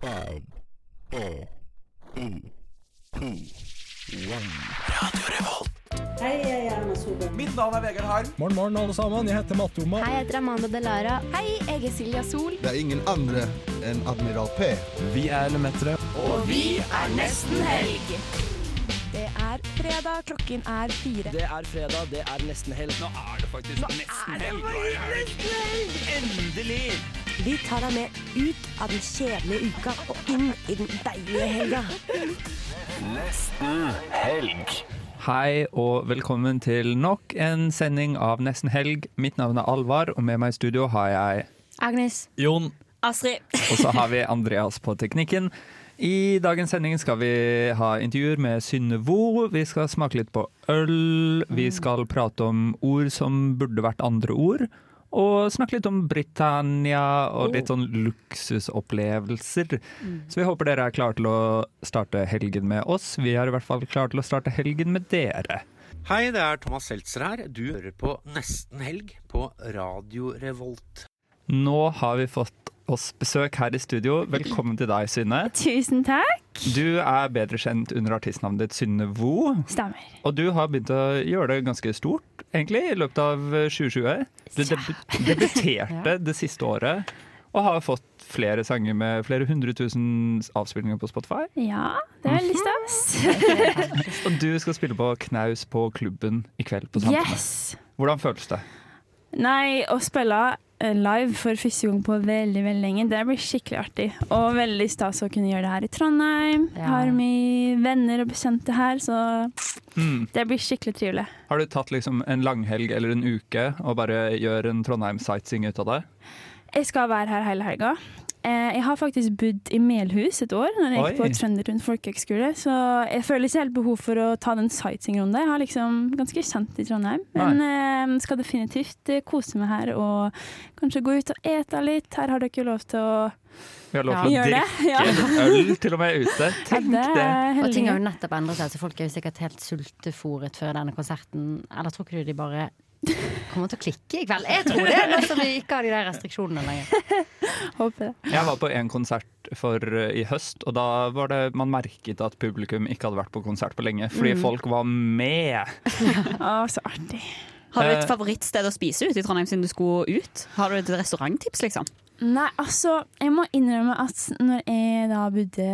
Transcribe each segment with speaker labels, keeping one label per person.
Speaker 1: Five, four, three, two, one.
Speaker 2: Hei, jeg er Erna Solberg.
Speaker 3: Mitt navn er Vegard Harm.
Speaker 4: Morgen, morgen, alle sammen. Jeg heter Matte-Oma.
Speaker 5: Hei, jeg heter Amanda Delara. Hei, jeg er Silja Sol.
Speaker 6: Det er ingen andre enn Admiral P.
Speaker 3: Vi er Lemetere.
Speaker 5: Det er fredag, klokken er fire.
Speaker 3: Det er fredag, det er nesten helg. Nå er det faktisk nesten helg. Endelig!
Speaker 7: Vi tar deg med ut av den kjedelige uka og inn i den deilige helga.
Speaker 8: Hei og velkommen til nok en sending av Nesten helg. Mitt navn er Alvar, og med meg i studio har jeg
Speaker 5: Agnes.
Speaker 8: Jon.
Speaker 7: Astrid.
Speaker 8: Og så har vi Andreas på teknikken. I dagens sending skal vi ha intervjuer med Synnevo. Vi skal smake litt på øl. Vi skal prate om ord som burde vært andre ord. Og snakke litt om Britannia og litt sånn luksusopplevelser. Så vi håper dere er klare til å starte helgen med oss. Vi er i hvert fall klare til å starte helgen med dere.
Speaker 3: Hei, det er Thomas Seltzer her. Du hører på Nesten helg på Radio Revolt.
Speaker 8: Nå har vi fått oss besøk her i studio. Velkommen til deg, Synne.
Speaker 5: Tusen takk.
Speaker 8: Du er bedre kjent under artistnavnet ditt Synne Vo,
Speaker 5: Stemmer.
Speaker 8: og du har begynt å gjøre det ganske stort, egentlig, i løpet av eh, 2020. Du debu- debuterte det siste året, og har fått flere sanger med flere hundre tusen avspillinger på Spotify.
Speaker 5: Ja, det er litt stas.
Speaker 8: Og du skal spille på Knaus på klubben i kveld på Samfunnet.
Speaker 5: Yes.
Speaker 8: Hvordan føles det?
Speaker 9: Nei, å spille eh, live for første gang på veldig veldig lenge, det blir skikkelig artig. Og veldig stas å kunne gjøre det her i Trondheim.
Speaker 7: Ja.
Speaker 9: Jeg Har mye venner og bekjente her, så
Speaker 8: Mm.
Speaker 9: det blir skikkelig trivelig.
Speaker 8: Har du tatt liksom en langhelg eller en uke og bare gjør en Trondheim-sightseeing ut av det?
Speaker 9: Jeg skal være her hele helga. Eh, Jeg har faktisk bodd i Melhus et år, når jeg gikk
Speaker 8: Oi.
Speaker 9: på Trønderund folkehøgskole, så jeg føler ikke helt behov for å ta den sightseeing-runden. Jeg har liksom ganske kjent i Trondheim, men eh, skal definitivt eh, kose meg her og kanskje gå ut og ete litt. Her har dere jo lov til å
Speaker 8: Vi har lov
Speaker 7: Ja.
Speaker 8: til å
Speaker 9: gjøre det.
Speaker 8: drikke øl til og med ute. Tenk
Speaker 9: Ja,
Speaker 8: det!
Speaker 9: er
Speaker 7: Og ting
Speaker 9: heldig.
Speaker 7: har jo nettopp endret seg, så folk er jo sikkert helt sultefòret før denne konserten. Eller tror ikke du de bare kommer til å klikke i kveld? Jeg tror det, nå som vi ikke har de der restriksjonene lenger.
Speaker 9: Håper det.
Speaker 8: Jeg var på en konsert for, eh, i høst, og da var det man merket at publikum ikke hadde vært på konsert på lenge, fordi folk var med.
Speaker 9: Å, så artig.
Speaker 10: Har du
Speaker 8: Eh,
Speaker 10: et favorittsted å spise ut i Trondheim siden du skulle ut? Har du et restauranttips, liksom?
Speaker 9: Nei, altså, jeg må innrømme at når jeg da bodde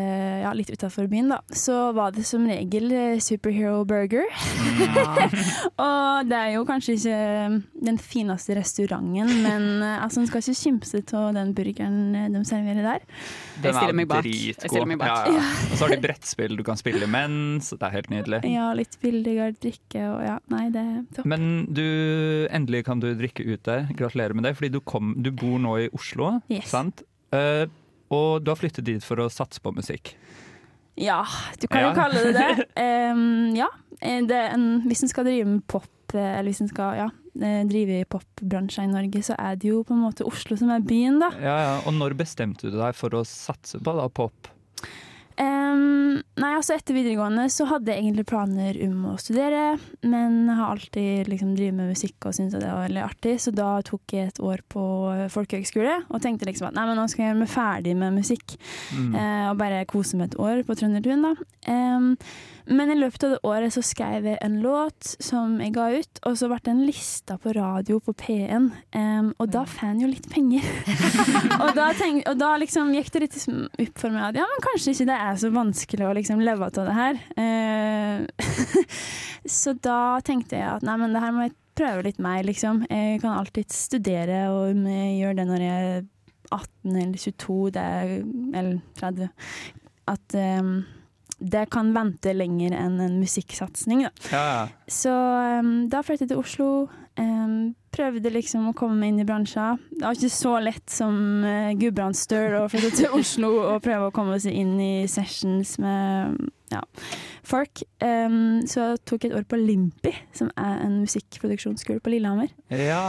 Speaker 9: ja, litt utafor byen, da, så var det som regel eh, superhero burger. Og det er jo kanskje ikke eh, den fineste restauranten, men eh, altså, en skal ikke kimse av den burgeren eh, de serverer der.
Speaker 8: Den
Speaker 10: stiller
Speaker 8: er
Speaker 10: meg bak. Jeg
Speaker 8: dritgod.
Speaker 10: stiller meg bak.
Speaker 8: Ja, ja. Og så har de brettspill du kan spille imens. Det er helt nydelig.
Speaker 9: Ja, litt billigere drikke og ja, nei, det er topp.
Speaker 8: Men du, endelig kan du drikke ute. Gratulerer med det, fordi du, kom, du bor nå i Oslo,
Speaker 9: Yes.
Speaker 8: sant? Eh, og du har flyttet dit for å satse på musikk.
Speaker 9: Ja, du kan jo
Speaker 8: Ja.
Speaker 9: kalle det det. Em, ja, eh, det er en, hvis en skal drive med pop, eh, eller hvis en skal ja, eh, drive i popbransjen i Norge, så er det jo på en måte Oslo som er byen, da.
Speaker 8: Ja, ja. Og når bestemte du deg for å satse på da, pop?
Speaker 9: Em, nei, altså etter videregående så hadde jeg egentlig planer om å studere, men har alltid liksom drevet med musikk og syntes at det var veldig artig, så da tok jeg et år på folkehøgskole og tenkte liksom at nei, men nå skal jeg gjøre meg ferdig med musikk.
Speaker 8: Mm.
Speaker 9: Eh, og bare kose meg et år på Trøndertun, da. Em, men i løpet av det året så skrev jeg en låt som jeg ga ut, og så ble den lista på radio på P1, em, og da får en jo litt penger. og da, tenk, og da liksom gikk det litt liksom opp for meg at ja, men kanskje ikke det er så vanskelig å liksom leve av det her. Eh, så da tenkte jeg at nei, men det her må jeg prøve litt mer, liksom. Jeg kan alltid studere, og om jeg gjør det når jeg er 18 eller 22, det er, eller 30, at em, det kan vente lenger enn en musikksatsing. Da.
Speaker 8: Ja, ja.
Speaker 9: Så em, da flyttet jeg til Oslo. em, prøvde liksom å komme meg inn i bransjen. Det var ikke så lett som uh, Gudbrandsdøl å flytte til Oslo og prøve å komme seg inn i sessions med ja, folk. Em, så jeg tok et år på Limpi, som er en musikkproduksjonsskole på Lillehammer.
Speaker 8: Ja.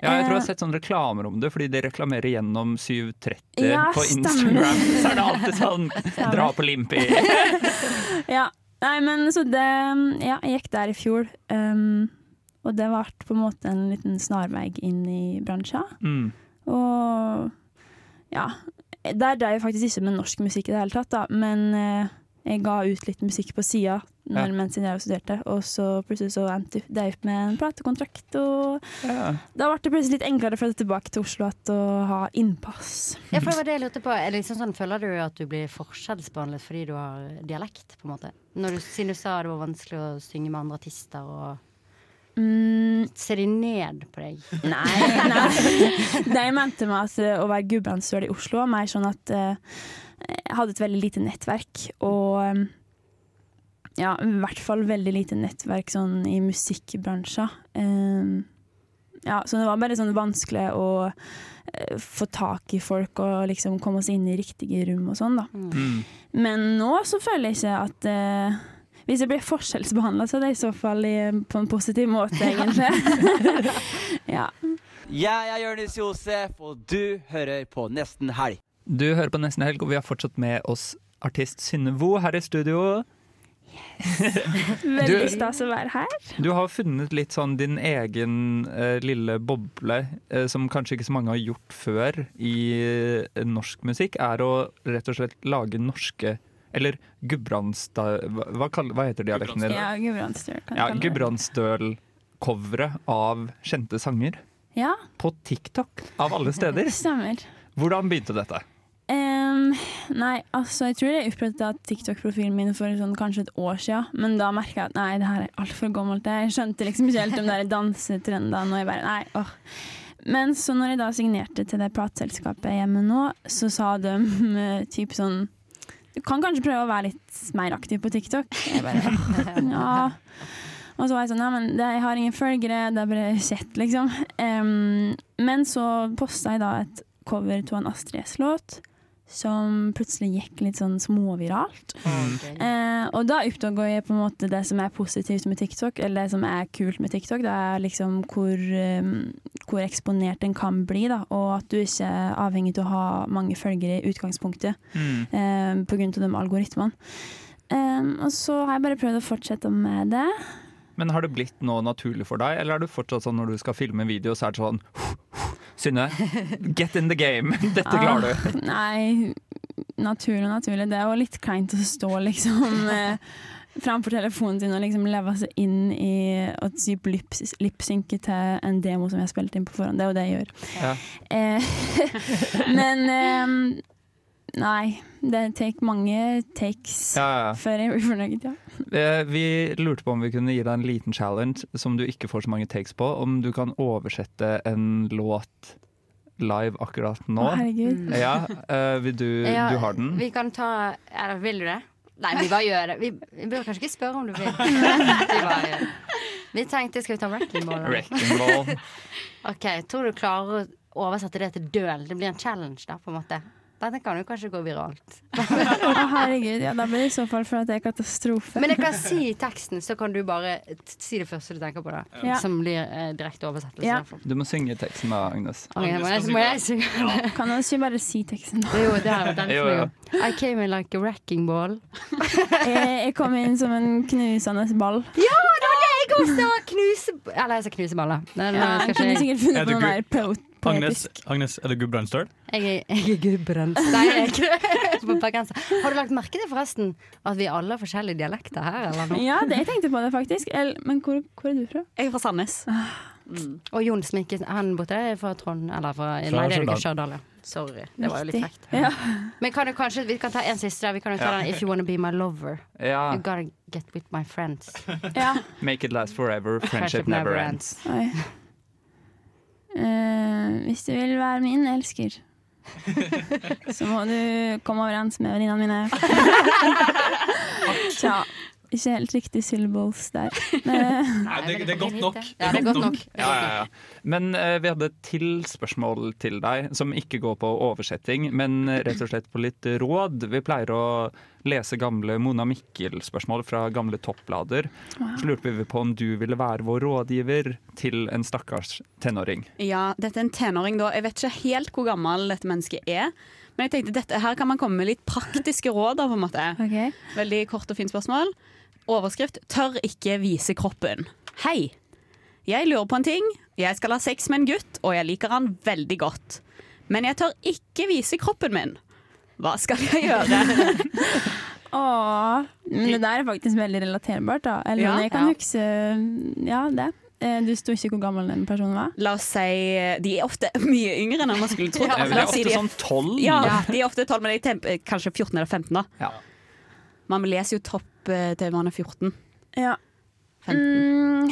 Speaker 8: ja, jeg tror jeg har
Speaker 9: Eh.
Speaker 8: sett sånne reklamer om det, fordi de reklamerer gjennom 7.30
Speaker 9: Ja,
Speaker 8: på
Speaker 9: stemmer.
Speaker 8: Instagram. Så er det alltid sånn 'dra på Limpi'.
Speaker 9: Ja. Nei, men så det Ja, jeg gikk der i fjor. ehm, og det ble på en måte en liten snarvei inn i bransjen.
Speaker 8: Mm.
Speaker 9: Og ja. Der dreiv jeg faktisk ikke med norsk musikk i det hele tatt, da. Men eh, jeg ga ut litt musikk på sida
Speaker 8: Ja.
Speaker 9: mens jeg studerte, og så plutselig så endte det opp med en platekontrakt. Og
Speaker 8: Ja.
Speaker 9: da ble det plutselig litt enklere å flytte tilbake til Oslo igjen og ha innpass.
Speaker 7: Ja, for det var det jeg lurte på. Er det liksom sånn, føler du at du blir forskjellsbehandlet fordi du har dialekt? på en måte? Når du, siden du sa det var vanskelig å synge med andre artister, og
Speaker 9: Mm,
Speaker 7: ser de ned på deg?
Speaker 9: Nei, nei. De mente meg at eh, å være gubbansøl i Oslo var mer sånn at eh, jeg hadde et veldig lite nettverk. Og eh, ja, i hvert fall veldig lite nettverk sånn i musikkbransjen. Eh, ja, så det var bare sånn vanskelig å eh, få tak i folk og liksom komme oss inn i riktige rom og sånn, da.
Speaker 8: Mm.
Speaker 9: Men nå så føler jeg ikke at eh, Hvis jeg blir forskjellsbehandla, så er det i så fall i, eh, på en positiv måte, egentlig. ja.
Speaker 11: Jeg er Jonis Josef, og du hører på Nesten Helg.
Speaker 8: Du hører på Nesten Helg, og vi har fortsatt med oss artist Synnevo her i studio.
Speaker 9: Veldig
Speaker 8: Du-
Speaker 9: stas å være her.
Speaker 8: Du har funnet litt sånn din egen eh, lille boble, eh, som kanskje ikke så mange har gjort før i eh, norsk musikk, er å rett og slett lage norske Eller Gudbrandstad... Hva, hva kall- hva heter dialekten din?
Speaker 9: Ja, Gudbrandsdøl. kan
Speaker 8: Ja,
Speaker 9: jeg kalle det.
Speaker 8: Gudbrandsdøl-covere av kjente sanger
Speaker 9: Ja,
Speaker 8: på TikTok, av alle steder.
Speaker 9: det stemmer.
Speaker 8: Hvordan begynte dette?
Speaker 9: Em, nei, altså jeg tror jeg oppretta TikTok-profilen min for sånn, kanskje et år siden. Men da merka jeg at nei, det her er altfor gammelt. Jeg skjønte liksom ikke helt de der dansetrendene. Og jeg bare, nei, åh. Men så når jeg da signerte til det plateselskapet jeg er med nå, så sa de eh, typ sånn Du kan kanskje prøve å være litt mer aktiv på TikTok. Jeg bare, ja. Og så var jeg sånn, ja, men det, jeg har ingen følgere, det er bare kjett, liksom. Em, men så posta jeg da et cover til en Astrid S-låt, som plutselig gikk litt sånn småviralt.
Speaker 7: Mm.
Speaker 9: Eh, og da oppdaga jeg på en måte det som er positivt med TikTok, eller det som er kult med TikTok. Det er liksom hvor, em, hvor eksponert en kan bli, da, og at du ikke er avhengig av å ha mange følgere i utgangspunktet eh, på grunn av de algoritmene. Em, og så har jeg bare prøvd å fortsette med det.
Speaker 8: Men har det blitt noe naturlig for deg, eller er det fortsatt sånn når du skal filme video, så er det sånn Synne, get in the game! Dette klarer du!
Speaker 9: Ah, Nei, naturlig og naturlig. Det er jo litt kleint å stå liksom eh, framfor telefonen sin og liksom leve seg inn i å typ lips- lipsynke til en demo som jeg har spilt inn på forhånd. Det er jo det jeg gjør.
Speaker 8: Ja.
Speaker 9: Eh, men eh, nei, det tar mange takes
Speaker 8: Ja, ja.
Speaker 9: før jeg blir fornøyd, ja.
Speaker 8: Eh, Vi lurte på om vi kunne gi deg en liten challenge som du ikke får så mange takes på. Om du kan oversette en låt live akkurat nå.
Speaker 9: Å, herregud.
Speaker 8: Ja, eh, vil du,
Speaker 7: Ja,
Speaker 8: du har den?
Speaker 7: Vi kan ta Eller vil du det? Nei, vi bare gjør det. Vi, vi burde kanskje ikke spørre om du vil. Vi, bare gjør det. vi tenkte skal vi ta wrecking ball? eller?
Speaker 8: Wrecking Ball.
Speaker 7: Ok, Tror du klarer å oversette det til døl? Det blir en challenge, da, på en måte. Dette kan jo kanskje gå viralt.
Speaker 9: Å, herregud. Ja, da blir det i så fall for at det er katastrofe.
Speaker 7: Men jeg kan si teksten, så kan du bare t- si det første du tenker på, da.
Speaker 9: Ja.
Speaker 7: Som blir eh, direkte oversettelse.
Speaker 9: Ja.
Speaker 7: derfor.
Speaker 8: Du må synge teksten da, Agnes.
Speaker 7: Ok, må jeg, må jeg synge?
Speaker 9: Kan du ikke bare si teksten?
Speaker 7: Jo, det er den
Speaker 8: Jo,
Speaker 7: får
Speaker 8: ja.
Speaker 7: jeg jo. I came in like a wrecking ball.
Speaker 9: Jeg, jeg kom inn som en knusende ball.
Speaker 7: Ja, det var det jeg også! Knuse... Eller jeg sa knuse baller. Nei, nei,
Speaker 9: Ja, jeg
Speaker 7: skal
Speaker 9: kunne
Speaker 7: ikke-
Speaker 9: sikkert
Speaker 4: Er
Speaker 9: funnet
Speaker 4: du
Speaker 9: på noe
Speaker 4: gu-
Speaker 9: mer po-
Speaker 4: Agnes,
Speaker 9: poetisk.
Speaker 4: Agnes er det Gudbrandsdøl?
Speaker 7: Jeg er, jeg er gudbrent. Nei, jeg er ikke det. På bergenser. Har du lagt merke til forresten at vi alle har forskjellige dialekter her? Eller noe?
Speaker 9: Ja, det jeg tenkte på det faktisk. El, men hvor, hvor er du fra?
Speaker 10: Jeg er fra Sandnes.
Speaker 7: Og Jon Smikkesen, han borte der er fra Trond Eller fra,
Speaker 4: Fra
Speaker 7: Nei, det er jo ikke
Speaker 4: Stjørdal.
Speaker 7: Stjørdal. ja. Sorry. Det var jo litt
Speaker 9: Riktig.
Speaker 7: frekt.
Speaker 9: Ja.
Speaker 7: Men kan du kanskje, vi kan ta en siste. Vi kan jo ta den If you wanna be my lover.
Speaker 8: Ja.
Speaker 7: You gotta get with my friends.
Speaker 9: ja.
Speaker 8: Make it last forever, friendship never ends.
Speaker 9: Oi. Eh, hvis du vil være min elsker, så må du komme overens med venninnene mine. Tja. Ikke helt riktig syllables der. Eh, Men,
Speaker 4: Nei, det,
Speaker 7: men
Speaker 4: det er
Speaker 7: kan
Speaker 4: godt
Speaker 7: bli
Speaker 4: nok.
Speaker 7: hit, Ja, Ja, det er godt nok.
Speaker 8: Ja, ja, ja. Men eh, vi hadde et til spørsmål til deg, som ikke går på oversetting, men eh, rett og slett på litt råd. Vi pleier å lese gamle Mona Mikkel-spørsmål fra gamle topplader. Så lurte vi på om du ville være vår rådgiver til en stakkars tenåring.
Speaker 10: Ja, dette er en tenåring da. Jeg vet ikke helt hvor gammel dette mennesket er. Men jeg tenkte dette her kan man komme med litt praktiske råd av, på en måte.
Speaker 9: ok.
Speaker 10: Veldig kort og fint spørsmål. Overskrift 'Tør ikke vise kroppen'. Hei. Jeg lurer på en ting. Jeg skal ha sex med en gutt, og jeg liker han veldig godt. Men jeg tør ikke vise kroppen min. Hva skal jeg gjøre?
Speaker 9: Åh, men det der er faktisk veldig relaterbart, da. Eller
Speaker 10: Ja.
Speaker 9: jeg kan
Speaker 10: Ja.
Speaker 9: huske Ja, det. Eh, Du sto ikke hvor gammel den personen var.
Speaker 10: La oss si De er ofte mye yngre enn man skulle trodd.
Speaker 9: Ja,
Speaker 8: Det er
Speaker 10: La
Speaker 8: vel
Speaker 10: oss si
Speaker 8: ofte
Speaker 10: de er-
Speaker 8: sånn tolv.
Speaker 10: Ja, de er ofte 12, men jeg tenker eh, kanskje 14 eller 15 da.
Speaker 8: Ja.
Speaker 10: Man leser jo topp eh, til man er 14.
Speaker 9: Ja. Mm,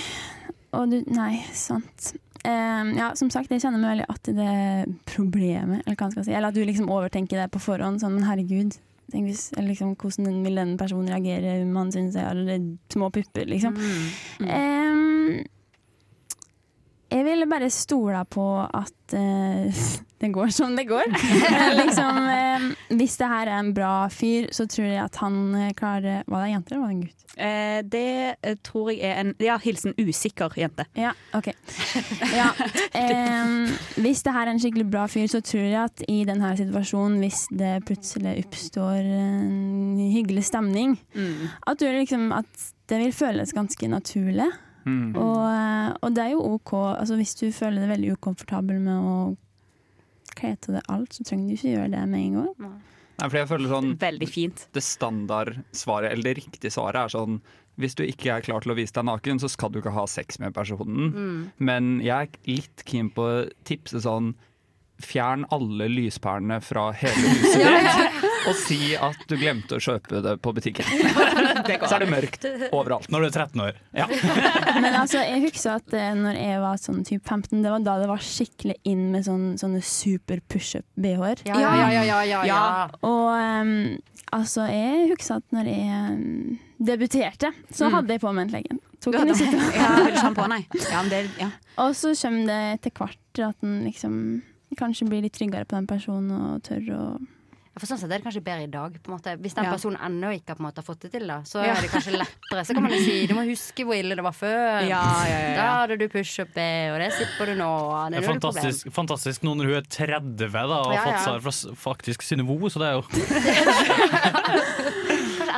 Speaker 9: og du Nei, sant. Em, ja, som sagt, jeg kjenner meg veldig att i det problemet, eller hva man skal si. Eller at du liksom overtenker det på forhånd. Sånn, men herregud, tenk hvis, eller liksom, hvordan vil den personen reagere om han syns jeg har litt små pupper, liksom. Em, jeg ville bare stola på at eh, det går som det går. Eh, liksom, em, hvis det her er en bra fyr, så tror jeg at han eh, klarer Var det en jente eller var det en gutt?
Speaker 10: Eh, det eh, tror jeg er en Ja, hilsen usikker jente.
Speaker 9: Ja, ok. Ja, em, hvis det her er en skikkelig bra fyr, så tror jeg at i denne situasjonen, hvis det plutselig oppstår en hyggelig stemning, at, du liksom, at det vil føles ganske naturlig.
Speaker 8: Mm.
Speaker 9: Og, eh, og det er jo OK. Altså, hvis du føler deg veldig ukomfortabel med å kle av deg alt, så trenger du ikke gjøre det med en gang.
Speaker 8: Nei, fordi jeg føler sånn
Speaker 10: Veldig fint.
Speaker 8: Det standardsvaret, eller det riktige svaret, er sånn Hvis du ikke er klar til å vise deg naken, så skal du ikke ha sex med personen. Men jeg er litt keen på å tipse sånn Fjern alle lyspærene fra hele huset ditt, og si at du glemte å kjøpe det på butikken. Så er det mørkt overalt.
Speaker 12: Når du er 13 år.
Speaker 9: Men altså, jeg husker at eh, når jeg var sånn typ 15, det var da det var skikkelig inn med sånn, sånne super push-up-BH-er.
Speaker 7: Ja, ja, ja, ja, ja, ja. Ja.
Speaker 9: Og ehm, altså, jeg husker at når jeg ehm, debuterte, så
Speaker 10: Mm.
Speaker 9: hadde jeg på meg en leggen. Tok
Speaker 10: Du
Speaker 9: den i
Speaker 10: hadde-
Speaker 9: sitt-
Speaker 10: Ja, vil du ha den på? Nei. Ja, men det, ja.
Speaker 9: Og så kommer det etter hvert at en liksom kanskje blir litt tryggere på den personen og tør å
Speaker 7: For sånn sett er det kanskje bedre i dag. På en måte. Hvis den
Speaker 9: Ja.
Speaker 7: personen ennå ikke på en måte, har fått det til, da, så
Speaker 9: Ja.
Speaker 7: er det kanskje lettere. Så kan man jo si du må huske hvor ille det var før.
Speaker 12: Ja, ja, ja, ja.
Speaker 7: Da hadde du pushup, og det slipper du nå. og
Speaker 12: Det er
Speaker 7: Det er null problem.
Speaker 12: fantastisk, fantastisk nå når hun er 30 da, og har
Speaker 7: Ja,
Speaker 12: fått
Speaker 7: ja.
Speaker 12: svar fra s- faktisk Synnøve, O, så det er jo
Speaker 7: Kanskje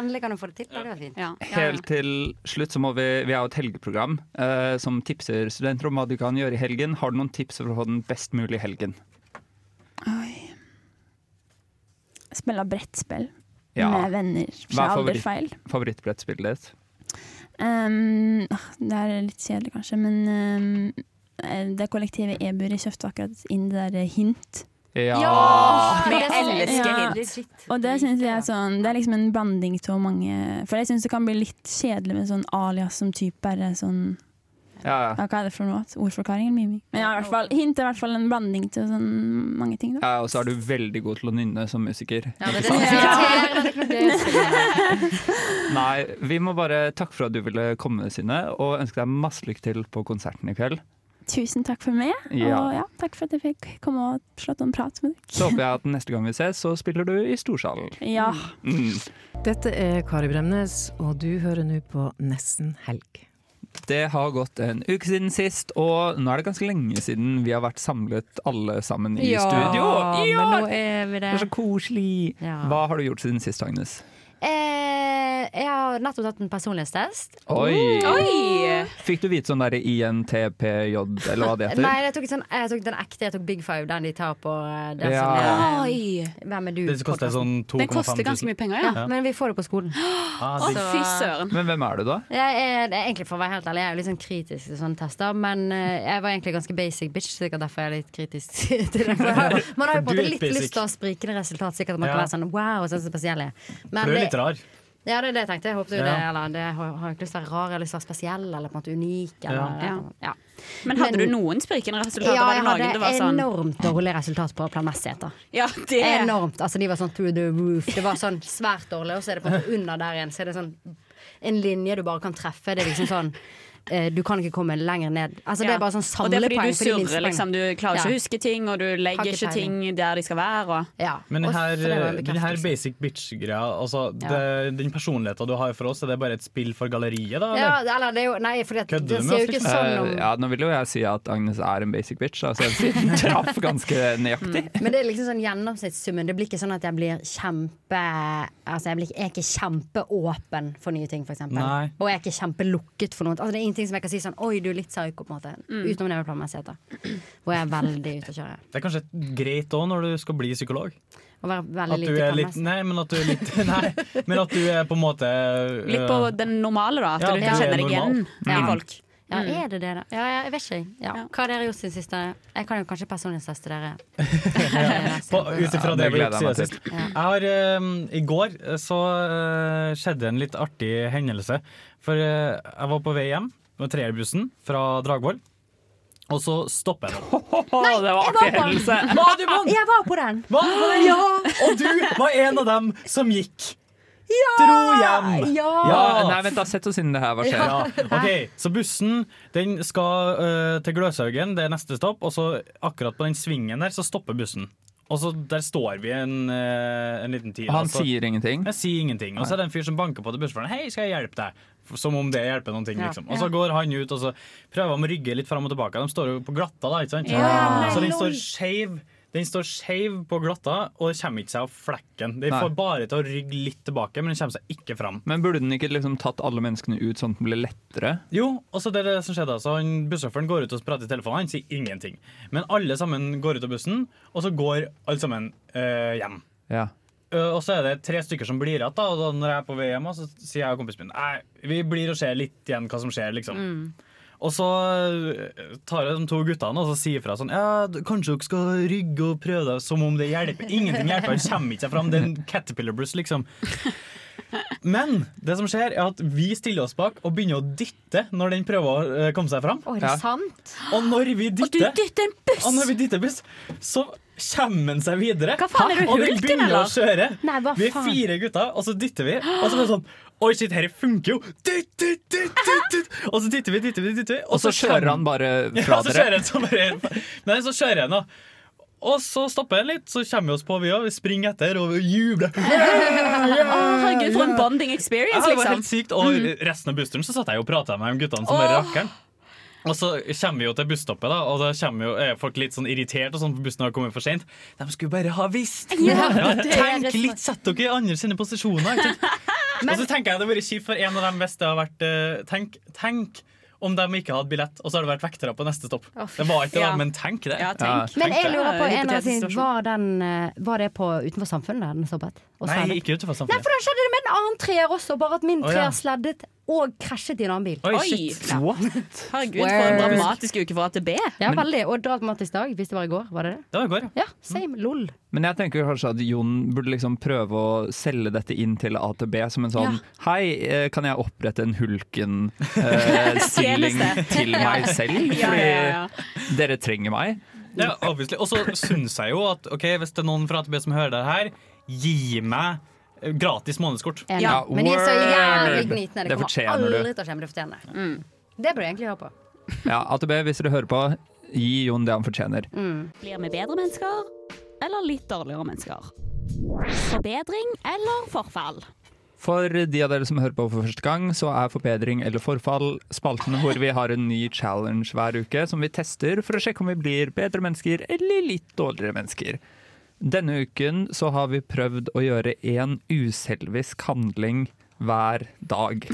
Speaker 7: endelig kan du få det til. Det hadde vært fint.
Speaker 8: Helt til slutt så må vi Vi er jo et helgeprogram eh, som tipser studenter om hva de kan gjøre i helgen. Har du noen tips for å få den best mulig helgen?
Speaker 9: spille brettspill
Speaker 8: Ja.
Speaker 9: med venner.
Speaker 8: Hva er
Speaker 9: Fra
Speaker 8: favoritt-
Speaker 9: alderfeil.
Speaker 8: favorittbrettspillet ditt?
Speaker 9: Ehm, ah, det her er litt kjedelig kanskje, men ehm, eh, det kollektivet Ebury kjøpte akkurat inn det der hint.
Speaker 8: Ja!
Speaker 10: Vi
Speaker 7: sånn-
Speaker 10: elsker hint.
Speaker 9: Og det synes jeg er sånn Det er liksom en blanding av mange For jeg syns det kan bli litt kjedelig med sånn alias som type bare sånn
Speaker 8: Ja,
Speaker 9: ja, Hva er det for noe? Ordforklaring eller miming? Men ja, i hvert fall, hint er i hvert fall en blanding til sånn mange ting, da.
Speaker 8: ja, og så er du veldig god til å nynne som musiker.
Speaker 7: det
Speaker 8: ikke
Speaker 7: er
Speaker 8: sant?
Speaker 7: det som irriterer, det er ikke noe gøy.
Speaker 8: Nei, vi må bare takke for at du ville komme, Synne, og ønske deg masse lykke til på konserten i kveld.
Speaker 9: Tusen takk for meg,
Speaker 8: Ja.
Speaker 9: og ja, takk for at jeg fikk komme og slått en prat med dere.
Speaker 8: Så håper jeg at neste gang vi ses, så spiller du i Storsalen.
Speaker 9: Ja.
Speaker 8: Mm.
Speaker 13: Dette er Kari Bremnes, og du hører nå på Nesten helg.
Speaker 8: Det har gått en uke siden sist, og nå er det ganske lenge siden vi har vært samlet alle sammen i studio. Ja!
Speaker 7: men nå er vi det.
Speaker 8: Det er så koselig. Hva har du gjort siden sist, Agnes?
Speaker 7: Eh, jeg har nettopp tatt en personlighetstest.
Speaker 8: Oi!
Speaker 7: Oh, Oi!
Speaker 8: Fikk du vite sånn der INTPJ, eller hva det heter?
Speaker 7: Nei, jeg tok, sånn, jeg tok den ekte. Jeg tok Big Five, den de tar på eh, den
Speaker 8: Ja.
Speaker 7: som er
Speaker 10: Oi.
Speaker 7: Hvem er du?
Speaker 12: Det koster sånn 2,5 000.
Speaker 7: Den koster ganske mye penger, ja.
Speaker 12: Ja.
Speaker 7: Men vi får det på skolen.
Speaker 12: Ah,
Speaker 7: Å,
Speaker 12: digg.
Speaker 7: fy søren.
Speaker 8: Men hvem er du, da?
Speaker 7: Jeg er, det er egentlig For å være helt ærlig, jeg er jo litt sånn kritisk til sånne tester, men eh, jeg var egentlig ganske basic bitch, sikkert derfor jeg er litt kritisk til det. For jeg har- Man har jo på en
Speaker 12: Du
Speaker 7: måte
Speaker 12: er
Speaker 7: litt
Speaker 12: basic.
Speaker 7: lyst til å ha sprikende resultat, sikkert at man
Speaker 12: Ja.
Speaker 7: kan være sånn wow, sånn spesiell jeg er. Men
Speaker 12: For du er
Speaker 7: det-
Speaker 12: litt rar.
Speaker 7: Ja, det er det jeg tenkte. Jeg håpet jo
Speaker 12: Ja.
Speaker 7: det, eller det jeg har har ikke lyst til å være rar, jeg har lyst til å være spesiell, eller på en måte unik, eller ja.
Speaker 10: Ja. Men hadde du noen sprikende resultater?
Speaker 7: Ja,
Speaker 10: Var det
Speaker 7: jeg
Speaker 10: noen
Speaker 7: hadde
Speaker 10: det var sånn-
Speaker 7: enormt dårlige resultat på planmessighet. da.
Speaker 10: Ja, det
Speaker 7: Enormt. Altså, de var sånn through the roof. Det var sånn svært dårlig, og så er det på en måte under der igjen. Så er det sånn en linje du bare kan treffe. Det er liksom sånn eh, Du kan ikke komme lenger ned. Altså, det
Speaker 10: Ja.
Speaker 7: er bare sånn
Speaker 10: Og det er fordi
Speaker 7: samlepoeng
Speaker 10: du
Speaker 7: for de minste
Speaker 10: surrer, liksom. Du
Speaker 7: poengene.
Speaker 10: klarer ikke
Speaker 7: Ja.
Speaker 10: å huske ting, og du
Speaker 7: Har
Speaker 10: legger
Speaker 7: ikke
Speaker 10: ikke ting der de skal være. Og...
Speaker 12: Men den
Speaker 7: Og
Speaker 12: her,
Speaker 7: så det var en
Speaker 12: den her basic bitch-greia, altså
Speaker 7: Ja.
Speaker 12: det, den personligheten du har for oss, er det bare et spill for galleriet, da?
Speaker 7: Ja,
Speaker 12: eller?
Speaker 7: eller det er jo Nei, fordi at
Speaker 12: Kødder
Speaker 7: det
Speaker 12: du med
Speaker 7: ser
Speaker 12: oss,
Speaker 7: jo ikke
Speaker 12: liksom?
Speaker 7: sånn om
Speaker 8: Eh, ja, nå vil jo jeg si at Agnes er en basic bitch, altså jeg sier- traff ganske nøyaktig.
Speaker 12: Mm.
Speaker 7: Men det er liksom sånn gjennomsnittssummen. Det blir ikke sånn at jeg blir kjempe Altså jeg, blir, ikke- jeg er ikke kjempeåpen for nye ting, for eksempel.
Speaker 12: Nei.
Speaker 7: Og jeg er ikke kjempelukket for noe. Altså, det er ingenting som jeg kan si sånn Oi, du er litt psyko, på en måte.
Speaker 12: Mm.
Speaker 7: Utenom det med planmessighet, da. Hvor jeg er veldig ute å kjøre.
Speaker 12: Det er kanskje greit òg når du skal bli psykolog?
Speaker 7: Å være veldig
Speaker 12: At du
Speaker 7: lite
Speaker 12: er litt
Speaker 7: gammel.
Speaker 12: Nei, men at du er litt Nei, men at du er på en måte øh,
Speaker 10: Litt på den normale, da. At
Speaker 12: Ja,
Speaker 10: du
Speaker 12: det
Speaker 10: ikke
Speaker 12: er
Speaker 10: kjenner deg igjen
Speaker 12: normalt.
Speaker 10: i
Speaker 12: Mm.
Speaker 10: folk.
Speaker 7: Ja,
Speaker 10: Mm.
Speaker 7: er det det, da? Ja, ja, jeg vet ikke. Ja. Hva har dere gjort siden sist? da? Jeg kan jo kanskje personlighetsteste dere.
Speaker 12: På- Ut ifra
Speaker 8: Ja,
Speaker 12: det vi har gjort
Speaker 8: det gleder jeg meg
Speaker 12: siden sist.
Speaker 7: til.
Speaker 12: Jeg har, eh, I går eh, så eh, skjedde en litt artig hendelse. For eh, jeg var på vei hjem med treerbussen fra Dragvoll, og så stopper jeg opp.
Speaker 7: Nei,
Speaker 12: det var
Speaker 7: jeg
Speaker 12: artig
Speaker 7: var på
Speaker 12: hendelse.
Speaker 7: den!
Speaker 12: Var du på den?
Speaker 7: Jeg var på den!
Speaker 12: Var du på den?
Speaker 7: Ja!
Speaker 12: Og du var en av dem som gikk. Dro hjem!
Speaker 7: Ja!
Speaker 8: Ja, nei, vent da, sett oss inn i det her. Hva skjer?
Speaker 12: Ja, ok, Så bussen den skal eh, til Gløshaugen, det er neste stopp. Og så akkurat på den svingen der, så stopper bussen. Og så Der står vi en, eh, en liten tid.
Speaker 8: Og han
Speaker 12: og så-
Speaker 8: sier ingenting?
Speaker 12: Jeg sier ingenting. Og så er det en fyr som banker på til bussføreren. 'Hei, skal jeg hjelpe deg?' Som om det hjelper noen ting.
Speaker 8: Ja,
Speaker 12: liksom. Og så
Speaker 8: ja.
Speaker 12: går han ut og så prøver han å rygge litt fram og tilbake. De står jo på glatta, da. ikke sant?
Speaker 8: Ja, nei,
Speaker 12: så den står
Speaker 8: lol.
Speaker 12: skeiv. Den står skeiv på glatta, og det kommer ikke seg av flekken. Den
Speaker 8: Nei.
Speaker 12: får bare til å rygge litt tilbake, men den kommer seg ikke fram.
Speaker 8: Men burde den ikke liksom tatt alle menneskene ut sånn at den ble lettere?
Speaker 12: Jo, og så det er det som skjedde altså. Han- Bussjåføren går ut og prater i telefonen, han sier ingenting. Men alle sammen går ut av bussen, og så går alle sammen eh, hjem.
Speaker 8: Ja.
Speaker 12: Eh, og så er det tre stykker som blir igjen, da, og da når jeg er på vei hjem, så sier jeg og kompisen min Nei, vi blir og ser litt igjen hva som skjer, liksom. Og så eh, tar jeg de to guttene og så sier fra sånn Ja, d- kanskje dere skal rygge og prøve det som om det hjelper. Ingenting hjelper, han kommer ikke seg fram. Det er en caterpillar bruce, liksom. Men det som skjer, er at vi stiller oss bak og begynner å dytte når den prøver å eh, komme seg fram.
Speaker 7: Å, er det sant?
Speaker 12: Og når vi dytter,
Speaker 7: du dytter en buss!
Speaker 12: Og når vi dytter buss, så kommer den seg videre.
Speaker 7: Hva faen, er du
Speaker 12: og den
Speaker 7: hulken,
Speaker 12: begynner å
Speaker 7: eller?
Speaker 12: kjøre.
Speaker 7: Nei, hva
Speaker 12: vi er
Speaker 7: faen?
Speaker 12: fire gutter, og så dytter vi. Og så er det sånn Oi, shit, dette funker jo! Dytt, dytt, dytt, dytt, dytt. Og så dytter vi, dytter vi, dytter vi.
Speaker 8: Og så kjører han bare
Speaker 12: ja,
Speaker 8: fra
Speaker 12: så
Speaker 8: dere.
Speaker 12: kjører han så bare, Nei, så kjører han, da. Og så stopper han litt, så kommer vi oss på, vi òg. Vi springer etter og vi jubler.
Speaker 10: Å, herregud, for en bonding experience,
Speaker 12: Ja, det var
Speaker 10: liksom.
Speaker 12: helt sykt. Og resten av bussturen så satt jeg og prata med de guttene som bare
Speaker 10: Åh.
Speaker 12: rakkeren. Og så kommer vi jo til busstoppet, da, og da kommer jo, er folk litt sånn irritert. Og sånn, for bussen har kommet for sent. De skulle bare ha visst!
Speaker 2: Ja, det er
Speaker 12: tenk
Speaker 2: det som-
Speaker 12: litt, Sett dere i andre sine posisjoner. ikke sant? og så tenker jeg det hadde vært kjipt for en av dem hvis det hadde vært eh, Tenk, tenk om de ikke hadde billett, og så hadde det vært vektere på neste stopp.
Speaker 7: Å, fy
Speaker 12: Det var ikke det,
Speaker 7: Ja.
Speaker 12: men tenk det.
Speaker 7: Men jeg
Speaker 12: det.
Speaker 7: lurer på en av
Speaker 10: Hypotetisk
Speaker 7: sine,
Speaker 10: situasjon.
Speaker 7: var, den, eh, var det på utenfor samfunnet der den stoppet? Og
Speaker 12: Nei,
Speaker 7: sladdet?
Speaker 12: ikke utenfor
Speaker 7: Nei,
Speaker 12: samfunnet.
Speaker 7: for da skjedde det med en annen treer også, bare at
Speaker 12: Å,
Speaker 7: min
Speaker 12: ja.
Speaker 7: treer sladdet og krasjet i en annen bil.
Speaker 12: Oi, shit.
Speaker 7: Ja.
Speaker 12: What?
Speaker 10: Herregud, for en
Speaker 7: Word.
Speaker 10: dramatisk uke fra A til B.
Speaker 7: Ja, veldig. Og dramatisk dag, hvis det var i går. Var det det?
Speaker 12: Det var i går,
Speaker 7: ja.
Speaker 8: Mm.
Speaker 7: Same. Lol.
Speaker 8: Men jeg tenker kanskje at Jon burde liksom prøve å selge dette inn til AtB som en sånn Hei, eh, kan jeg opprette en Hulken-stilling
Speaker 12: Tjeneste.
Speaker 8: til meg selv? Fordi
Speaker 12: Ja, ja, ja.
Speaker 8: dere trenger meg.
Speaker 12: Ja, obviously. Og så syns jeg jo at ok, hvis det er noen fra AtB som hører det her, gi meg eh, gratis månedskort.
Speaker 7: Enig. Men de er så jævlig gnitne. Det,
Speaker 8: Det
Speaker 7: kommer
Speaker 8: fortjener
Speaker 7: aldri
Speaker 8: du. Mm.
Speaker 7: til å skjemme. Det fortjener det. Det burde du egentlig høre på.
Speaker 8: Ja, AtB, hvis dere hører på, gi Jon det han fortjener.
Speaker 10: Blir vi bedre mennesker, eller litt dårligere mennesker? Forbedring eller forfall?
Speaker 8: For de av dere som hører på for første gang, så er Forbedring eller forfall spalten hvor vi har en ny challenge hver uke som vi tester for å sjekke om vi blir bedre mennesker eller litt dårligere mennesker. Denne uken så har vi prøvd å gjøre én uselvisk handling hver dag.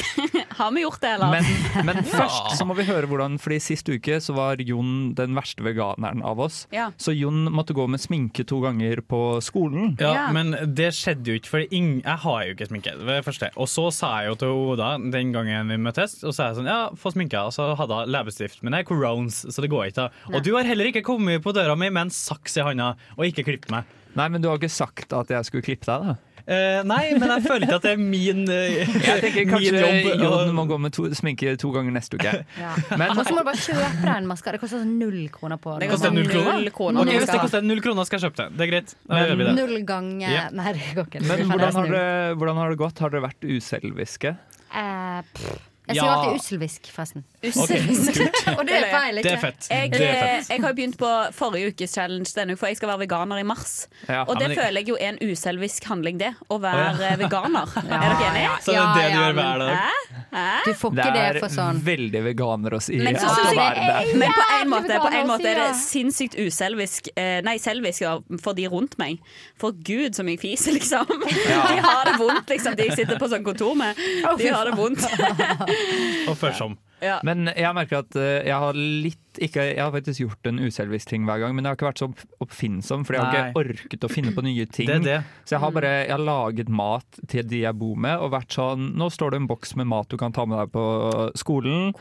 Speaker 10: Har vi gjort det, eller?
Speaker 8: Men, men først så må vi høre hvordan, fordi sist uke så var Jon den verste veganeren av oss.
Speaker 10: Ja.
Speaker 8: Så Jon måtte gå med sminke to ganger på skolen.
Speaker 12: Ja, Men det skjedde jo ikke, for ing- jeg har jo ikke sminke. Det var det første. Og så sa jeg jo til Oda den gangen vi møttes, og så sa jeg sånn, ja, få sminke. Og så hadde hun leppestift, men jeg er corones, så det går ikke. da.
Speaker 8: Nei.
Speaker 12: Og du har heller ikke kommet på døra mi med en saks i handa og ikke klippet meg.
Speaker 8: Nei, men du har ikke sagt at jeg skulle klippe deg, da?
Speaker 12: Eh, nei, men jeg føler ikke at det er min, eh,
Speaker 8: Jeg tenker kanskje
Speaker 12: min jobb. å-
Speaker 8: Jon må gå med to, sminke to ganger neste uke. Men-
Speaker 7: Og så må du bare kjøpe deg en maske. Det koster sånn null kroner på
Speaker 12: Det koster null kroner. Ok, hvis det
Speaker 7: Null,
Speaker 12: koster null kroner, skal jeg kjøpe det. Det er greit. Da gjør vi det.
Speaker 7: null ganger
Speaker 8: Ja.
Speaker 7: Nei, det går ikke.
Speaker 8: Men
Speaker 7: Faen,
Speaker 8: hvordan
Speaker 7: jeg
Speaker 8: har,
Speaker 7: snur.
Speaker 8: det, hvordan har det gått? Har dere vært uselviske?
Speaker 7: Eh, pff. Jeg
Speaker 8: Ja.
Speaker 7: sier alltid usselvisk, forresten.
Speaker 8: Usselvisk.
Speaker 7: Og det er feil, ikke?
Speaker 8: Det er fett.
Speaker 10: Jeg, eh,
Speaker 8: Det er
Speaker 12: eh,
Speaker 8: fett.
Speaker 10: jeg har jo begynt på forrige ukes challenge denne uka, for jeg skal være veganer i mars.
Speaker 8: Ja.
Speaker 10: Og
Speaker 8: Ja,
Speaker 10: det
Speaker 8: men jeg-
Speaker 10: føler jeg jo er en uselvisk handling, det. Å være
Speaker 8: Å, ja.
Speaker 10: eh, veganer. Er dere enige?
Speaker 8: Så det er det du gjør hver dag?
Speaker 7: Du får
Speaker 8: Det
Speaker 7: ikke det,
Speaker 8: er
Speaker 7: for sånn.
Speaker 8: veldig veganer å si
Speaker 10: Men, så
Speaker 8: at
Speaker 10: synes
Speaker 8: å være
Speaker 10: jeg,
Speaker 8: det.
Speaker 10: men på en
Speaker 7: Jævlig
Speaker 10: måte, på
Speaker 7: veganer
Speaker 10: en
Speaker 7: å
Speaker 10: måte
Speaker 7: si,
Speaker 10: er det
Speaker 7: ja.
Speaker 10: sinnssykt uselvisk eh, Nei, selvisk da, for de rundt meg. For gud som jeg fiser, liksom. De har det vondt, liksom, de jeg sitter på sånn kontor med.
Speaker 12: Å, fy
Speaker 10: De har det vondt.
Speaker 12: Og først som.
Speaker 10: Ja.
Speaker 8: Men jeg merker at eh, jeg har litt ikke, Jeg har faktisk gjort en uselvisk ting hver gang, men jeg har ikke vært så opp- oppfinnsom, for jeg har ikke orket å finne på nye ting.
Speaker 12: Det er det.
Speaker 8: Så jeg har bare jeg har laget mat til de jeg bor med, og vært sånn Nå står det en boks med mat du kan ta med deg på skolen,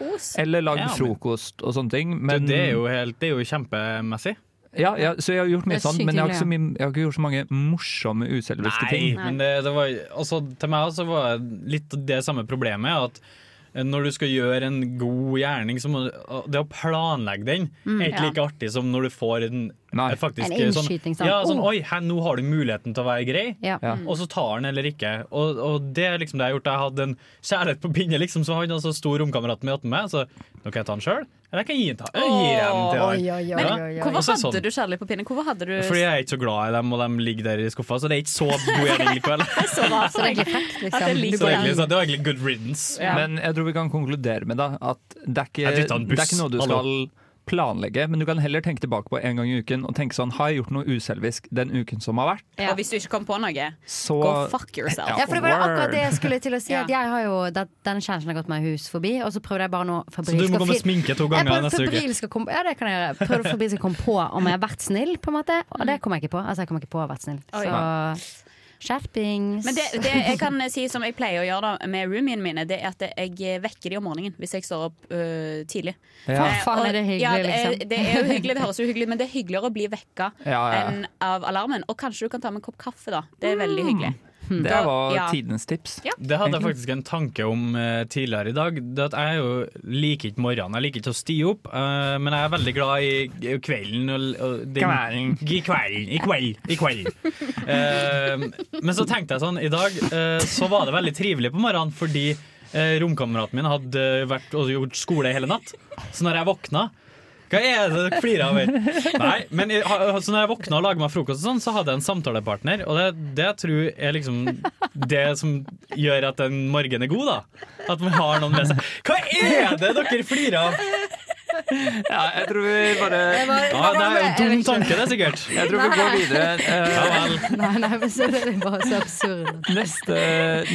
Speaker 8: eller lagd
Speaker 12: Ja, men-
Speaker 8: frokost og sånne ting.
Speaker 12: Du,
Speaker 8: Men
Speaker 12: det, er jo helt, det er jo kjempemessig.
Speaker 8: ja, ja, så jeg har gjort mye
Speaker 12: Det er
Speaker 8: sånn,
Speaker 12: sykt
Speaker 8: men jeg har, ikke så
Speaker 12: hyggelig,
Speaker 8: mye, jeg har ikke gjort så mange morsomme uselviske
Speaker 12: Nei,
Speaker 8: ting.
Speaker 12: men det, det var, altså, til meg også var litt det samme problemet. At eh, når du skal gjøre en god gjerning, så må du, det å planlegge den
Speaker 8: Mm,
Speaker 12: er ikke
Speaker 8: ja.
Speaker 12: like artig som når du får en et faktisk
Speaker 8: En
Speaker 12: sånn,
Speaker 8: innskyting, sant?
Speaker 12: ja, sånn
Speaker 8: Oh.
Speaker 12: Oi, her, nå har du muligheten til å være grei,
Speaker 8: Ja. Ja.
Speaker 12: og så tar den eller ikke. Og, og det er liksom det jeg har gjort. Jeg hadde en kjærlighet på pinne, liksom, så han altså, sto romkameraten min attmed meg, så nå kan jeg ta den sjøl. Eller jeg kan gi den til jeg gir den til han.
Speaker 10: Men
Speaker 12: Ja.
Speaker 10: hvorfor
Speaker 12: Og så er det sånn.
Speaker 10: hadde du kjærlighet på pinnen? Hvorfor hadde du
Speaker 12: Fordi jeg er ikke så glad i dem, og de ligger der i skuffa, så det er ikke så god gjerning likevel.
Speaker 10: så rart?
Speaker 7: Så det er egentlig frekt, liksom.
Speaker 10: At jeg liker
Speaker 12: Så det, er egentlig,
Speaker 10: den.
Speaker 12: så det var egentlig good riddance.
Speaker 10: Ja.
Speaker 8: Men jeg tror vi kan konkludere med da, at det er ikke,
Speaker 12: Jeg dyttet en buss.
Speaker 8: det er ikke noe du
Speaker 12: Hallo.
Speaker 8: skal planlegge, men du kan heller tenke tilbake på en gang i uken og tenke sånn Har jeg gjort noe uselvisk den uken som har vært?
Speaker 10: Og hvis du ikke kom på noe,
Speaker 8: Så-
Speaker 10: go fuck yourself.
Speaker 8: Ja,
Speaker 7: Ja, for det var jo akkurat det jeg skulle til å si.
Speaker 10: Ja.
Speaker 7: At jeg har jo, det, Denne kjæresten har gått meg hus forbi, og så prøvde jeg bare nå
Speaker 12: Så du må gå med sminke to ganger neste uke.
Speaker 7: neste uke. Ja, det kan jeg gjøre. Prøvde febrilsk å komme på om jeg har vært snill, på en måte. Og det kom jeg ikke på. Altså, jeg kom ikke på å ha vært snill.
Speaker 10: Oi.
Speaker 7: Så skjerpings.
Speaker 10: Men det, det jeg kan eh, si som jeg pleier å gjøre da med roomiene mine, det er at jeg eh, vekker de om morgenen hvis jeg står opp øh, tidlig.
Speaker 7: Ja.
Speaker 10: Eh,
Speaker 7: Faen, er det
Speaker 10: og-
Speaker 7: hyggelig,
Speaker 10: ja, det, er-
Speaker 7: liksom. Ah,
Speaker 10: det er jo hyggelig, det høres jo hyggelig men det er hyggeligere å bli vekka
Speaker 8: Ja, ja.
Speaker 10: enn av alarmen. Og kanskje du kan ta med en kopp kaffe, da. Det er
Speaker 7: Mm.
Speaker 10: veldig hyggelig.
Speaker 8: Det
Speaker 10: Da-
Speaker 8: var
Speaker 10: ja.
Speaker 8: tidenes tips.
Speaker 10: Ja.
Speaker 12: Det hadde jeg
Speaker 8: Egentlig.
Speaker 12: faktisk en tanke om eh, tidligere i dag. Det at Jeg er jo liker ikke morgenen, jeg liker ikke å sti opp, eh, men jeg er veldig glad i i kvelden. Og, og den-
Speaker 8: Kvelden.
Speaker 12: I kvelden. I kveld. I kveld. Eh, men så tenkte jeg sånn, i dag eh, så var det veldig trivelig på morgenen fordi eh, romkameraten min hadde eh, vært og gjort skole hele natt. Så når jeg våkna hva er det dere flirer av? her? Nei, men jeg, ha- så når jeg våkna og laget meg frokost, og sånn, så hadde jeg en samtalepartner. Og det, det tror jeg er liksom det som gjør at en morgen er god. da At man har noen med seg. Hva er det dere flirer av?
Speaker 8: Ja, jeg tror vi bare
Speaker 7: Jeg bare-
Speaker 12: ja, Det er jo en dum tanke, det, sikkert.
Speaker 8: Jeg tror vi går videre. Eh,
Speaker 7: Nei, nei, men så er det bare så absurd.
Speaker 8: neste,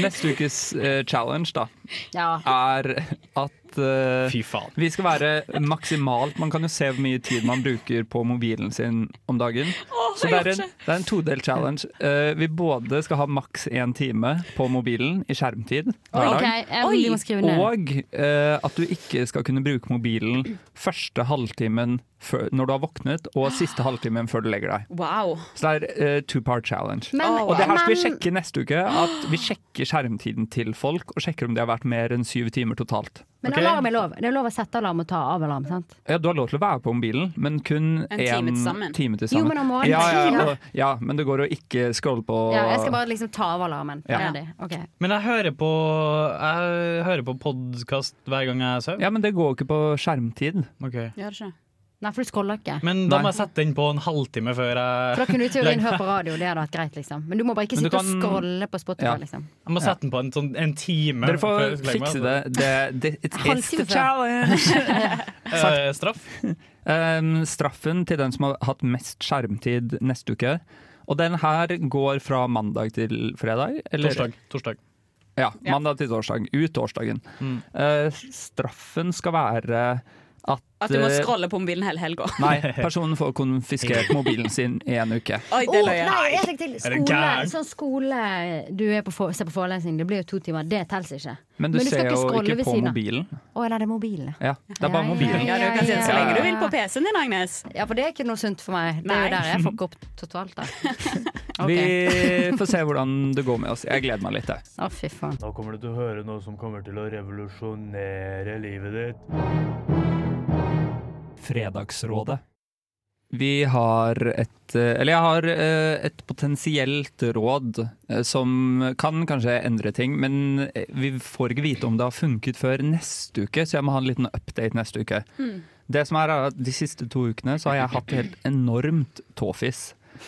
Speaker 8: neste ukes eh, challenge, da.
Speaker 7: Ja.
Speaker 8: er at eh, vi skal være maksimalt Man kan jo se hvor mye tid man bruker på mobilen sin om dagen.
Speaker 12: Åh,
Speaker 8: Så det
Speaker 12: jeg
Speaker 8: er
Speaker 12: orker
Speaker 8: en,
Speaker 12: ikke.
Speaker 8: det er en todel challenge. Eh, vi både skal ha maks én time på mobilen i skjermtid hver dag.
Speaker 7: Ok, eh, vi må skrive ned.
Speaker 8: Og eh, at du ikke skal kunne bruke mobilen første halvtimen før, når du har våknet, og siste halvtimen før du legger deg.
Speaker 10: Wow.
Speaker 8: Så det er eh, two part challenge.
Speaker 7: Men-
Speaker 8: og det her skal vi
Speaker 7: men-
Speaker 8: sjekke neste uke. At vi sjekker skjermtiden til folk, og sjekker om det har vært mer enn syv timer totalt.
Speaker 7: Men alarm er lov. Det er lov å sette alarm og ta av alarm, sant?
Speaker 8: Ja, du har lov til å være på mobilen, men kun en
Speaker 7: En time til sammen.
Speaker 8: time til
Speaker 7: Jo,
Speaker 8: sammen.
Speaker 7: men om morgenen.
Speaker 8: ja, ja,
Speaker 7: Ja.
Speaker 8: og, ja, men det går å ikke scrolle på
Speaker 7: Ja, jeg skal bare liksom ta av alarmen.
Speaker 8: Ja.
Speaker 7: Ferdig. Ok.
Speaker 12: Men jeg hører på Jeg hører på podkast hver gang jeg sover.
Speaker 8: Ja, men det går ikke på skjermtid.
Speaker 10: Gjør det ikke?
Speaker 7: Nei, for du scroller ikke.
Speaker 12: Men da må jeg sette den på en halvtime før jeg
Speaker 7: For da kunne du i teorien hørt på radio, det hadde vært greit, liksom. Men du må bare ikke
Speaker 12: Men du
Speaker 7: sitte og
Speaker 12: kan-
Speaker 7: scrolle på Spotify,
Speaker 12: Ja.
Speaker 7: liksom.
Speaker 12: Jeg må
Speaker 8: Ja.
Speaker 12: sette den på en, sånn, en time.
Speaker 8: Dere
Speaker 12: før
Speaker 8: får
Speaker 12: jeg legger meg,
Speaker 8: fikse det.
Speaker 12: altså.
Speaker 8: det, det it, it's
Speaker 7: Halvtime
Speaker 8: the
Speaker 7: før.
Speaker 8: challenge!
Speaker 12: Eh, straff?
Speaker 8: Um, straffen til den som har hatt mest skjermtid neste uke. Og den her går fra mandag til fredag. Eller?
Speaker 12: Torsdag. torsdag.
Speaker 8: Ja, mandag til torsdag. Ut torsdagen.
Speaker 12: Mm.
Speaker 8: Eh, straffen skal være at
Speaker 10: At du må
Speaker 8: eh,
Speaker 10: scrolle på mobilen hele helga.
Speaker 8: Nei, personen får konfiskert mobilen sin i en uke.
Speaker 10: Oi, det
Speaker 7: Å,
Speaker 10: er løye.
Speaker 7: nei, jeg tenker til
Speaker 8: Er det
Speaker 7: skole,
Speaker 8: gæren?
Speaker 7: sånn skole Du er på, for- ser på forelesning, det blir jo to timer. Det telles ikke.
Speaker 8: Men du,
Speaker 7: skal
Speaker 8: ser jo
Speaker 7: scrolle
Speaker 8: ikke
Speaker 7: ved
Speaker 8: på
Speaker 7: siden av.
Speaker 8: mobilen.
Speaker 7: Å, nei, det er mobilen.
Speaker 8: Ja, det er bare mobilen.
Speaker 10: Ja, du kan sitte så
Speaker 7: Ja, ja,
Speaker 10: lenge du vil
Speaker 7: ja.
Speaker 10: på PC-en din, Agnes.
Speaker 7: Ja, for det er ikke noe sunt for meg. Det er
Speaker 10: Nei.
Speaker 7: jo der jeg fucker opp totalt, da.
Speaker 8: Vi får se hvordan det går med oss. Jeg gleder meg litt. jeg.
Speaker 7: Å, fy faen.
Speaker 14: Nå kommer du til å høre noe som kommer til å revolusjonere livet ditt.
Speaker 8: Fredagsrådet. Vi har et eh, Eller jeg har eh, et potensielt råd eh, som kan kanskje endre ting, men eh, vi får ikke vite om det har funket før neste uke, så jeg må ha en liten update neste uke.
Speaker 1: Mm.
Speaker 8: Det som er er at De siste to ukene så har jeg hatt helt enormt tåfis.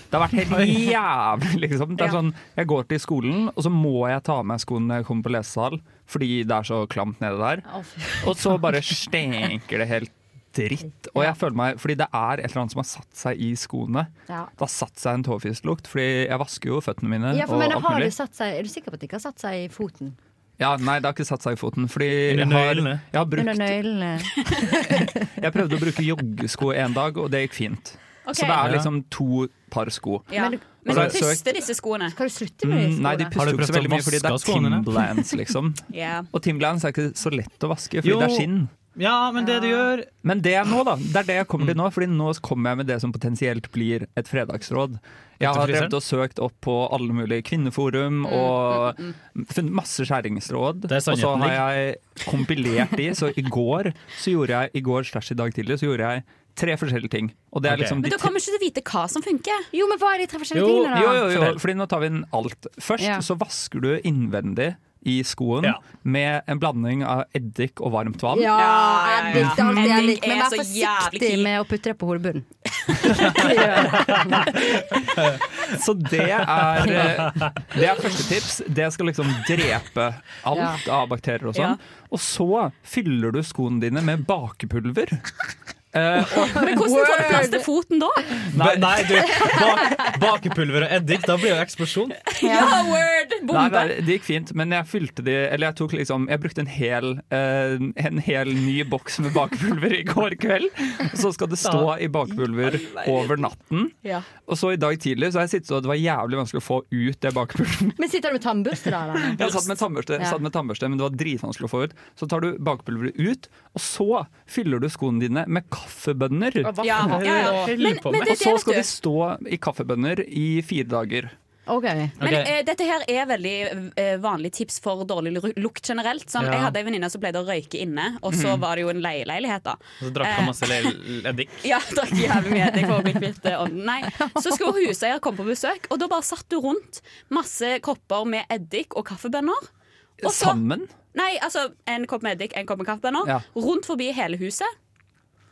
Speaker 8: Det har vært helt
Speaker 1: Oi.
Speaker 8: jævlig, liksom. Det er sånn, jeg går til skolen, og så må jeg ta av meg skoene når jeg kommer på lesesal, fordi det er så klamt nede der.
Speaker 7: Å, fy.
Speaker 8: Og så bare stenker det helt dritt. Og jeg føler meg, fordi det er et eller annet som har satt seg i skoene.
Speaker 7: Ja.
Speaker 8: Det har satt seg en tåfislukt, fordi jeg vasker jo føttene mine.
Speaker 7: Ja, for
Speaker 8: og
Speaker 7: men
Speaker 8: alt
Speaker 7: har
Speaker 8: mulig.
Speaker 7: du satt seg, Er du sikker på at det ikke har satt seg i foten?
Speaker 8: Ja, nei, det har ikke satt seg i foten. Fordi jeg har,
Speaker 12: nøylene.
Speaker 8: jeg har brukt
Speaker 7: Under nøglene.
Speaker 8: Jeg prøvde å bruke joggesko en dag, og det gikk fint.
Speaker 10: Ok.
Speaker 8: Så det er liksom to par sko.
Speaker 10: Ja.
Speaker 8: Og
Speaker 10: Men
Speaker 8: så
Speaker 10: de
Speaker 7: Altså,
Speaker 8: har jeg søkt-
Speaker 10: puster disse skoene.
Speaker 7: Skal du slutte
Speaker 8: Mm, nei, de
Speaker 12: Har
Speaker 8: puster
Speaker 12: du
Speaker 8: jo ikke så
Speaker 12: prøvd å
Speaker 8: veldig mye fordi det er
Speaker 12: vaske skoene, da?
Speaker 8: Timberlands, liksom.
Speaker 10: Ja.
Speaker 8: Og Timberlands er ikke så lett å vaske fordi det er skinn.
Speaker 12: Ja, men det du gjør
Speaker 8: Men det er nå, da. Det er det jeg
Speaker 12: Mm.
Speaker 8: kommer til nå. Fordi nå kommer jeg med det som potensielt blir et fredagsråd. Jeg har
Speaker 12: fryseren?
Speaker 8: drevet og søkt opp på alle mulige
Speaker 7: Mm,
Speaker 8: kvinneforum og funnet masse skjæringsråd.
Speaker 12: Det er
Speaker 8: Og så
Speaker 12: sannheten,
Speaker 8: har jeg kompilert de. Så i går så gjorde jeg i går slash i dag tidlig så gjorde jeg tre forskjellige ting. Og det er liksom
Speaker 10: Men
Speaker 8: de
Speaker 10: du kommer ikke til å vite hva som funker.
Speaker 7: Jo, men hva er de tre
Speaker 8: jo,
Speaker 7: forskjellige tingene, da?
Speaker 8: jo, jo, jo, fordi nå tar vi inn alt. Først
Speaker 7: Ja.
Speaker 8: så vasker du innvendig i skoen med en blanding av eddik og varmt vann.
Speaker 7: Ja,
Speaker 10: Ja,
Speaker 7: jeg likte alt det jeg
Speaker 10: Henning
Speaker 7: likte, men
Speaker 10: er
Speaker 7: vær
Speaker 10: så jævlig
Speaker 7: forsiktig
Speaker 10: keen.
Speaker 7: med å putte det på hodebunnen.
Speaker 8: Så det er, eh, det er første tips. Det skal liksom drepe alt av bakterier og sånn. Og så fyller du skoene dine med bakepulver. Eh, og,
Speaker 10: Men hvordan får du plass til foten da?
Speaker 12: Nei, nei du, ba bakepulver og eddik, da blir det eksplosjon.
Speaker 10: Ja, word!
Speaker 8: Nei,
Speaker 10: Bombe!
Speaker 8: nei, det gikk fint, men jeg fylte de Eller jeg tok liksom Jeg brukte en hel eh, En hel ny boks med bakepulver i går kveld. Så skal det stå i bakepulver over natten.
Speaker 10: Ja.
Speaker 8: Og så i dag tidlig så har jeg sittet og det var jævlig vanskelig å få ut det bakepulveret.
Speaker 7: Men sitter du med tannbørste da? da?
Speaker 8: Jeg satt med tannbørste,
Speaker 7: Ja.
Speaker 8: satt med tannbørste men det var dritvanskelig å få ut. Så tar du bakepulveret ut, og så fyller du skoene dine med kaffebønner.
Speaker 7: Og hva
Speaker 10: Ja,
Speaker 7: faen?
Speaker 10: ja, ja.
Speaker 12: Jeg
Speaker 10: Men,
Speaker 12: lurer på
Speaker 10: men
Speaker 12: meg.
Speaker 10: det,
Speaker 8: Og så
Speaker 10: det
Speaker 8: skal de
Speaker 10: vet du.
Speaker 8: stå i kaffebønner i fire dager.
Speaker 7: Ok.
Speaker 10: Men
Speaker 8: Ok.
Speaker 10: eh, dette her er veldig eh, vanlig tips for dårlig ru- lukt generelt. Sånn,
Speaker 12: Ja.
Speaker 10: Jeg hadde en venninne som pleide å røyke inne, og
Speaker 8: Mhm.
Speaker 10: så var det jo en leieleilighet, da.
Speaker 12: Og så drakk han masse le- eddik.
Speaker 10: Ja, drakk jævlig mye eddik for å bli kvitt eh, ånden. Nei. Så skulle huseier komme på besøk, og da bare satt du rundt masse kopper med eddik og kaffebønner. Og så-
Speaker 8: Sammen.
Speaker 10: Nei, altså en kopp med eddik, en kopp med kaffebønner.
Speaker 8: Ja.
Speaker 10: Rundt forbi hele huset.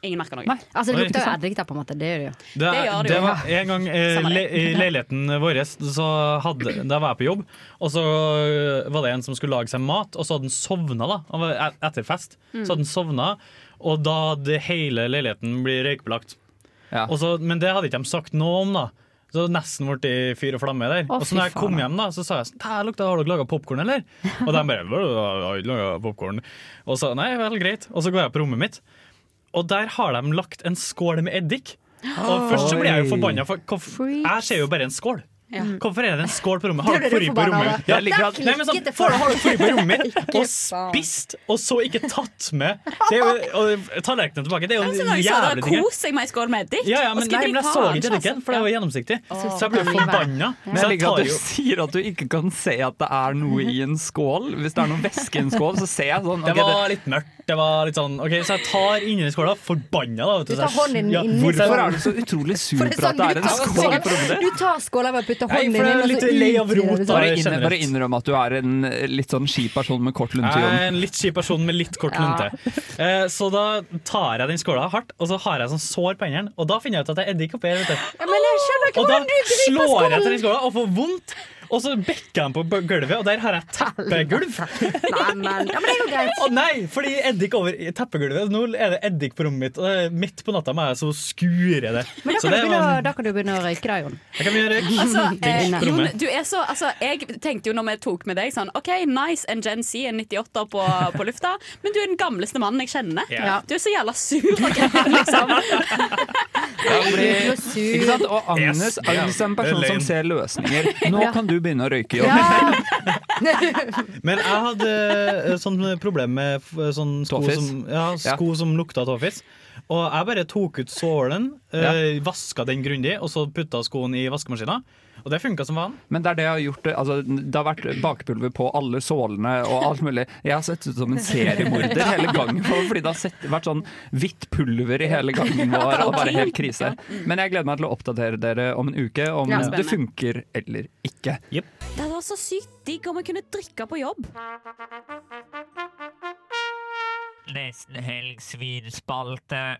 Speaker 10: Ingen merker noe.
Speaker 8: Nei.
Speaker 7: Altså, det
Speaker 12: Oi,
Speaker 7: lukter jo
Speaker 12: ikke sant?
Speaker 7: eddik der, på en måte. Det gjør det jo.
Speaker 12: Det,
Speaker 10: Det gjør det
Speaker 12: det
Speaker 10: jo.
Speaker 12: var en gang eh,
Speaker 10: Samme det.
Speaker 12: le, I leiligheten vår så hadde, da var jeg på jobb, og så eh, var det en som skulle lage seg mat, og så hadde han sovna da, han var et- etter fest.
Speaker 10: Mm.
Speaker 12: Så hadde han sovna, og da hadde hele leiligheten blitt røykbelagt.
Speaker 8: Ja.
Speaker 12: Og så, men det hadde ikke de sagt noe om, da. Så det hadde nesten ble i fyr og flamme der.
Speaker 7: Å,
Speaker 12: og så når
Speaker 7: fy
Speaker 12: jeg kom
Speaker 7: faen.
Speaker 12: hjem, da, så sa jeg sånn «Tæ, lukta, Har dere laga popkorn, eller? Og de bare «Hva, Jeg har ikke laget popcorn Og så nei vel, greit. Og så går jeg på rommet mitt, og der har de lagt en skål med eddik. Og først så blir jeg jo forbanna, for hvorf- jeg ser jo bare en skål.
Speaker 10: Ja.
Speaker 12: Hvorfor er det en skål på rommet?
Speaker 7: Det
Speaker 12: Har dere
Speaker 7: er det du
Speaker 12: forrige på
Speaker 7: forbanna
Speaker 12: rommet?
Speaker 7: over.
Speaker 12: Ja, jeg liker
Speaker 7: Der
Speaker 12: at- Nei, men
Speaker 7: klikket det
Speaker 12: sånn,
Speaker 7: for-
Speaker 12: for, har dere forrige på rommet mitt, og
Speaker 7: faen.
Speaker 12: spist, og så ikke tatt med det er jo, og tallerkenen tilbake? Det er jo
Speaker 10: Men så
Speaker 12: en
Speaker 10: når jeg så
Speaker 12: Sånn jævlig
Speaker 10: det
Speaker 12: ting.
Speaker 10: kos seg med ei skål med eddik.
Speaker 12: Ja, ja,
Speaker 10: og
Speaker 12: men,
Speaker 10: skulle
Speaker 12: nei, men
Speaker 10: bli
Speaker 12: jeg så
Speaker 10: faen, sånn.
Speaker 12: ikke eddiken, for det
Speaker 7: sånn?
Speaker 12: var gjennomsiktig.
Speaker 7: Åh,
Speaker 12: Så jeg ble
Speaker 7: kan livet.
Speaker 12: forbanna.
Speaker 8: Men
Speaker 12: Så
Speaker 8: jeg
Speaker 12: jeg
Speaker 8: liker
Speaker 12: tar
Speaker 8: at du
Speaker 12: jo
Speaker 8: sier at du ikke kan se at det er noe i en skål. Hvis det er noe væske i en skål, så ser jeg sånn.
Speaker 12: det
Speaker 8: ok,
Speaker 12: var litt mørkt. Det var litt sånn, ok, Så jeg tar inni skåla, forbanna. da vet
Speaker 7: Du
Speaker 12: så
Speaker 7: tar
Speaker 12: jeg-
Speaker 7: hånden
Speaker 12: ja,
Speaker 7: inni
Speaker 12: hvorfor
Speaker 8: Hvorfor
Speaker 12: er
Speaker 8: er du så utrolig sur
Speaker 7: For
Speaker 8: på
Speaker 7: det er
Speaker 8: at det er en
Speaker 7: sånn, du
Speaker 8: skål på
Speaker 7: tar skålen-
Speaker 8: rommet ditt?
Speaker 7: Du tar skåla og bare putter
Speaker 12: Nei,
Speaker 7: hånden
Speaker 12: for
Speaker 7: inn,
Speaker 12: det er
Speaker 7: og så
Speaker 12: litt lei av
Speaker 7: utvider du sånn.
Speaker 12: rot, da.
Speaker 8: Bare,
Speaker 12: Ja,
Speaker 8: inn,
Speaker 12: generelt.
Speaker 8: bare innrøm at du er en eh, litt sånn kjip person med kort lunte,
Speaker 12: Jeg er
Speaker 8: Jon.
Speaker 12: en litt kjip person med litt kort
Speaker 8: Ja.
Speaker 12: lunte. Eh, så da tar jeg den skåla hardt, og så har jeg sånn sår på hendene. Og da finner jeg ut at det er eddik oppi her. vet du.
Speaker 7: Ja, Men jeg skjønner
Speaker 12: Og
Speaker 7: ikke
Speaker 12: da
Speaker 7: hvordan du griper
Speaker 12: slår jeg
Speaker 7: skålen!
Speaker 12: til den skåla og får vondt. Og så bekker jeg den på b- gulvet, og der har jeg teppegulv.
Speaker 7: Nei, men, ja, men det er jo greit.
Speaker 12: Å nei, fordi eddik over i teppegulvet. Nå er det eddik på rommet mitt. Og det er midt på natta må jeg så skure det.
Speaker 7: Men da
Speaker 12: Så
Speaker 7: kan, du
Speaker 12: det sånn-
Speaker 7: begynne,
Speaker 12: var-
Speaker 7: å- da kan du begynne å røyke da, Jon.
Speaker 12: Jeg kan gjøre
Speaker 10: Altså, eh,
Speaker 7: Digg.
Speaker 10: Jon, du er så, altså, jeg tenkte jo når vi tok med deg sånn OK, nice, en Gen Z, en 98 på, på lufta, men du er den gamleste mannen jeg kjenner.
Speaker 12: Ja.
Speaker 10: Du er så jævla sur. ok, liksom.
Speaker 7: Du er
Speaker 8: Ikke
Speaker 7: sur.
Speaker 8: sant? Og Agnes,
Speaker 12: Yes, det er-
Speaker 8: Agnes er liksom en person
Speaker 12: det er
Speaker 8: som
Speaker 12: løgn.
Speaker 8: ser løsninger. Nå
Speaker 7: Ja.
Speaker 8: kan du begynne å røyke, Jon.
Speaker 7: Ja.
Speaker 12: Men jeg hadde eh, sånn problem med f- sånn sko,
Speaker 8: Tåfis.
Speaker 12: som, ja, sko som lukta tåfis. Og jeg bare tok ut sålen, eh, vaska den grundig, og så putta skoen i vaskemaskina. Og det funka som faen.
Speaker 8: Men det er det jeg har gjort. Altså, det har vært bakepulver på alle sålene og alt mulig. Jeg har sett ut som en seriemorder hele gangen vår, fordi det har sett, vært sånn hvitt pulver i hele gangen vår. Og bare helt krise. Men jeg gleder meg til å oppdatere dere om en uke om
Speaker 10: Ja,
Speaker 8: det
Speaker 10: spennende.
Speaker 8: funker eller ikke.
Speaker 10: Det hadde vært så sykt digg om vi kunne drikke på jobb.
Speaker 15: Nesten helg svinspalte.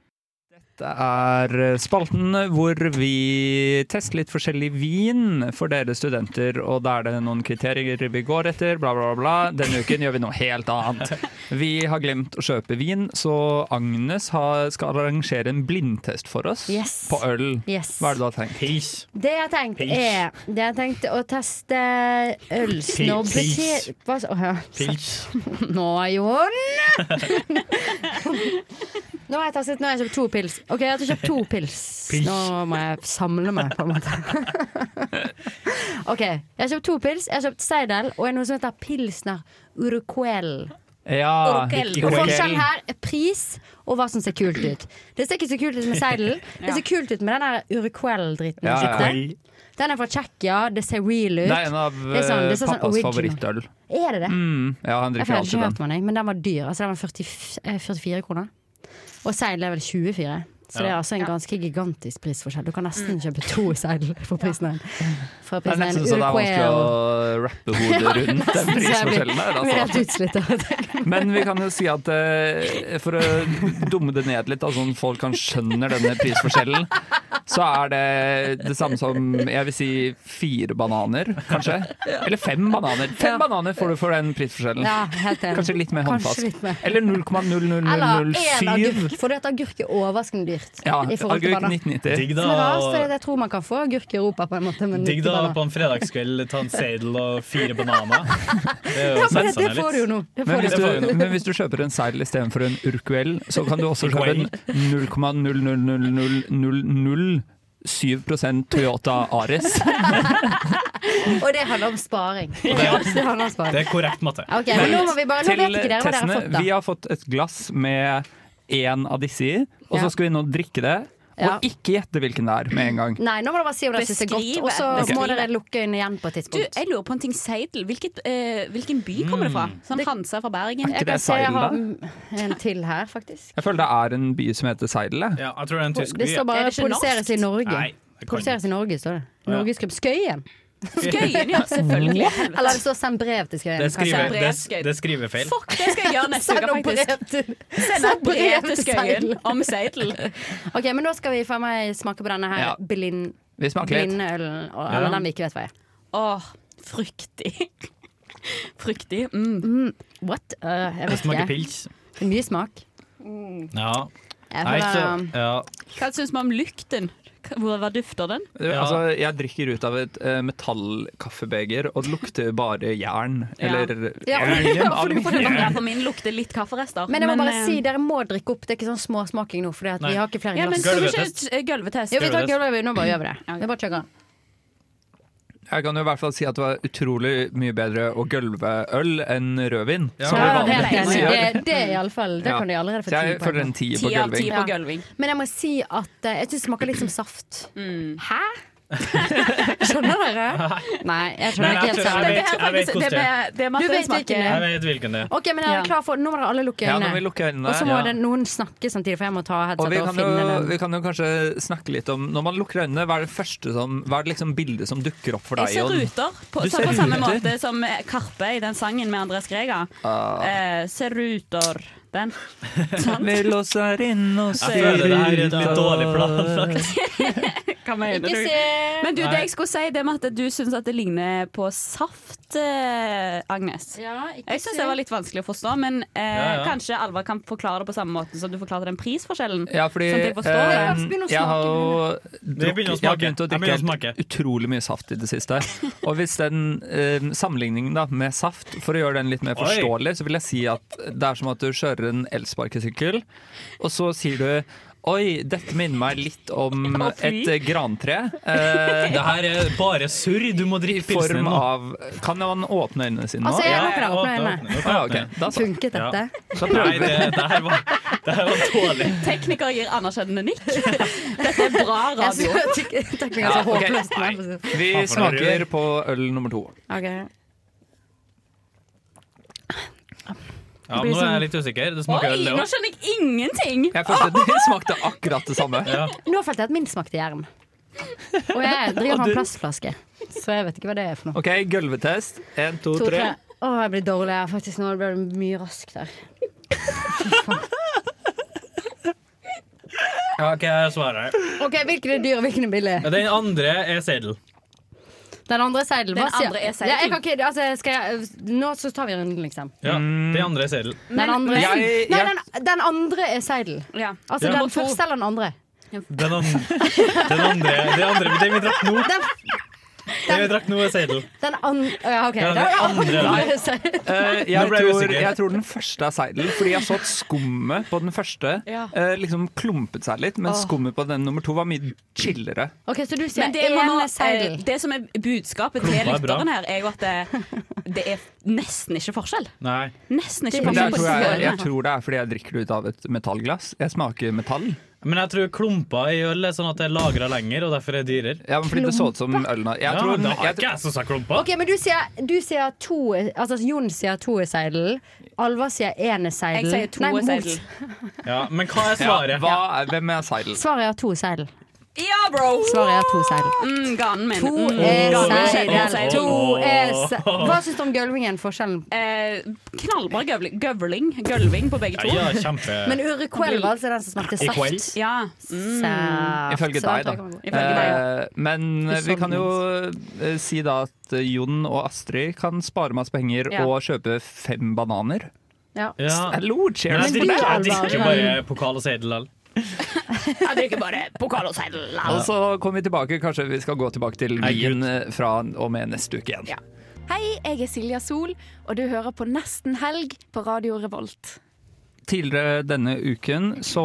Speaker 8: Det er spalten hvor vi tester litt forskjellig vin for dere studenter. Og da er det noen kriterier vi går etter, bla, bla, bla. Denne uken gjør vi noe helt annet. Vi har glemt å kjøpe vin, så Agnes har, skal arrangere en blindtest for oss
Speaker 7: Yes.
Speaker 8: på øl.
Speaker 7: Yes.
Speaker 8: Hva er det du har tenkt? Pils.
Speaker 7: Det jeg har tenkt er Det jeg har tenkt å teste ølsnobb
Speaker 8: Pils.
Speaker 7: til- Hva sa- Åh, ja.
Speaker 8: Pils.
Speaker 7: Nå, Jon! Nå har jeg testet, nå har jeg kjøpt to pils. Ok, jeg har kjøpt to pils.
Speaker 5: Pils.
Speaker 7: Nå må jeg samle meg, på en måte. ok, jeg har kjøpt to pils. Jeg har kjøpt Seidel og en noe som heter Pilsner Urquell.
Speaker 8: Ja,
Speaker 7: Urquell. Og forskjellen her er pris og hva som ser kult ut. Det ser ikke så kult ut med Seidel. Det ser kult ut med den der Urquell-dritten.
Speaker 8: Ja, ja, ja.
Speaker 7: skjønner du? Den er fra Tsjekkia, det ser real ut.
Speaker 8: Det er en av
Speaker 7: Det er sånn- det
Speaker 8: eh,
Speaker 7: ser sånn
Speaker 8: pappas
Speaker 7: original.
Speaker 8: favorittøl.
Speaker 7: Er det det?
Speaker 8: Mm, ja, han
Speaker 7: Jeg
Speaker 8: drikker
Speaker 7: får
Speaker 8: alltid
Speaker 7: ikke hørt
Speaker 8: den.
Speaker 7: om den, men den var dyr. Altså, den var 40, eh, 44 kroner. Og seil er vel 24. Så det er
Speaker 8: Ja.
Speaker 7: altså en ganske gigantisk prisforskjell. Du kan nesten kjøpe to seil for prisen av en. For
Speaker 8: Det er
Speaker 7: prisen av
Speaker 8: nesten
Speaker 7: en
Speaker 8: så det er vanskelig
Speaker 7: Uruguay-
Speaker 8: å rappe hodet rundt den
Speaker 7: nesten sånn så jeg
Speaker 8: prisforskjellen
Speaker 7: blir-
Speaker 8: der.
Speaker 7: blir
Speaker 8: Altså.
Speaker 7: helt utslitt av det.
Speaker 8: Men vi kan jo si at eh, for å dumme det ned litt, da, sånn folk kan skjønner denne prisforskjellen, så er det det samme som jeg vil si fire bananer, kanskje. Eller fem bananer. Fem bananer får du for den prisforskjellen.
Speaker 7: Ja, helt enig.
Speaker 8: Kanskje litt mer
Speaker 7: Kanskje
Speaker 8: håndfast.
Speaker 7: litt mer.
Speaker 8: Eller
Speaker 7: Eller én
Speaker 8: 0,00007.
Speaker 7: agurk, for det at agurk er overraskende dyrt.
Speaker 8: Ja,
Speaker 7: i forhold til
Speaker 8: agurk
Speaker 7: banan.
Speaker 8: 1990. Digg da,
Speaker 7: Som er rart,
Speaker 12: og-
Speaker 7: for jeg tror man kan få agurk i Europa på en måte. Men
Speaker 12: Digg
Speaker 7: ikke
Speaker 12: da
Speaker 7: banan.
Speaker 12: på en fredagskveld ta en seidel og fire bananer. Det er jo
Speaker 7: Ja,
Speaker 12: sette
Speaker 7: men
Speaker 12: seg
Speaker 7: det
Speaker 12: ned
Speaker 7: får
Speaker 12: litt.
Speaker 7: du jo nå. Det
Speaker 8: Men
Speaker 7: får
Speaker 8: hvis,
Speaker 7: du.
Speaker 8: du, men hvis du kjøper en seil istedenfor en urquell, så kan du også kjøpe en 0,0000007 Toyota Ares.
Speaker 7: Og det handler om sparing.
Speaker 8: Ja.
Speaker 7: Det handler om sparing.
Speaker 12: Det er korrekt matte.
Speaker 7: Ok, men nå må vi bare, nå
Speaker 8: Til
Speaker 7: vet ikke dere hva dere har
Speaker 8: testene,
Speaker 7: fått da.
Speaker 8: vi har fått et glass med én av disse i, og
Speaker 7: Ja.
Speaker 8: så skal vi nå drikke det.
Speaker 7: Ja.
Speaker 8: Og ikke gjette hvilken det er med en gang.
Speaker 7: Nei, nå må dere bare si om dere syns det er godt,
Speaker 10: Beskrive.
Speaker 7: og så må
Speaker 10: Beskrive.
Speaker 7: dere lukke øynene igjen på et
Speaker 10: Du,
Speaker 7: tidspunkt.
Speaker 10: jeg lurer på en ting. Seidel. Hvilket, eh, hvilken by kommer det fra?
Speaker 12: Mm.
Speaker 10: Sånn Hansa fra Bergen?
Speaker 8: Er ikke Jeg kan det se jeg Seidel, har, da? mm,
Speaker 7: en til her, faktisk.
Speaker 8: Jeg føler det er en by som heter Seidel. jeg.
Speaker 12: Ja, jeg tror det er en tysk by.
Speaker 7: Det står bare 'produseres i Norge'.
Speaker 8: Nei, det kan
Speaker 7: produseres i Norge, står det.
Speaker 8: Ja.
Speaker 7: Norgesgruppen Skøyen.
Speaker 10: Skøyen, ja, selvfølgelig.
Speaker 7: Eller det står 'send brev til Skøyen'.
Speaker 12: Det
Speaker 7: kanskje.
Speaker 12: skriver, det, det skriver feil.
Speaker 10: Fuck, det skal jeg gjøre neste
Speaker 7: Send
Speaker 10: uke,
Speaker 7: noen brev
Speaker 10: faktisk.
Speaker 7: til-
Speaker 10: Send
Speaker 7: send
Speaker 10: et brev til Skøyen
Speaker 7: Seidel.
Speaker 10: om Seidel.
Speaker 7: Ok, men da skal vi faen meg smake på denne her
Speaker 8: Ja.
Speaker 7: blind,
Speaker 8: Vi smaker litt.
Speaker 7: blindølen, og-
Speaker 8: Ja.
Speaker 7: eller den vi ikke vet hva er.
Speaker 10: Åh, fruktig. Fruktig. Mm.
Speaker 7: What? Uh, jeg
Speaker 12: Det
Speaker 7: vet
Speaker 12: smaker
Speaker 7: ikke.
Speaker 12: pils.
Speaker 7: Det er Mye smak.
Speaker 12: Ja.
Speaker 7: Jeg øh,
Speaker 12: Nei,
Speaker 7: føler-
Speaker 12: så- ja.
Speaker 10: Hva syns man om lukten? Hvor- Hva dufter den?
Speaker 8: Altså, jeg drikker ut av et eh, metallkaffebeger, og det lukter bare jern. Eller
Speaker 10: Ja.
Speaker 8: jern,
Speaker 10: Ja, for du får det
Speaker 8: aluminium.
Speaker 10: ja, for min lukter litt kafferester.
Speaker 7: Men jeg må bare
Speaker 10: eh,
Speaker 7: si, dere må drikke opp. Det er ikke sånn småsmaking nå, for vi
Speaker 10: Nei.
Speaker 7: har ikke flere
Speaker 10: ja, men
Speaker 7: glass.
Speaker 10: skal vi ikke eh, gulvetest?
Speaker 7: Jo, vi tar gulvet, nå bare gjør vi det. Vi bare kjører.
Speaker 8: Jeg kan jo i hvert fall si at det var utrolig mye bedre å gølve øl enn rødvin. som vi
Speaker 7: Ja, helt
Speaker 8: vanligvis
Speaker 7: enig.
Speaker 8: gjør.
Speaker 7: Det, det er i alle fall, det
Speaker 8: Ja.
Speaker 7: kan de allerede få
Speaker 8: Så jeg
Speaker 7: ti poeng
Speaker 8: føler en ti på Ti av ti gulving. på
Speaker 7: Ja. Men jeg må si at eh, jeg syns det smaker litt som saft. Hæ? Skjønner dere? Nei, jeg
Speaker 12: Nei, jeg
Speaker 7: skjønner ikke helt
Speaker 12: tror-
Speaker 7: selv.
Speaker 12: jeg vet- jeg vet hvordan det er.
Speaker 7: Du vet hvilken
Speaker 12: Jeg
Speaker 7: det er.
Speaker 12: vet hvilken det er.
Speaker 7: Ok, men er dere klar for Nå må dere alle lukke
Speaker 8: Ja, nå
Speaker 7: øynene.
Speaker 8: må vi lukke øynene.
Speaker 7: Og så må
Speaker 8: Ja.
Speaker 7: det, noen snakke samtidig, for jeg må ta
Speaker 8: Og vi
Speaker 7: headsetet og
Speaker 8: kan,
Speaker 7: finne
Speaker 8: jo,
Speaker 7: den.
Speaker 8: vi kan jo kanskje snakke litt om Når man lukker øynene, hva er det første som Hva er det liksom bildet som dukker opp for
Speaker 10: Jeg
Speaker 8: deg?
Speaker 10: ser
Speaker 8: Jon?
Speaker 10: ruter, på,
Speaker 8: Du
Speaker 10: så
Speaker 8: ser
Speaker 10: på samme
Speaker 8: ruter?
Speaker 10: måte som eh, Karpe i den sangen med Andreas Grega.
Speaker 8: Ah.
Speaker 10: Eh, ser ruter. Den.
Speaker 8: Vi låser inn og
Speaker 12: Jeg føler det her er litt
Speaker 8: ruter.
Speaker 12: dårlig planlagt.
Speaker 10: Hva mener
Speaker 12: Ikke
Speaker 10: du?
Speaker 12: se.
Speaker 10: Men du, det
Speaker 12: Nei.
Speaker 10: jeg skulle si, det med at du syns at det ligner på saft, eh, Agnes. jeg syns det var litt vanskelig å forstå, men eh,
Speaker 8: Ja, ja.
Speaker 10: kanskje Alvar kan forklare det på samme måte som du forklarte den prisforskjellen.
Speaker 8: Ja, fordi
Speaker 10: sånn at jeg forstår
Speaker 8: eh,
Speaker 10: det.
Speaker 8: jeg har jo
Speaker 12: Vi begynner å
Speaker 8: drukket- jeg
Speaker 12: smake.
Speaker 8: har begynt å
Speaker 12: Jeg begynner å
Speaker 8: drikke utrolig mye saft i det siste. Og hvis den eh, sammenligningen da, med saft, for å gjøre den litt mer
Speaker 12: Oi.
Speaker 8: forståelig, så vil jeg si at det er som at du kjører en elsparkesykkel, og så sier du Oi, dette minner meg litt om
Speaker 12: Å, fy.
Speaker 8: et eh, grantre. Eh,
Speaker 12: Det her er bare surr. Du må
Speaker 8: i
Speaker 12: drikke pilsen
Speaker 8: form
Speaker 12: din nå.
Speaker 8: av Kan man åpne øynene sine nå?
Speaker 7: Altså, jeg lukker
Speaker 8: Ja,
Speaker 7: øynene, åpner
Speaker 8: åpne,
Speaker 7: øynene.
Speaker 8: åpne, åpne. Ah, ok. Da så.
Speaker 7: Funket
Speaker 8: Da
Speaker 7: dette?
Speaker 8: prøver vi.
Speaker 10: Tekniker gir anerkjennende nikk. Dette er bra
Speaker 7: Jeg
Speaker 10: radio.
Speaker 7: synes- tekniker
Speaker 8: Ja,
Speaker 7: er så
Speaker 8: ok.
Speaker 7: håpløst. men jeg får si.
Speaker 8: Vi
Speaker 12: Faen, for noe
Speaker 8: smaker på øl nummer to.
Speaker 7: Ok.
Speaker 12: Ja, nå er jeg litt usikker. Det smaker
Speaker 10: Oi,
Speaker 12: øl, det
Speaker 10: nå
Speaker 12: òg.
Speaker 10: skjønner jeg ingenting!
Speaker 8: Jeg følte det smakte akkurat det samme.
Speaker 7: Nå følte jeg at min smakte jern. Og jeg driver
Speaker 8: Og
Speaker 7: med
Speaker 8: du-
Speaker 7: en plastflaske, så jeg vet ikke hva det er for noe.
Speaker 8: OK, gulvetest. Én, to,
Speaker 7: To,
Speaker 8: tre.
Speaker 7: tre. Å, jeg blir dårlig her faktisk nå. Det ble mye raskt her. Fy faen.
Speaker 12: Ja, OK, jeg svarer.
Speaker 7: Ok, Hvilken er dyr, og hvilken er billig?
Speaker 12: Den andre er seddel.
Speaker 7: Den andre er seidel.
Speaker 10: Den
Speaker 7: hva sier-
Speaker 10: andre er seidel.
Speaker 7: Ja, jeg kan ikke, altså, skal jeg, nå så tar vi runden, liksom.
Speaker 12: Ja, Den andre er seddel.
Speaker 7: Den andre,
Speaker 12: Jeg-
Speaker 7: nei,
Speaker 12: jeg-
Speaker 7: den, den andre er seidel. Altså
Speaker 12: Ja.
Speaker 7: den første eller den andre.
Speaker 12: Den, an den andre Den andre Den vi drakk nå,
Speaker 7: Den,
Speaker 12: den vi drakk nå er seddel.
Speaker 7: den an, ja, ok.
Speaker 12: Ja, den
Speaker 7: Da-
Speaker 12: andre, nei.
Speaker 7: er seidel.
Speaker 8: Eh,
Speaker 12: Nå
Speaker 8: jeg,
Speaker 12: ble jeg
Speaker 8: tror,
Speaker 12: usikker.
Speaker 8: jeg tror den første er seidel, fordi jeg så at skummet på den første
Speaker 7: Ja.
Speaker 8: eh, liksom klumpet seg litt, men
Speaker 10: Åh.
Speaker 8: skummet på den nummer to var mye chillere.
Speaker 7: Ok, Så du sier
Speaker 10: Men det, man
Speaker 7: én
Speaker 10: må,
Speaker 7: seidel.
Speaker 10: eh, det som er budskapet til
Speaker 8: Klumpa er bra.
Speaker 10: lytteren her, er jo at det, det er nesten ikke forskjell.
Speaker 12: Nei.
Speaker 10: Nesten ikke
Speaker 8: Men det
Speaker 10: forskjell
Speaker 8: er,
Speaker 10: på
Speaker 8: tror
Speaker 10: disse
Speaker 8: jeg, jeg
Speaker 10: ørene.
Speaker 8: tror det er fordi jeg drikker det ut av et metallglass. Jeg smaker metall.
Speaker 12: Men jeg tror klumper i øl er sånn at det er lagra lenger, og derfor er det dyrere.
Speaker 8: Ja, men fordi det så ut som øl nå. Jeg
Speaker 12: Ja,
Speaker 8: tror-
Speaker 12: da har
Speaker 8: jeg-
Speaker 12: ikke jeg som sa klumper.
Speaker 7: Ok, men du sier, du sier to Altså Jon sier to er seidel. Alva sier én er
Speaker 10: Jeg
Speaker 7: seidel.
Speaker 10: sier to
Speaker 7: Nei,
Speaker 10: er
Speaker 7: mot.
Speaker 10: seidel.
Speaker 12: Ja, men hva er svaret?
Speaker 8: Ja, hva er, hvem er seidel?
Speaker 7: Svaret er to er seidel.
Speaker 10: Ja, bro!
Speaker 7: Svaret er to er seidel.
Speaker 10: Mm, ganen min.
Speaker 7: To
Speaker 10: Mm,
Speaker 7: er
Speaker 10: ganen min.
Speaker 7: seidel. To er
Speaker 10: Åh.
Speaker 7: seidel. Hva syns du om gølvingen? Forskjellen?
Speaker 10: Eh, knallbra gøvling, gøvling, gølving på begge to.
Speaker 12: Ja, ja, kjempe.
Speaker 7: Men Uruquell var altså den som smakte
Speaker 12: Urquell?
Speaker 7: saft.
Speaker 10: Ja. Mm.
Speaker 7: Mm. Saft.
Speaker 8: Ifølge
Speaker 7: Så
Speaker 8: deg, da.
Speaker 7: kan man gå.
Speaker 8: Eh, men
Speaker 7: sånn
Speaker 8: vi kan jo eh, si da at Jon og Astrid kan spare masse penger
Speaker 7: Ja.
Speaker 8: og kjøpe fem bananer.
Speaker 7: Ja.
Speaker 12: Ah.
Speaker 8: Hallo,
Speaker 12: Men
Speaker 8: cheers
Speaker 12: jeg
Speaker 8: for det!
Speaker 12: drikker, jeg drikker jo bare pokal og seddel. eller?
Speaker 10: Jeg drikker bare pokal og seidel.
Speaker 8: Og så kommer vi tilbake, kanskje vi skal gå tilbake til
Speaker 12: Nei, Gud.
Speaker 8: Wien eh, fra og med neste uke igjen.
Speaker 5: Hei, jeg er Silja Sol, og du hører på Nesten helg på Radio Revolt.
Speaker 8: Tidligere denne uken så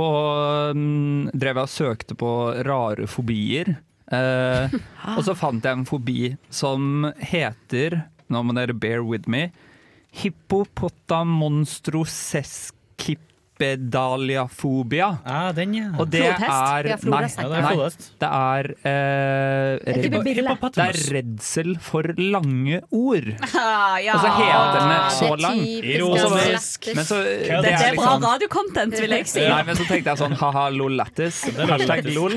Speaker 8: mm, drev jeg og søkte på rare fobier. Eh, og så fant jeg en fobi som heter, nå må dere bear with me, hippopotamonstroseskipedaliafobia.
Speaker 12: Ja, den, ja.
Speaker 8: Og det
Speaker 12: Flodhest?
Speaker 8: er
Speaker 12: Ja, flodhest. Ja, det er
Speaker 8: nei,
Speaker 12: flodhest.
Speaker 8: det er eh,
Speaker 12: Jeg tipper
Speaker 8: redd-
Speaker 12: bille.
Speaker 8: Det er redsel for lange ord.
Speaker 10: Ah, ja.
Speaker 8: Og så heter den så
Speaker 10: Det er
Speaker 8: lang.
Speaker 10: typisk
Speaker 8: Og så var-
Speaker 7: altså.
Speaker 10: Astrid.
Speaker 8: men så- det
Speaker 10: Dette er bra
Speaker 8: liksom-
Speaker 10: radiocontent, vil jeg si.
Speaker 8: Nei, men så tenkte jeg sånn haha, lol lættis.
Speaker 12: er lol
Speaker 8: Hashtag
Speaker 12: lættis.
Speaker 8: lol.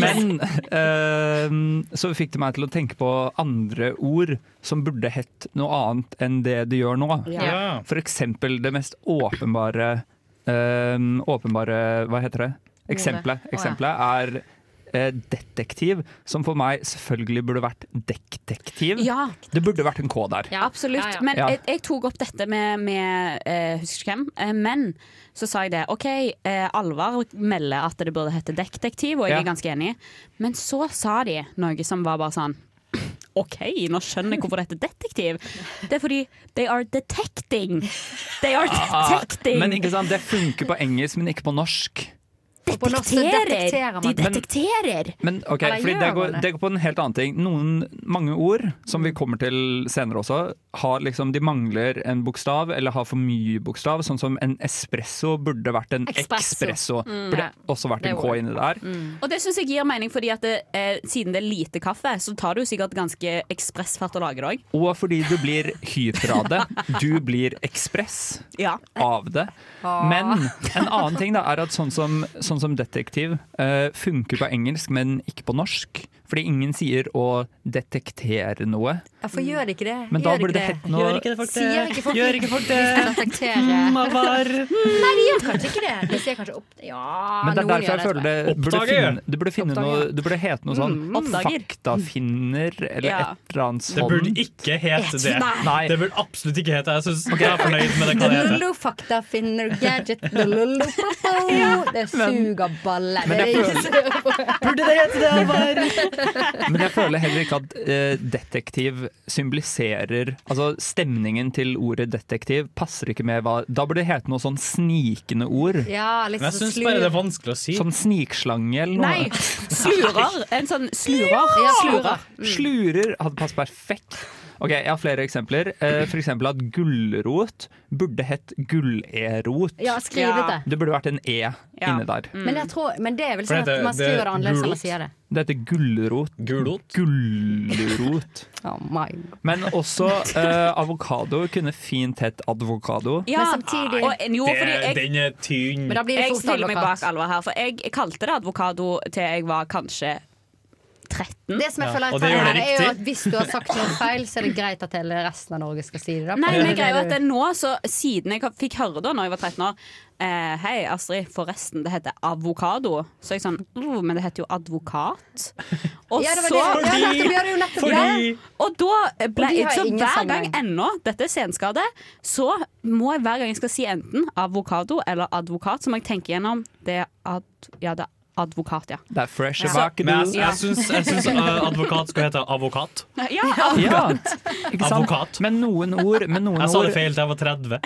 Speaker 8: Men eh, så fikk det meg til å tenke på andre ord som burde hett noe annet enn det det gjør nå.
Speaker 12: Ja.
Speaker 8: For eksempel det mest åpenbare eh, Åpenbare, hva heter det? Eksempelet.
Speaker 12: Ordet. Å, ja.
Speaker 8: Eksempelet er eh, detektiv, som for meg selvfølgelig burde vært detektiv.
Speaker 10: Ja.
Speaker 8: Det burde vært en K der.
Speaker 10: Absolutt.
Speaker 8: Ja, ja.
Speaker 10: Men
Speaker 8: Ja.
Speaker 10: jeg, jeg tok opp dette med, med eh, husker ikke hvem, eh, men så sa jeg det. OK, eh, Alvar melder at det burde hete detektiv, og jeg
Speaker 15: Ja.
Speaker 10: er ganske enig. Men så sa de noe som var bare sånn OK, nå skjønner jeg hvorfor det heter detektiv. Det er fordi they are detecting. They are
Speaker 8: Ah,
Speaker 10: detecting.
Speaker 8: men ikke sant, det funker på engelsk, men ikke på norsk.
Speaker 10: Detekterer. De
Speaker 8: Men-
Speaker 10: detekterer.
Speaker 8: Men ok,
Speaker 10: Eller
Speaker 8: fordi
Speaker 10: gjør
Speaker 8: det
Speaker 10: man
Speaker 8: går,
Speaker 10: det?
Speaker 8: det går på en helt annen ting. Noen, mange ord, som vi kommer til senere også, har liksom, de mangler en bokstav, eller har for mye bokstav. Sånn som en espresso burde vært en
Speaker 10: Espresso.
Speaker 8: ekspresso.
Speaker 10: Mm.
Speaker 8: Burde også vært
Speaker 10: Det
Speaker 8: en
Speaker 10: er
Speaker 8: K
Speaker 10: ordet. Mm.
Speaker 8: inni der.
Speaker 10: Og det syns jeg gir mening, fordi at det, eh, siden det er lite kaffe, så tar det jo sikkert ganske ekspressfart å lage det òg.
Speaker 8: Og fordi du blir hyper av det. Du blir ekspress
Speaker 10: Ja.
Speaker 8: av det.
Speaker 10: Ah.
Speaker 8: Men en annen ting da, er at sånn som, sånn som detektiv eh, funker på engelsk, men ikke på norsk. Fordi ingen sier å detektere noe.
Speaker 7: Ja, for gjør det ikke det?
Speaker 8: Men da
Speaker 7: Gjør
Speaker 8: burde det hett noe- Gjør ikke det, folk, det-
Speaker 7: Sier ikke folk,
Speaker 8: Gjør ikke folk det?
Speaker 7: Hvis de reflekterer.
Speaker 8: Mm, Alvar.
Speaker 7: Nei, de gjør kanskje ikke det. De sier kanskje opp... Ja,
Speaker 8: Men det er
Speaker 7: noen
Speaker 8: derfor
Speaker 7: gjør
Speaker 8: jeg føler det burde,
Speaker 12: Oppdager.
Speaker 8: finne, det burde, finne noe, det burde hete noe sånn
Speaker 12: Mm, oppdager.
Speaker 8: faktafinner eller
Speaker 12: Ja.
Speaker 8: et eller annet
Speaker 12: Det
Speaker 8: sånt.
Speaker 12: burde ikke hete det.
Speaker 8: Nei.
Speaker 12: Det burde absolutt ikke hete det. Jeg synes jeg er fornøyd med det hva det heter.
Speaker 7: Lullo, fakta, finner, gadget, lullo, popo. Det suger baller.
Speaker 8: Men jeg
Speaker 7: Burde
Speaker 16: det hete det,
Speaker 8: Men jeg føler heller ikke at eh, detektiv symboliserer Altså stemningen til ordet detektiv passer ikke med hva Da burde det hete noe sånn snikende ord.
Speaker 10: Ja,
Speaker 8: Men jeg
Speaker 10: litt Men jeg
Speaker 7: liksom
Speaker 10: sånn
Speaker 8: syns
Speaker 10: synes
Speaker 8: bare
Speaker 10: bare
Speaker 8: det
Speaker 10: det
Speaker 8: er
Speaker 10: er
Speaker 8: vanskelig å si. Sånn snikslange eller noe.
Speaker 10: Nei, slurer. En sånn slurer.
Speaker 8: Ja,
Speaker 10: slurer.
Speaker 8: Slurer hadde passet perfekt. Ok, Jeg har flere eksempler. Eh, For eksempel at gulrot burde hett gullerot.
Speaker 7: Ja, skrivete.
Speaker 8: Det burde vært en E inni der.
Speaker 7: Men, jeg tror, men det er vel
Speaker 8: For
Speaker 7: sånn at
Speaker 8: det-
Speaker 7: man
Speaker 8: det-
Speaker 7: skriver det annerledes enn man
Speaker 8: gulrot.
Speaker 7: sier det.
Speaker 8: Det heter gulrot. Gulrot.
Speaker 7: Oh my
Speaker 8: Men også eh, avokado kunne fint hett advokado.
Speaker 10: Ja, Men samtidig- og en- jo, fordi jeg-
Speaker 8: den er tynn.
Speaker 10: jeg stiller meg bak Alvar her, for jeg, jeg kalte det advokado til jeg var kanskje 13.
Speaker 7: Det som jeg føler er
Speaker 10: Og det gjør
Speaker 7: teit her,
Speaker 10: det
Speaker 7: er jo
Speaker 10: riktig.
Speaker 7: at hvis du har sagt noe feil, så er det greit at hele resten av Norge skal si det. Da.
Speaker 10: Nei, men
Speaker 7: Det
Speaker 10: greia er at
Speaker 7: du-
Speaker 10: det er nå, så siden jeg fikk høre da når jeg var 13 år eh, Hei, Astrid, forresten, det heter avokado. Så jeg sånn «Mm, Men det heter jo advokat. Og
Speaker 7: Ja, det
Speaker 10: så
Speaker 7: var det. Ja, nettopp, ja, det er jo nettopp Fordi- det.
Speaker 10: Og da ble
Speaker 7: Og de har
Speaker 10: Så
Speaker 7: ingen
Speaker 10: hver gang
Speaker 7: sammenheng.
Speaker 10: ennå, dette er senskade, så må jeg hver gang jeg skal si enten avokado eller advokat, så må jeg tenke gjennom det er ad, Ja, det er advokat, ja.
Speaker 8: Det er fresh
Speaker 10: Ja.
Speaker 8: tilbake,
Speaker 12: Men jeg,
Speaker 8: du.
Speaker 12: jeg syns, jeg syns eh, advokat skal hete avokat.
Speaker 10: Ja,
Speaker 8: Ja,
Speaker 10: advokat.
Speaker 8: ikke sant?
Speaker 12: Avokat.
Speaker 8: Men noen ord, men noen
Speaker 12: Jeg sa
Speaker 8: ord
Speaker 12: det feil da jeg var 30.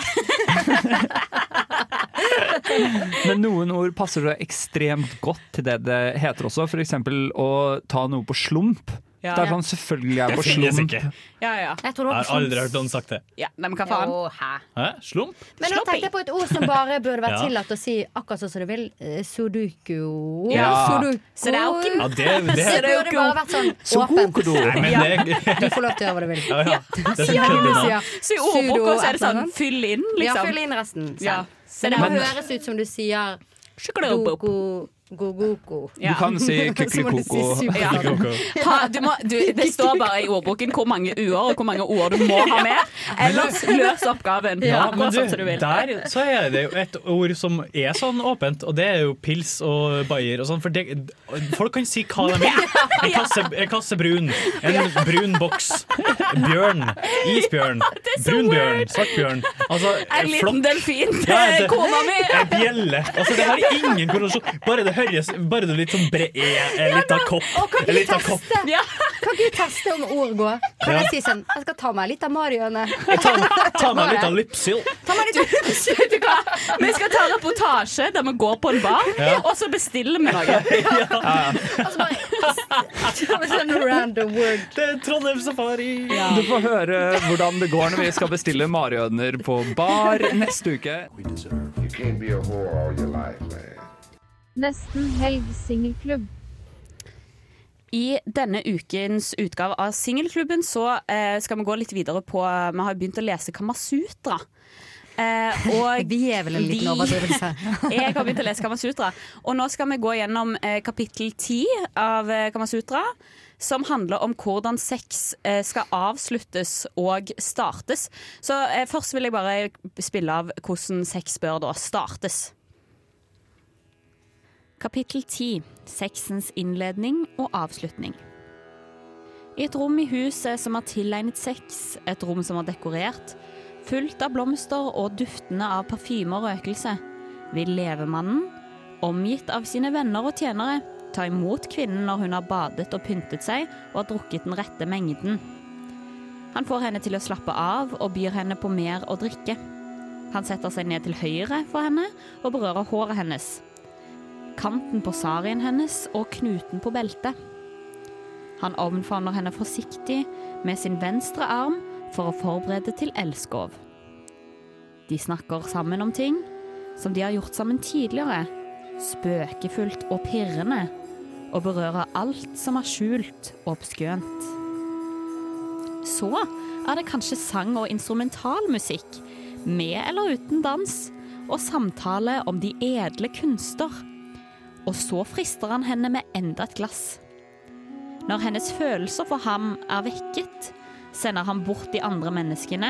Speaker 8: Men noen ord passer så ekstremt godt til det det heter også. For eksempel å ta noe på slump.
Speaker 10: Ja.
Speaker 8: Det er sånn selvfølgelig jeg er
Speaker 12: Det
Speaker 8: på
Speaker 12: finnes
Speaker 8: slump.
Speaker 12: ikke.
Speaker 10: ja, ja.
Speaker 12: Jeg har aldri hørt noen sagt det.
Speaker 10: Ja, nei, men hva faen?
Speaker 7: Jo, hæ?
Speaker 12: Hæ? Slump?
Speaker 7: Men nå tenkte jeg på et ord som bare burde vært
Speaker 12: Ja.
Speaker 7: tillatt å si akkurat sånn som du vil. Eh, Sudoku.
Speaker 12: Ja.
Speaker 7: Sudoku.
Speaker 10: Sudoku.
Speaker 12: Ja, det- det-
Speaker 7: Så burde bare vært sånn åpent.
Speaker 12: Sudoku. Nei, men det-
Speaker 7: Du får lov til å gjøre hva du vil.
Speaker 12: Ja, ja. Det er sånn
Speaker 7: Ja. altså,
Speaker 12: så kødder
Speaker 7: Ja.
Speaker 12: nå.
Speaker 10: Så i ordboka så er det sånn
Speaker 7: Sudo-
Speaker 10: fyll inn,
Speaker 7: Ja,
Speaker 10: liksom.
Speaker 7: fyll inn resten. selv.
Speaker 10: Ja.
Speaker 7: Men det må
Speaker 8: Men-
Speaker 7: høres ut som du sier
Speaker 10: Sjokoladebop.
Speaker 7: doko, gogoko.
Speaker 8: Du kan si
Speaker 7: Så må du si
Speaker 8: kykelikoko.
Speaker 7: super.
Speaker 10: Ha, du må, du, det står bare i ordboken hvor mange u-er og hvor mange ord du må ha med. Ellers løs oppgaven.
Speaker 12: Ja, men
Speaker 10: Akkurat
Speaker 12: du,
Speaker 10: sånn som du vil.
Speaker 12: der så er det jo et ord som er sånn åpent, og det er jo pils og bayer og sånn, for det, folk kan si hva de vil. En kasse, en kasse brun, en brun boks, bjørn, isbjørn, brun bjørn, svart bjørn. Altså,
Speaker 10: En liten
Speaker 12: flokk.
Speaker 10: delfin
Speaker 12: Ja,
Speaker 10: til
Speaker 12: det-
Speaker 10: kona mi.
Speaker 12: En bjelle. Altså, det har ingen korrelasjon. Bare det høres Bare det er litt sånn bre... En en liten kopp.
Speaker 7: Og kan
Speaker 12: En
Speaker 7: ikke
Speaker 12: liten kopp.
Speaker 7: teste Kan ikke du teste om ord går? Kan
Speaker 12: Ja.
Speaker 7: jeg si sånn Jeg skal ta meg litt av Marione.
Speaker 12: Ta meg litt av lypsyl.
Speaker 7: Ta meg litt av
Speaker 10: Vet du hva? Vi skal ta reportasje der vi går på en bar,
Speaker 12: Ja.
Speaker 10: og så bestiller vi noe.
Speaker 7: Sånn random word.
Speaker 12: Det er Trondheim Safari.
Speaker 8: Du får høre hvordan det går når vi skal bestille marihuaner på bar neste uke.
Speaker 15: Nesten helg singelklubb.
Speaker 10: I denne ukens utgave av Singelklubben så eh, skal vi gå litt videre på eh, Vi har begynt å lese Kamasutra. Eh, og
Speaker 7: Vi er vel en liten
Speaker 10: vi-
Speaker 7: overdrivelse.
Speaker 10: jeg har begynt å lese Kamasutra. Og nå skal vi gå gjennom eh, kapittel ti av eh, Kamasutra. Som handler om hvordan sex eh, skal avsluttes og startes. Så eh, først vil jeg bare spille av hvordan sex bør da startes. Kapittel 10. Sexens innledning og avslutning. I et rom i huset som har tilegnet sex, et rom som er dekorert, fullt av blomster og duftende av parfyme og røkelse, vil levemannen, omgitt av sine venner og tjenere, ta imot kvinnen når hun har badet og pyntet seg og har drukket den rette mengden. Han får henne til å slappe av og byr henne på mer å drikke. Han setter seg ned til høyre for henne og berører håret hennes kanten på sarien hennes og knuten på beltet. Han omfavner henne forsiktig med sin venstre arm for å forberede til elskov. De snakker sammen om ting som de har gjort sammen tidligere, spøkefullt og pirrende, og berører alt som er skjult og obskønt. Så er det kanskje sang og instrumentalmusikk, med eller uten dans, og samtale om de edle kunster og så frister han henne med enda et glass. Når hennes følelser for ham er vekket, sender han bort de andre menneskene,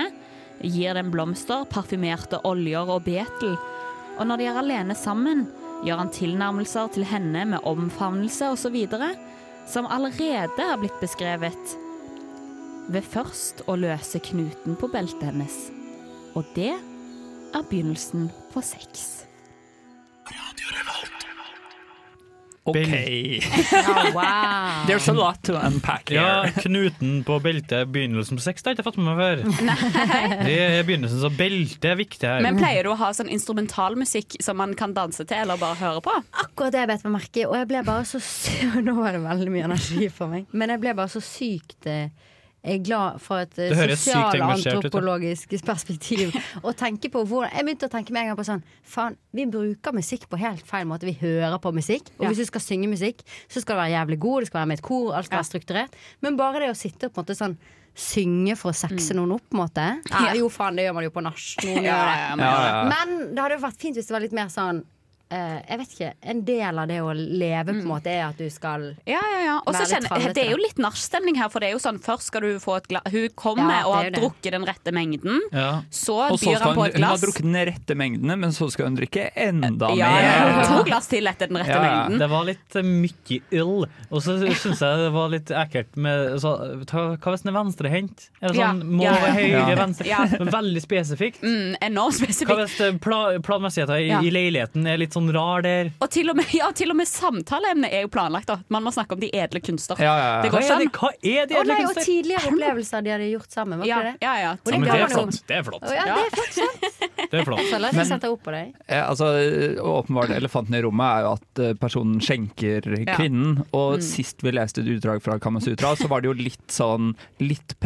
Speaker 10: gir dem blomster, parfymerte oljer og betel, og når de er alene sammen, gjør han tilnærmelser til henne med omfavnelse osv., som allerede er blitt beskrevet, ved først å løse knuten på beltet hennes. Og det er begynnelsen på sex.
Speaker 8: OK.
Speaker 7: Ja, wow.
Speaker 8: There's a lot to unpack
Speaker 12: Ja,
Speaker 8: here.
Speaker 12: knuten på beltet er begynnelsen på sex. Det har jeg ikke fått med meg før. Det er begynnelsen, så beltet er viktig her.
Speaker 10: Men pleier du å ha sånn instrumentalmusikk som man kan danse til eller bare høre på?
Speaker 7: Akkurat det jeg bet meg merke i, og jeg ble bare så sy- Nå var det veldig mye energi for meg, men jeg ble bare så sykt eh, jeg er glad for et eh,
Speaker 10: Det høres sykt
Speaker 7: sosial- og
Speaker 10: engasjert ut, da.
Speaker 7: antropologisk perspektiv. Og tenke på hvor, Jeg begynte å tenke med en gang på sånn Faen, vi bruker musikk på helt feil måte. Vi hører på musikk. Og
Speaker 10: Ja.
Speaker 7: hvis du skal synge musikk, så skal det være jævlig god, det skal være med et kor, alt skal være strukturert. Men bare det å sitte og på en måte sånn synge for å sexe noen opp, på en måte. Ja, jo, Mm. faen, det gjør man jo på nach.
Speaker 10: Ja,
Speaker 7: Noen gjør det.
Speaker 10: ja, ja, man gjør det.
Speaker 7: Men det hadde jo vært fint hvis det var litt mer sånn eh, jeg vet ikke, en del av det å leve på en måte er at du skal
Speaker 10: Ja, ja, ja. Og så
Speaker 7: Være litt
Speaker 10: kjenner,
Speaker 7: trallete,
Speaker 10: det er jo
Speaker 7: da.
Speaker 10: litt nachstemning her, for det er jo sånn først skal du få et glass Hun kommer
Speaker 7: Ja, det
Speaker 10: og
Speaker 7: er
Speaker 10: har
Speaker 7: jo det.
Speaker 10: drukket den rette mengden.
Speaker 8: Ja.
Speaker 10: Så
Speaker 8: Og så
Speaker 10: byr
Speaker 8: skal
Speaker 10: han på
Speaker 8: hun,
Speaker 10: et
Speaker 8: hun har
Speaker 10: glass.
Speaker 8: drukket den rette mengdene, men så skal hun drikke enda
Speaker 10: Ja,
Speaker 8: mer.
Speaker 10: ja, ja. To glass til etter den rette mengden.
Speaker 12: Det var litt eh, mye øl, og så syns jeg det var litt ekkelt med så, ta, Hva hvis den er venstrehendt? Er det
Speaker 10: Ja.
Speaker 12: sånn må
Speaker 10: Ja.
Speaker 12: være høyre,
Speaker 10: Ja.
Speaker 12: venstre?
Speaker 10: Ja.
Speaker 12: Veldig spesifikt.
Speaker 10: Mm, enormt
Speaker 12: Hva
Speaker 10: spesifikt.
Speaker 12: hvis eh, pla, planmessigheten i,
Speaker 10: Ja.
Speaker 12: i leiligheten er litt sånn rar der?
Speaker 10: Og til og med, ja, til og med samtaleemnet er jo planlagt. da Man må snakke om de edle kunster. Det går
Speaker 12: hva, er
Speaker 10: sånn. ikke an.
Speaker 12: det, hva er det?
Speaker 7: Å nei, og tidligere opplevelser de hadde gjort sammen. Var
Speaker 10: Ja,
Speaker 7: ikke det?
Speaker 10: ja, ja.
Speaker 7: Og
Speaker 12: Ja, men
Speaker 7: ga
Speaker 12: det er
Speaker 7: man jo-
Speaker 12: flott. Det er flott.
Speaker 7: Å, ja, det er flott, sant?
Speaker 12: Det er flott.
Speaker 7: Så la
Speaker 8: Men-
Speaker 7: deg sette opp på deg.
Speaker 8: Ja, altså, åpenbart Elefanten i rommet er jo at eh, personen skjenker
Speaker 7: Ja.
Speaker 8: kvinnen. Og
Speaker 7: Mm.
Speaker 8: sist vi leste et utdrag fra Kamasutra, så var det jo litt sånn litt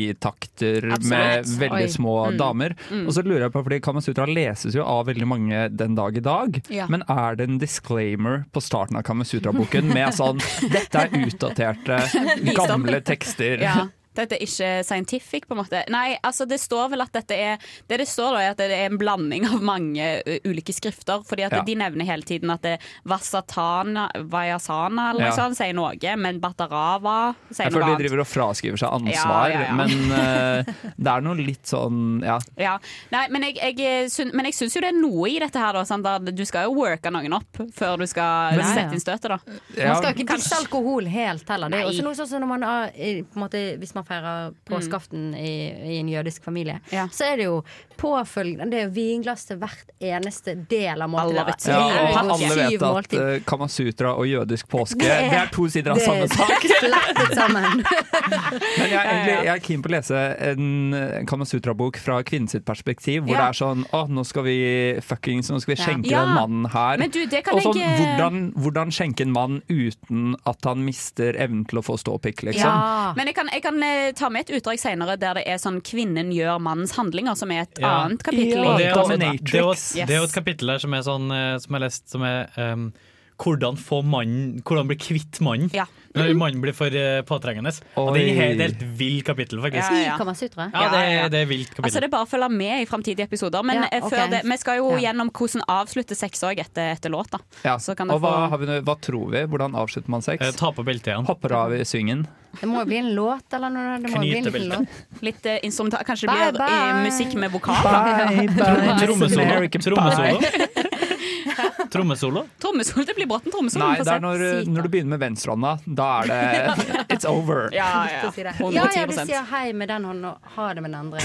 Speaker 8: pedofilitakter med
Speaker 12: Absolutt.
Speaker 8: veldig
Speaker 12: Oi.
Speaker 8: små
Speaker 12: Mm.
Speaker 8: damer.
Speaker 12: Mm.
Speaker 8: Og så lurer jeg på, fordi Kamasutra leses jo av veldig mange den dag i dag,
Speaker 12: Ja.
Speaker 8: men er det en disclaimer på starten av Kamasutra-boken med sånn Dette er utdaterte,
Speaker 10: Visdom.
Speaker 8: gamle tekster.
Speaker 10: Ja. Dette er ikke scientific, på en måte. Nei, altså det står vel at dette er Det det står da er at det er en blanding av mange ø, ulike skrifter. Fordi at
Speaker 15: Ja.
Speaker 10: de nevner hele tiden at det er Vasatana, Vayasana eller
Speaker 8: Ja.
Speaker 10: noe sånt sier noe, men Batarava sier
Speaker 8: Jeg
Speaker 10: noe
Speaker 8: føler de
Speaker 10: annet.
Speaker 8: driver og fraskriver seg
Speaker 10: Ja,
Speaker 8: ansvar,
Speaker 10: ja, ja.
Speaker 8: men eh, det er noe litt sånn Ja.
Speaker 10: Ja. Nei, men jeg, jeg, syn, men jeg syns jo det er noe i dette her, da. Sant? at Du skal jo worke noen opp før du skal
Speaker 8: Men-
Speaker 10: sette inn støtet, da.
Speaker 7: Man skal jo ikke disse alkohol helt heller. Det er jo
Speaker 10: Nei.
Speaker 7: også noe sånn som når man har, i- på en måte, Hvis man feirer
Speaker 10: Mm.
Speaker 7: påskeaften i, i en jødisk familie, så er det jo påfølgende Det er jo vinglass til hvert eneste del av
Speaker 8: Ja,
Speaker 7: måltidet. Det er
Speaker 8: og
Speaker 7: jo
Speaker 8: alle vet
Speaker 7: syv
Speaker 8: at
Speaker 7: måltider.
Speaker 8: eh, Kamasutra og jødisk påske Det er to sider av
Speaker 7: det
Speaker 8: samme
Speaker 7: er
Speaker 8: sak.
Speaker 7: Flettet sammen.
Speaker 8: Men jeg, er egentlig, jeg er keen på å lese en eh, Kamasutra-bok fra kvinnen sitt perspektiv, hvor det
Speaker 10: Ja.
Speaker 8: er sånn Å, nå skal vi fuckings Nå skal vi
Speaker 10: Ja.
Speaker 8: skjenke
Speaker 10: Ja.
Speaker 8: den mannen her.
Speaker 10: Men du, det kan
Speaker 8: og sånn,
Speaker 10: jeg-
Speaker 8: hvordan, hvordan skjenke en mann uten at han mister evnen til å få ståpikk, liksom.
Speaker 7: Ah.
Speaker 10: Ja. Men jeg kan, jeg kan eh, ta med et utdrag senere der det er sånn 'Kvinnen gjør mannens handlinger', som er et annet kapittel.
Speaker 12: Og
Speaker 10: i
Speaker 12: det, er jo, det, er
Speaker 10: Dominatrix.
Speaker 12: jo, et- det er jo
Speaker 10: Yes.
Speaker 12: et kapittel der som er sånn eh, Som jeg har lest som er ehm, hvordan, få mannen, hvordan bli kvitt mannen når mannen blir for eh, påtrengende. Og det er
Speaker 8: Oi.
Speaker 12: helt, helt vilt kapittel, faktisk.
Speaker 10: Ja, ja.
Speaker 7: Kamasutra?
Speaker 12: Ja, det,
Speaker 10: Ja, ja.
Speaker 12: er- det er vilt kapittel.
Speaker 10: Altså Det er bare å følge med i framtidige episoder. Men
Speaker 7: Ja,
Speaker 10: eh,
Speaker 7: ok.
Speaker 10: før det, vi skal jo
Speaker 7: Ja.
Speaker 10: gjennom hvordan avslutte sex òg etter, etter låta.
Speaker 8: Ja.
Speaker 10: Så kan det
Speaker 8: Og hva,
Speaker 10: få-
Speaker 8: har vi, nå- hva tror vi? Hvordan avslutter man sex?
Speaker 12: Eh, ta på beltet igjen.
Speaker 8: Hopper av i svingen.
Speaker 7: Det må jo bli en låt eller noe. Det må jo bli en liten låt.
Speaker 10: Litt eh, instrumental Kanskje det
Speaker 7: Bye,
Speaker 10: blir
Speaker 7: bye.
Speaker 10: eh, musikk med vokal?
Speaker 7: Bye, bye.
Speaker 12: Trommesolo.
Speaker 8: American Pie.
Speaker 12: Trommesolo. Trommesolo.
Speaker 10: Trommesolo. Det blir bråtten trommesolo.
Speaker 8: Nei,
Speaker 10: vi får
Speaker 8: det er
Speaker 10: se.
Speaker 8: når, eh, når du begynner med venstrehånda. Da er det It's over.
Speaker 10: Ja, ja.
Speaker 7: Ja, ja, du sier hei med den hånden og ha det med den andre.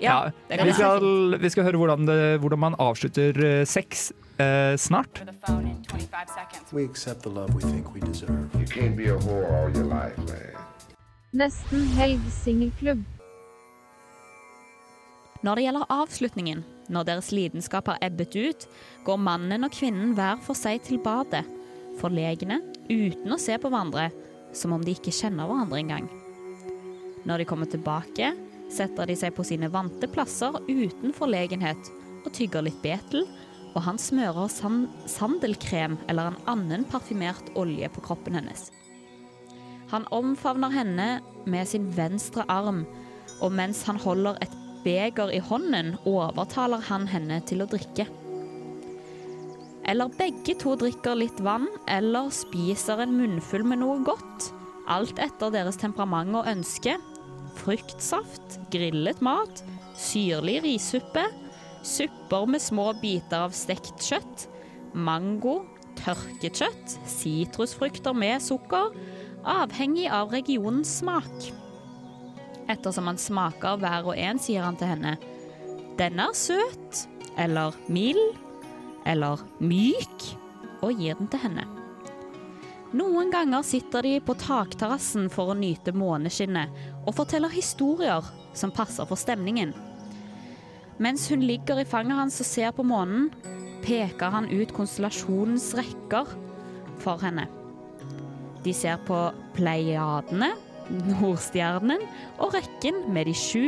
Speaker 8: Ja, vi, skal, vi skal høre hvordan, det, hvordan man avslutter eh, sex eh, snart.
Speaker 16: We accept the love we think we deserve.
Speaker 17: You can't be a whore all your life, man.
Speaker 18: Nesten helg singelklubb.
Speaker 10: Når det gjelder avslutningen, når deres lidenskap har ebbet ut, går mannen og kvinnen hver for seg til badet, forlegne, uten å se på hverandre, som om de ikke kjenner hverandre engang. Når de kommer tilbake, setter de seg på sine vante plasser uten forlegenhet, og tygger litt betel, og han smører san sandelkrem eller en annen parfymert olje på kroppen hennes. Han omfavner henne med sin venstre arm, og mens han holder et beger i hånden, overtaler han henne til å drikke. Eller begge to drikker litt vann, eller spiser en munnfull med noe godt. Alt etter deres temperament og ønske. Fruktsaft, grillet mat, syrlig rissuppe, supper med små biter av stekt kjøtt, mango, tørket kjøtt, sitrusfrukter med sukker, avhengig av regionens smak. Ettersom han smaker hver og en, sier han til henne Denne er søt, eller mild, eller myk, og gir den til henne. Noen ganger sitter de på takterrassen for å nyte måneskinnet, og forteller historier som passer for stemningen. Mens hun ligger i fanget hans og ser på månen, peker han ut konstellasjonens rekker for henne. De ser på pleiadene, nordstjernen og rekken med de sju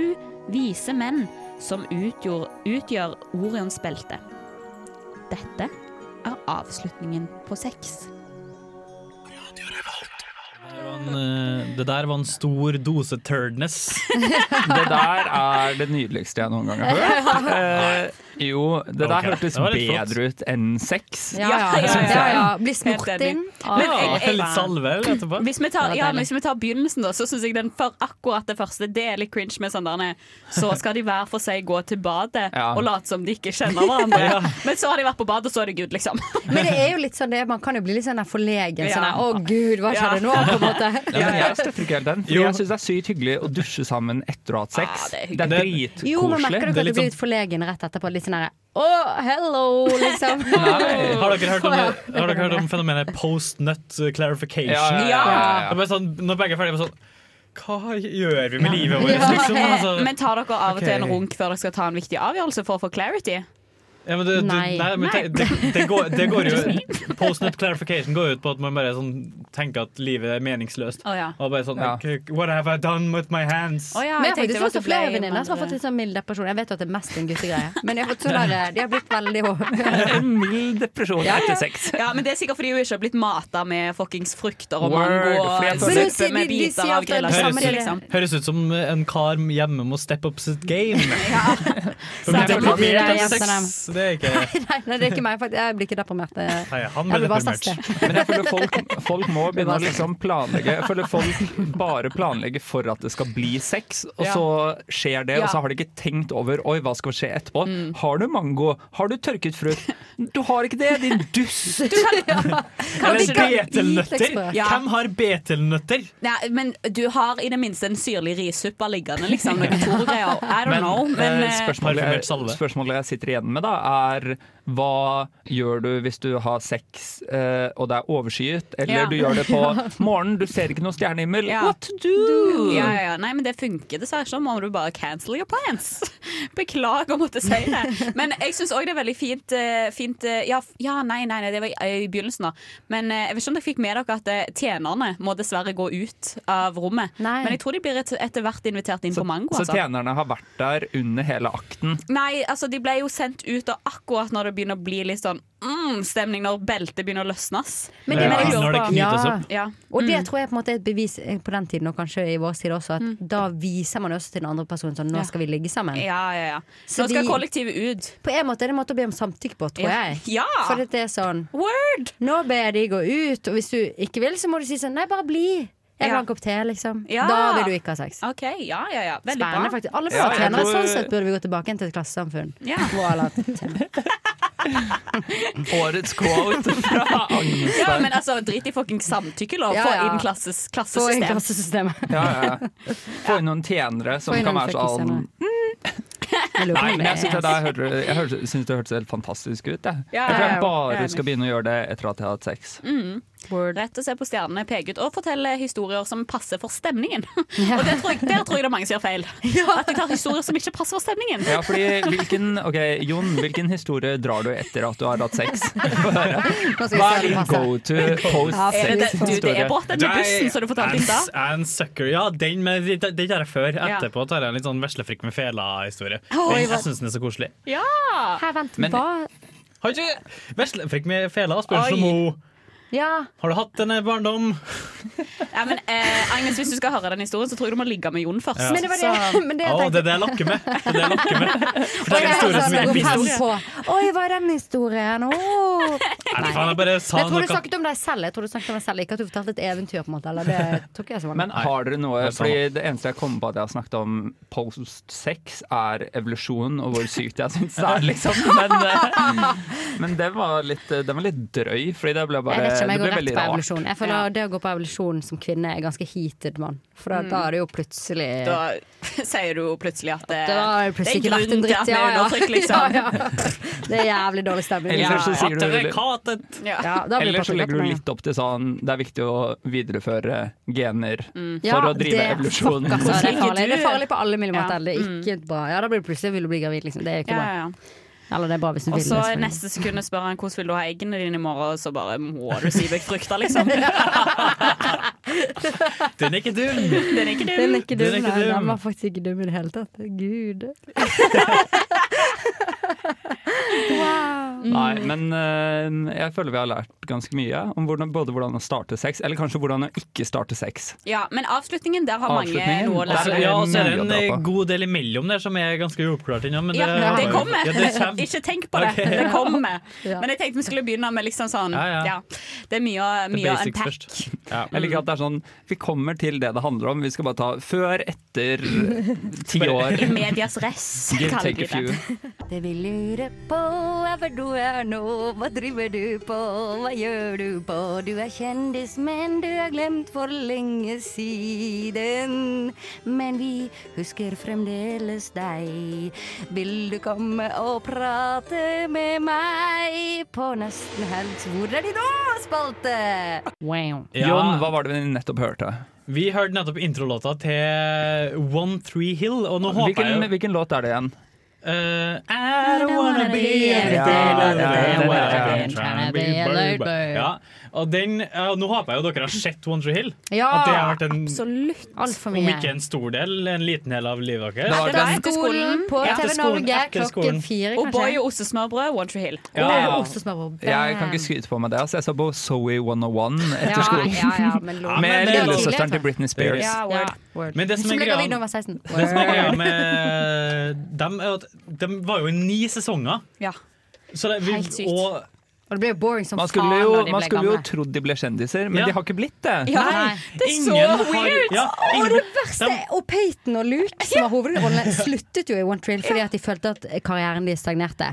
Speaker 10: vise menn som utgjør, utgjør Orions belte. Dette er avslutningen på sex.
Speaker 12: Det var en, eh, Det der var en stor dose turdness.
Speaker 8: Det der er det nydeligste jeg noen gang har hørt. Eh, Jo, det der
Speaker 12: Ok,
Speaker 8: hørtes
Speaker 12: det var litt flott.
Speaker 8: bedre ut enn sex.
Speaker 10: Ja, ja, ja,
Speaker 8: synes jeg.
Speaker 10: ja, ja. Bli smurt
Speaker 8: Helt
Speaker 10: inn.
Speaker 8: enig.
Speaker 10: Men jeg- jeg- Hvis vi, tar,
Speaker 8: Det var
Speaker 10: ja, men
Speaker 8: deilig.
Speaker 10: hvis vi tar begynnelsen, da, så syns jeg den for akkurat det første Det er litt cringe med sånn der nei, Så skal de hver for seg gå til badet
Speaker 7: Ja.
Speaker 10: og late som de ikke kjenner hverandre.
Speaker 7: Ja.
Speaker 10: Men så har de vært på badet, og så er det Gud, liksom.
Speaker 7: Men det er jo litt sånn det, man kan jo bli litt sånn der forlegen.
Speaker 10: Ja.
Speaker 7: Sånn der, å gud, hva skjedde nå? På en måte.
Speaker 8: Ja, men jeg støtter ikke helt den. For jeg syns det er sykt hyggelig å dusje sammen etter å ha hatt sex. det er, dritkoselig.
Speaker 7: Jo, men merker du ikke at du blir litt forlegen rett etterpå? Litt sånn derre å, hello, liksom.
Speaker 12: Har dere hørt om, har dere hørt om fenomenet post-nut clarification?
Speaker 8: Ja, ja, ja, ja, ja.
Speaker 12: Det er bare sånn, når begge er ferdige, bare sånn Hva gjør vi med livet vårt,
Speaker 10: Ja.
Speaker 12: liksom? Altså,
Speaker 10: Men tar dere av og til en
Speaker 12: Ok.
Speaker 10: runk før dere skal ta en viktig avgjørelse for å få clarity?
Speaker 12: ja, men det, det,
Speaker 10: Nei.
Speaker 12: nei, men
Speaker 10: Nei.
Speaker 12: det, det, det, går, det går jo Post-nut clarification går jo ut på at man bare sånn, tenker at livet er meningsløst.
Speaker 7: Å, ja.
Speaker 12: Og bare sånn "Ok, What have I done with my hands?
Speaker 7: men jeg har faktisk også flere venninner som har fått litt sånn mild depresjon. Jeg vet jo at det er mest en guttegreie, men jeg har fått sånn der, de har blitt veldig
Speaker 8: Mild depresjon
Speaker 10: Ja,
Speaker 8: etter sex.
Speaker 10: Ja, men det er sikkert fordi hun ikke har blitt mata med fuckings frukter og
Speaker 8: Word, fordi
Speaker 10: mango og
Speaker 8: jeg føler-
Speaker 10: suppe med biter av grilla
Speaker 12: Høres,
Speaker 10: kjøtt,
Speaker 12: ut-
Speaker 10: liksom.
Speaker 12: høres ut som en kar hjemme må step up sitt game. For å
Speaker 7: Så
Speaker 12: bli
Speaker 7: det blir
Speaker 12: deprimert
Speaker 7: dere
Speaker 12: av
Speaker 7: hjem til
Speaker 12: sex, Det er ikke
Speaker 7: Nei, nei, det er ikke meg. faktisk. Jeg blir ikke deprimert. Jeg-
Speaker 12: Nei, han
Speaker 7: Jeg
Speaker 12: ble
Speaker 7: vil bare
Speaker 12: deprimert.
Speaker 7: satse.
Speaker 8: Men jeg føler folk, folk må begynne å liksom planlegge Jeg føler folk bare planlegger for at det skal bli sex, og
Speaker 12: Ja.
Speaker 8: så skjer det, og så har de ikke tenkt over Oi, hva skal skje etterpå.
Speaker 10: Mm.
Speaker 8: Har du mango? Har du tørket frukt? Du har ikke det, din dust!
Speaker 12: Eller betelnøtter.
Speaker 10: Hvitløksbrød. Ja.
Speaker 12: Hvem har betelnøtter?
Speaker 10: Nei, men du har i det minste en syrlig rissuppe liggende, liksom. Noen Tore-greier. I don't
Speaker 8: Men,
Speaker 10: know. Men
Speaker 8: eh,
Speaker 10: eh,
Speaker 8: spørsmålet,
Speaker 12: Parfymert salve.
Speaker 8: spørsmålet jeg sitter igjen med, da, er hva gjør du hvis du har sex eh, og det er overskyet, eller
Speaker 10: Ja.
Speaker 8: du gjør det på
Speaker 10: Ja.
Speaker 8: morgenen, du ser ikke noe stjernehimmel.
Speaker 10: ja.
Speaker 8: What to do?
Speaker 10: Ja, ja, ja. Nei, men det funker dessverre ikke. Må du bare cancel your plans. Beklager å måtte si det. Men jeg syns òg det er veldig fint, eh, fint eh, ja, f- ja, nei, nei, nei, det var i, i begynnelsen, da. Men eh, jeg vet ikke om dere fikk med dere at eh, tjenerne må dessverre gå ut av rommet. Men jeg tror de blir et, etter hvert invitert inn på Mango.
Speaker 8: Så
Speaker 10: altså.
Speaker 8: tjenerne har vært der under hele akten.
Speaker 10: Nei, altså de ble jo sendt ut og akkurat når det begynner å bli litt sånn mm, stemning, når beltet begynner å løsnes.
Speaker 7: Men det Ja, mener jeg når det på. knytes
Speaker 10: Ja.
Speaker 7: opp.
Speaker 10: Ja.
Speaker 7: Og det tror jeg på en måte er et bevis eh, på den tiden, og kanskje i vår tid også, at da viser man også til den andre personen sånn
Speaker 10: Ja.
Speaker 7: nå skal vi ligge sammen.
Speaker 10: Ja, ja, ja.
Speaker 7: Så
Speaker 10: Nå skal
Speaker 7: de-
Speaker 10: kollektivet ut.
Speaker 7: På en måte er det en måte å be om samtykke på, tror
Speaker 10: Ja.
Speaker 7: jeg.
Speaker 10: Ja.
Speaker 7: For at det er sånn
Speaker 10: Word!
Speaker 7: Nå ber de gå ut, og hvis du ikke vil, så må du si sånn Nei, bare bli. Jeg vil
Speaker 10: Ja.
Speaker 7: ha en kopp te, liksom.
Speaker 10: Ja.
Speaker 7: Da vil du ikke ha sex.
Speaker 10: OK, ja, ja, ja. Veldig
Speaker 7: Spennende,
Speaker 10: bra.
Speaker 7: faktisk. Alle
Speaker 10: Ja,
Speaker 7: får
Speaker 10: jeg
Speaker 7: tjenere.
Speaker 10: tror-
Speaker 7: Sånn sett burde vi gå tilbake igjen til et klassesamfunn.
Speaker 10: Ja.
Speaker 7: Hvor alle har tjenere.
Speaker 8: Årets quote fra Agnes.
Speaker 10: Ja, men altså, drit i fuckings samtykkelov.
Speaker 7: Ja,
Speaker 10: Få
Speaker 7: ja.
Speaker 10: inn klasses,
Speaker 7: Få
Speaker 10: klassesystem.
Speaker 7: inn klassesystemet.
Speaker 8: Ja, ja. Få inn noen tjenere som
Speaker 7: Få inn
Speaker 8: kan
Speaker 7: noen
Speaker 8: være sånn
Speaker 7: fuckings
Speaker 8: Nei, men jeg syns det, der hørte- jeg hørte- synes det hørtes helt fantastisk ut. Jeg.
Speaker 10: Ja,
Speaker 8: jeg tror
Speaker 10: ja, ja.
Speaker 8: jeg bare
Speaker 10: Enig.
Speaker 8: skal begynne å gjøre det etter at jeg har hatt sex.
Speaker 10: Mm. Rett å se på stjernene, peke ut og fortelle historier som passer for stemningen. og det tror jeg, Der tror jeg det er mange som gjør feil. At de tar historier som ikke passer for stemningen.
Speaker 8: Ja, fordi hvilken, ok, Jon, hvilken historie drar du etter at du har hatt sex? Få høre.
Speaker 12: Nå skal vi
Speaker 8: Hva
Speaker 12: se om det
Speaker 8: er
Speaker 7: Altså,
Speaker 8: din
Speaker 12: passer.
Speaker 8: go to post
Speaker 10: Er det- du, det er
Speaker 8: sex-historie?
Speaker 10: bort den med bussen som du fortalte i
Speaker 12: Jeg er en-
Speaker 10: stad.
Speaker 12: jeg er en sucker. Ja, den med den tar jeg før.
Speaker 10: Ja.
Speaker 12: Etterpå tar jeg en litt sånn veslefrikk med fela-historie.
Speaker 10: Oi,
Speaker 12: Den-
Speaker 10: hva-
Speaker 12: Jeg syns den er så koselig.
Speaker 10: Ja!
Speaker 7: Her, vent,
Speaker 12: Men-
Speaker 7: hva?
Speaker 12: Har ikke veslefrikk med fela? Spørs
Speaker 7: Oi.
Speaker 12: om hun
Speaker 7: Ja.
Speaker 12: Har du hatt en barndom?
Speaker 10: Ja, men, eh, Agnes, hvis du skal høre den historien, så tror jeg du må ligge med Jon først.
Speaker 12: Ja. Men det var det-
Speaker 10: Så-
Speaker 7: men
Speaker 12: Å, det er det jeg lokker med. Det er det jeg lokker med. For det
Speaker 7: Oi,
Speaker 12: er en historie som ikke finnes.
Speaker 7: Oi, hva er den historien? Åh.
Speaker 12: Nei, faen, jeg bare sa
Speaker 7: Men jeg tror du
Speaker 12: noe.
Speaker 7: snakket om deg selv. Jeg tror du snakket om deg selv Ikke at du fortalte et eventyr, på en måte. Eller det tok jeg som vanlig.
Speaker 8: Men har dere noe
Speaker 12: Det er sant.
Speaker 8: Fordi det eneste jeg kommer på at jeg har snakket om post-sex, er evolusjon og hvor sykt jeg syns det er, liksom. Men, eh, men det var litt, eh, den var litt drøy, fordi det ble
Speaker 7: jeg
Speaker 8: bare
Speaker 7: vet
Speaker 8: det
Speaker 7: ikke om jeg
Speaker 8: ble
Speaker 7: går rett
Speaker 8: veldig
Speaker 7: på
Speaker 8: rart.
Speaker 7: evolusjon. Jeg føler Det å gå på evolusjon som kvinne er ganske heated, mann. For da, da er det jo plutselig
Speaker 10: Mm. Da sier du jo plutselig at eh, det,
Speaker 7: Da har det plutselig ikke vært en
Speaker 10: til at
Speaker 7: dritt.
Speaker 10: vi
Speaker 7: Ja,
Speaker 10: er
Speaker 7: ja.
Speaker 10: undertrykt, liksom.
Speaker 7: Ja, ja. Det er jævlig dårlig stemning.
Speaker 8: Eller så sier du-
Speaker 10: Ja.
Speaker 7: da blir
Speaker 8: Eller så
Speaker 7: patriarkatet
Speaker 8: legger du
Speaker 7: med.
Speaker 8: litt opp til sånn Det er viktig å videreføre gener
Speaker 7: Mm.
Speaker 8: for
Speaker 7: Ja,
Speaker 8: å drive
Speaker 7: det-
Speaker 8: evolusjon.
Speaker 7: fuck, altså, det, er farlig. det er farlig på alle
Speaker 10: Ja. Mm.
Speaker 7: millimeter. Det er ikke bra. Ja, da blir du plutselig vil du bli gravid, liksom. Det er jo
Speaker 10: Ja,
Speaker 7: ikke bra.
Speaker 10: ja, ja.
Speaker 7: Eller det er bra hvis du
Speaker 10: Og
Speaker 7: vil.
Speaker 10: så
Speaker 7: selvfølgelig.
Speaker 10: neste sekund spør han hvordan vil du ha eggene dine i morgen, og så bare må du si vekk frukta, liksom.
Speaker 12: Den er ikke dum.
Speaker 10: Den er ikke dum.
Speaker 7: Den er ikke dum,
Speaker 12: Den er ikke
Speaker 7: nei.
Speaker 12: dum.
Speaker 7: Den var faktisk ikke dum i det hele tatt. Gud. wow.
Speaker 8: Nei, men eh, jeg føler vi har lært ganske mye om hvordan, både hvordan å starte sex, eller kanskje hvordan å ikke starte sex.
Speaker 10: Ja, Men avslutningen, der har mange
Speaker 8: Avslutningen?
Speaker 10: noe å
Speaker 8: Altså,
Speaker 10: lære.
Speaker 12: Ja, og så er det
Speaker 8: Mye å
Speaker 12: en
Speaker 8: dra
Speaker 12: eh,
Speaker 8: på.
Speaker 12: god del imellom der som er ganske uoppklart ennå. men
Speaker 10: Ja,
Speaker 12: det-
Speaker 10: det kommer.
Speaker 12: Ja, det kommer.
Speaker 10: Ikke tenk på det.
Speaker 12: Ok.
Speaker 10: Det kommer.
Speaker 12: Ja.
Speaker 10: Men jeg tenkte vi skulle begynne med liksom sånn
Speaker 8: Ja,
Speaker 10: Ja,
Speaker 8: ja.
Speaker 10: Det er mye, å-
Speaker 8: The
Speaker 10: mye å
Speaker 8: basics
Speaker 10: unpack.
Speaker 8: først. Jeg
Speaker 12: Mm.
Speaker 8: liker at det er sånn Vi kommer til det det handler om. Vi skal bare ta før, etter, ti år.
Speaker 10: I medias res,
Speaker 8: Give,
Speaker 10: kaller
Speaker 8: take
Speaker 10: vi
Speaker 8: a few.
Speaker 10: det.
Speaker 15: Det vi lurer på er hvor du er nå, hva driver du på, hva gjør du på? Du er kjendis, men du er glemt for lenge siden. Men vi husker fremdeles deg. Vil du komme og prate med meg på Nesten helg? Hvor er de nå, spalte?
Speaker 8: Jon, hva var det vi nettopp hørte?
Speaker 12: Vi hørte nettopp introlåta til One Three Hill, og nå håper
Speaker 8: Hvilken,
Speaker 12: jeg jo
Speaker 8: hvilken låt er det igjen?
Speaker 12: Eh, I don't wanna be
Speaker 8: Ja,
Speaker 12: everything
Speaker 8: ja,
Speaker 12: other than
Speaker 8: ja,
Speaker 12: what
Speaker 8: ja,
Speaker 12: I've
Speaker 8: ja.
Speaker 12: been trying to be,
Speaker 8: Trying to be
Speaker 12: baby.
Speaker 8: a bird.
Speaker 12: Ja, og den, ja, Nå håper jeg jo dere har sett One Tree Hill.
Speaker 7: Ja,
Speaker 12: At det har vært en,
Speaker 10: Ah,
Speaker 7: absolutt. Alt for
Speaker 12: Om
Speaker 7: mye.
Speaker 12: ikke en stor del, en liten del av livet deres.
Speaker 10: Det var Etter den-
Speaker 7: Skolen på
Speaker 10: Etter
Speaker 7: TV
Speaker 10: skolen,
Speaker 7: Norge
Speaker 10: etter
Speaker 7: klokken
Speaker 10: skolen.
Speaker 7: fire,
Speaker 10: Og boy
Speaker 7: kanskje.
Speaker 10: og ostesmørbrød, One Tree Hill.
Speaker 8: Ja.
Speaker 7: Boy og ostesmørbrød.
Speaker 8: Jeg kan ikke skryte på meg det. Altså. Jeg så på Zoe 101 etter
Speaker 7: Ja,
Speaker 8: skolen.
Speaker 7: ja, ja, men lov-
Speaker 12: Ja, men
Speaker 8: Med
Speaker 12: det er altså. tidligere.
Speaker 8: lillesøsteren til Britney Spears.
Speaker 7: Ja, Ah, word.
Speaker 12: Men det som
Speaker 7: Som
Speaker 12: er
Speaker 7: ble
Speaker 12: greia
Speaker 7: gravid da hun var 16.
Speaker 12: Det som er greia med dem, er at de var jo i ni sesonger.
Speaker 10: Ja.
Speaker 12: Så det, vi,
Speaker 7: Helt sykt.
Speaker 12: og
Speaker 7: Og det ble jo boring som
Speaker 8: Man
Speaker 7: faen
Speaker 8: skulle jo,
Speaker 7: når de
Speaker 8: man
Speaker 7: ble
Speaker 8: skulle jo
Speaker 7: gamle.
Speaker 8: trodd de ble kjendiser, men
Speaker 12: Ja.
Speaker 8: de har ikke blitt det.
Speaker 7: Ja, Nei.
Speaker 10: det er så weird.
Speaker 7: Å, det verste Og Peyton og Luke, som var hovedrollene, sluttet jo i One Trill fordi at de følte at karrieren deres stagnerte.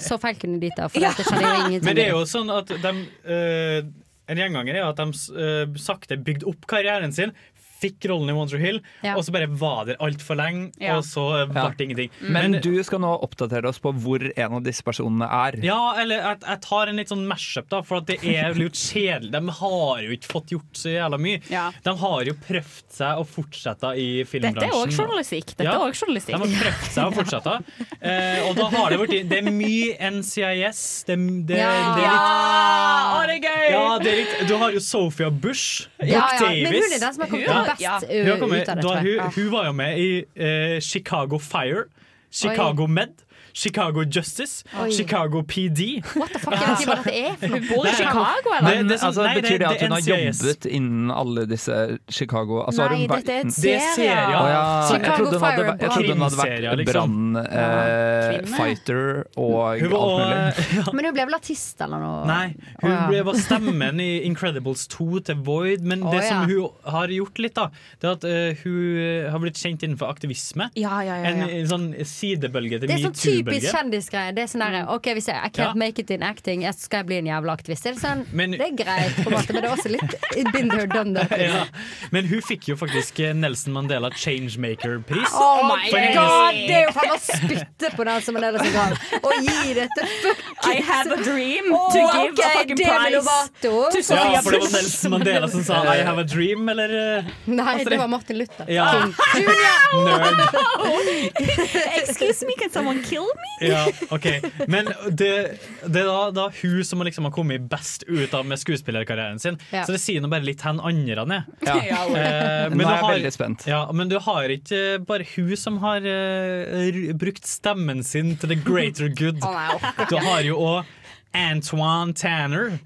Speaker 7: Så feil kunne de ta, for det skjedde jo ingenting.
Speaker 12: Men det er jo sånn at de, eh, En gjenganger er at de eh, sakte bygde opp karrieren sin. Fikk rollen i Monster Hill,
Speaker 8: Ja.
Speaker 12: og så bare var der altfor lenge.
Speaker 8: Ja.
Speaker 12: Og så eh, ble det ingenting.
Speaker 10: Mm.
Speaker 8: Men du skal nå oppdatere oss på hvor en av disse personene er.
Speaker 12: ja, eller jeg, jeg tar en litt sånn mashup, da, for at det er litt kjedelig. De har jo ikke fått gjort så jævla mye. De har jo prøvd seg å fortsette i filmbransjen.
Speaker 10: Dette er òg journalistikk. Dette
Speaker 12: Ja.
Speaker 10: er også journalistikk.
Speaker 12: De har prøvd seg og fortsette. Eh, og da har det vært Det er mye NCIS. Det, det,
Speaker 10: Ja.
Speaker 12: det er litt
Speaker 10: Ja! Å, det er gøy!
Speaker 12: Ja, det er litt, du har jo Sophia Bush. Brooke
Speaker 7: Ja, ja, men
Speaker 12: Davis.
Speaker 7: hun er den som har kommet best, uh,
Speaker 12: Hun har kommet-
Speaker 7: ut av
Speaker 12: da
Speaker 7: det, tror jeg.
Speaker 12: hun,
Speaker 7: Ja.
Speaker 12: hun var jo med i eh, Chicago Fire, Chicago Med, Chicago Justice,
Speaker 7: Oi.
Speaker 12: Chicago PD.
Speaker 7: What the fuck, jeg vet ikke hva dette er for noe.
Speaker 12: bor i
Speaker 7: Nei.
Speaker 12: Chicago, eller?
Speaker 8: Men,
Speaker 12: Nei, det er sånn-
Speaker 8: altså,
Speaker 12: nei, det-
Speaker 8: betyr det
Speaker 12: det
Speaker 8: at
Speaker 12: er
Speaker 8: hun har
Speaker 12: NCIS.
Speaker 8: jobbet innen alle disse Chicago altså, har
Speaker 12: Nei,
Speaker 8: hun vært-
Speaker 12: dette er en
Speaker 8: Det er
Speaker 12: serie.
Speaker 8: Å, ja. jeg
Speaker 12: Chicago
Speaker 8: trodde hun hadde,
Speaker 12: Fire
Speaker 8: vært- jeg trodde hun hadde
Speaker 12: Brand.
Speaker 8: vært
Speaker 12: Krimserie, liksom. Ja. Kvinne.
Speaker 8: brann-fighter og
Speaker 12: Hun var
Speaker 8: alt mulig.
Speaker 7: Men hun ble vel artist eller noe?
Speaker 12: Nei, hun
Speaker 7: Å, ja.
Speaker 12: ble var stemmen i Incredibles 2 til Void, men
Speaker 7: Å,
Speaker 12: det som
Speaker 7: ja.
Speaker 12: hun har gjort litt, da, det er at eh, hun har blitt kjent innenfor aktivisme.
Speaker 10: Ja, ja, ja,
Speaker 12: En,
Speaker 10: ja.
Speaker 12: en sånn sidebølge til
Speaker 7: Det er sånn
Speaker 12: metoo-bølge.
Speaker 7: typisk kjendisgreie. Det er sånn der, OK, hvis jeg I
Speaker 12: Ja.
Speaker 7: can't make it in acting, jeg skal jeg bli en jævla aktivist. Det er, sånn,
Speaker 12: Men-
Speaker 7: det er greit, på en måte, men det er også litt been there, done that.
Speaker 12: ja. Men hun fikk jo faktisk Nelson Mandela Changemaker-pris.
Speaker 7: Oh my
Speaker 12: For hennes-
Speaker 7: god! Det er jo faen å spytte på den som er nederst i graven. Og gi dette fuckings
Speaker 10: I have a dream
Speaker 7: Åh,
Speaker 10: to give
Speaker 7: ok,
Speaker 10: a fucking
Speaker 7: Demi
Speaker 10: prize
Speaker 7: Lovato.
Speaker 10: to
Speaker 12: Ja,
Speaker 10: Sofia
Speaker 12: for det var
Speaker 10: Bush.
Speaker 12: Nelson Mandela som sa 'I have a dream', eller eh,
Speaker 7: Nei,
Speaker 12: Altså,
Speaker 7: det var Martin Luther.
Speaker 12: Ja.
Speaker 7: King Junior!
Speaker 12: Nerd.
Speaker 10: Excuse me, can someone kill me?
Speaker 12: Ja, ok Men det, det er da, da hun som liksom har kommet best ut av med skuespillerkarrieren sin.
Speaker 8: Ja.
Speaker 12: Så det sier nå bare litt hen andre han er.
Speaker 8: Ja. Ja, vel.
Speaker 12: eh,
Speaker 8: Nå er jeg veldig
Speaker 12: spent. Ja, men du har ikke eh, bare hun som har eh, r brukt stemmen sin til the greater good.
Speaker 7: Å, nei.
Speaker 12: Du har jo òg Antoine Tanner.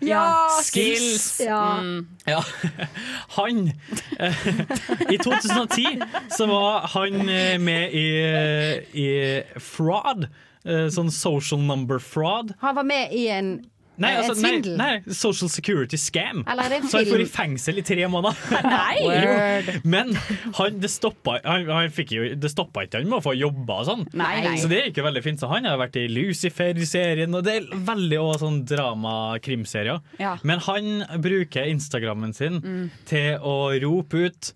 Speaker 12: Skills.
Speaker 7: Ja.
Speaker 12: Ja. Han eh, I 2010 så var han eh, med i, eh, i fraud. eh, Sånn social number fraud.
Speaker 7: Han var med i en
Speaker 12: Nei,
Speaker 7: en
Speaker 12: altså, nei,
Speaker 7: svindel.
Speaker 12: nei, social security scam.
Speaker 7: Eller er det en
Speaker 12: så han
Speaker 7: film?
Speaker 12: får i fengsel i tre måneder.
Speaker 7: Nei. Word.
Speaker 12: Men han, det stoppa han, han fikk jo, det stoppa ikke han med å få jobba og sånn.
Speaker 10: Nei, nei.
Speaker 12: Så det gikk jo veldig fint. Så han har vært i Lucifer-serien, og det er veldig også sånn drama-krimserier.
Speaker 10: Ja.
Speaker 12: Men han bruker Instagrammen sin
Speaker 10: Mm.
Speaker 12: til å rope ut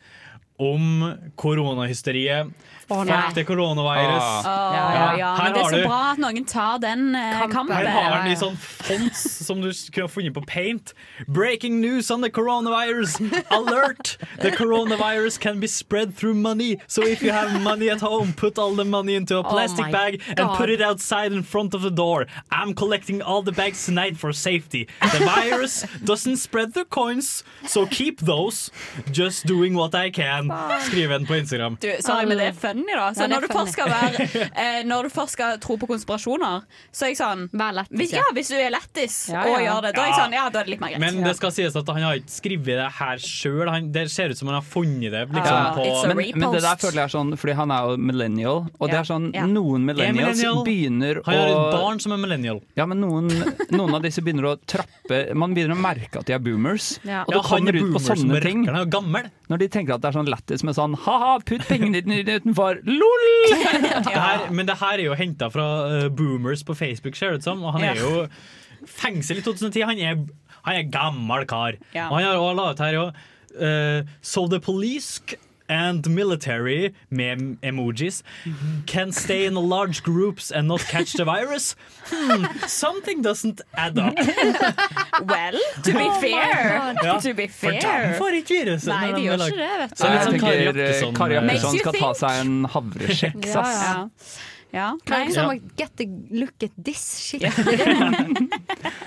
Speaker 12: om koronahysteriet.
Speaker 10: Å, nei.
Speaker 12: Fuck det koronavirus.
Speaker 10: Åh, ja, ja.
Speaker 12: Her
Speaker 10: Men det
Speaker 12: har
Speaker 10: er så
Speaker 12: du
Speaker 10: bra at noen tar den eh, kampen.
Speaker 12: her har den i sånn fonts som du kunne ha funnet på paint. Breaking news on the coronavirus! Alert! The coronavirus can be spread through money, so if you have money at home, put all the money into a
Speaker 19: Oh
Speaker 12: plastic
Speaker 19: my
Speaker 12: bag and
Speaker 19: God.
Speaker 12: put it outside in front of the door. I'm collecting all the bags tonight for safety. The virus doesn't spread the coins, so keep those. Just doing what I can. Skriv en på Instagram.
Speaker 10: Du, sorry, men det er funny, da. Så
Speaker 12: Ja, det er
Speaker 10: når, du først skal
Speaker 12: funny.
Speaker 10: være, eh, når du først skal tro på konspirasjoner, så er jeg sånn hvis, ja, hvis du er lettis
Speaker 12: Ja,
Speaker 10: og
Speaker 12: ja.
Speaker 10: gjør det, da er jeg
Speaker 12: Ja.
Speaker 10: sånn Ja, da er det litt mer greit.
Speaker 12: Men det skal sies at han har ikke skrevet det her sjøl. Det ser ut som han har funnet det. Liksom,
Speaker 10: Ja,
Speaker 12: på,
Speaker 10: it's a
Speaker 8: Men, men det der føler jeg er sånn, fordi han er jo millennial, og det er sånn
Speaker 12: Ja.
Speaker 8: noen
Speaker 12: Jeg er
Speaker 8: millennials
Speaker 12: millennial.
Speaker 8: begynner å
Speaker 12: Han har et barn som er millennial.
Speaker 8: Ja, men noen, noen av disse begynner å trappe Man begynner å merke at de er boomers.
Speaker 12: Ja.
Speaker 8: Og
Speaker 12: Ja,
Speaker 8: det
Speaker 12: han er
Speaker 8: kommer ut på
Speaker 12: boomer som
Speaker 8: sånne
Speaker 12: rakker,
Speaker 8: ting.
Speaker 12: Han er jo gammel.
Speaker 8: Når de tenker at det er sånn lættis med sånn ha-ha, putt pengene dine utenfor, lol!
Speaker 12: Det her, men det her er jo henta fra eh, boomers på Facebook, ser det ut som. Og han
Speaker 8: Ja.
Speaker 12: er jo fengsel i 2010. Han er, han er gammel kar.
Speaker 19: Ja.
Speaker 12: Og han har også laget her jo eh, So the police and military med emojis can stay in large groups and not catch the virus. Hmm, something doesn't add up.
Speaker 10: Well, to be
Speaker 12: Oh my
Speaker 10: fair.
Speaker 12: God. Ja,
Speaker 10: To be
Speaker 12: for
Speaker 10: fair.
Speaker 12: de får ikke viruset
Speaker 10: Nei,
Speaker 12: når
Speaker 10: de
Speaker 12: de
Speaker 10: gjør
Speaker 12: er
Speaker 10: ikke
Speaker 12: lagd.
Speaker 10: det, vet du.
Speaker 8: Så jeg
Speaker 12: Litt sånn Kari
Speaker 8: tenker eh,
Speaker 12: Jakkesson,
Speaker 8: Kari
Speaker 12: eh,
Speaker 8: Jakkesson
Speaker 12: Makes you
Speaker 8: skal ta seg en havresjekk,
Speaker 10: Ja,
Speaker 8: ass.
Speaker 10: ja. ja.
Speaker 15: Kan
Speaker 10: Nei.
Speaker 15: ikke sånn bare get the look at this shit.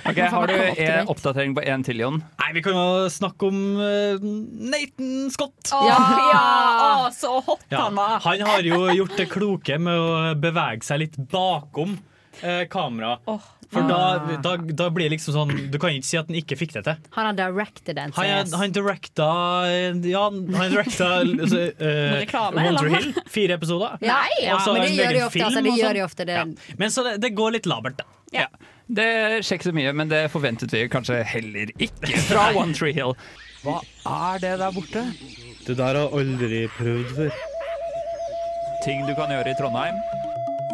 Speaker 8: Ok, Har du en oppdatering på én til, Jon?
Speaker 12: Nei, vi kan jo snakke om eh, Nathan Scott.
Speaker 10: Å, ja. Å, så hot
Speaker 12: Ja,
Speaker 10: han var.
Speaker 12: Han har jo gjort det kloke med å bevege seg litt bakom eh, kamera. For da, da, da blir det liksom sånn Du kan ikke si at han ikke fikk det til.
Speaker 7: Han har directed den.
Speaker 12: Han,
Speaker 7: seriøst.
Speaker 12: han directa eh, Ja, han directa altså, eh,
Speaker 7: Reklame, eller?
Speaker 12: Walter Hill. Fire episoder.
Speaker 7: Nei, ja,
Speaker 12: Og så
Speaker 7: men
Speaker 12: en
Speaker 7: det gjør
Speaker 12: egen
Speaker 7: de ofte.
Speaker 12: film
Speaker 7: Altså, det
Speaker 12: og
Speaker 7: gjør
Speaker 12: sånn.
Speaker 7: de ofte det.
Speaker 12: Men så det, det går litt labert, da. Ja.
Speaker 8: Det skjer ikke så mye, men det forventet vi kanskje heller ikke fra One Tree Hill. Hva er det der borte?
Speaker 14: Det der har aldri prøvd før.
Speaker 8: Ting du kan gjøre i Trondheim.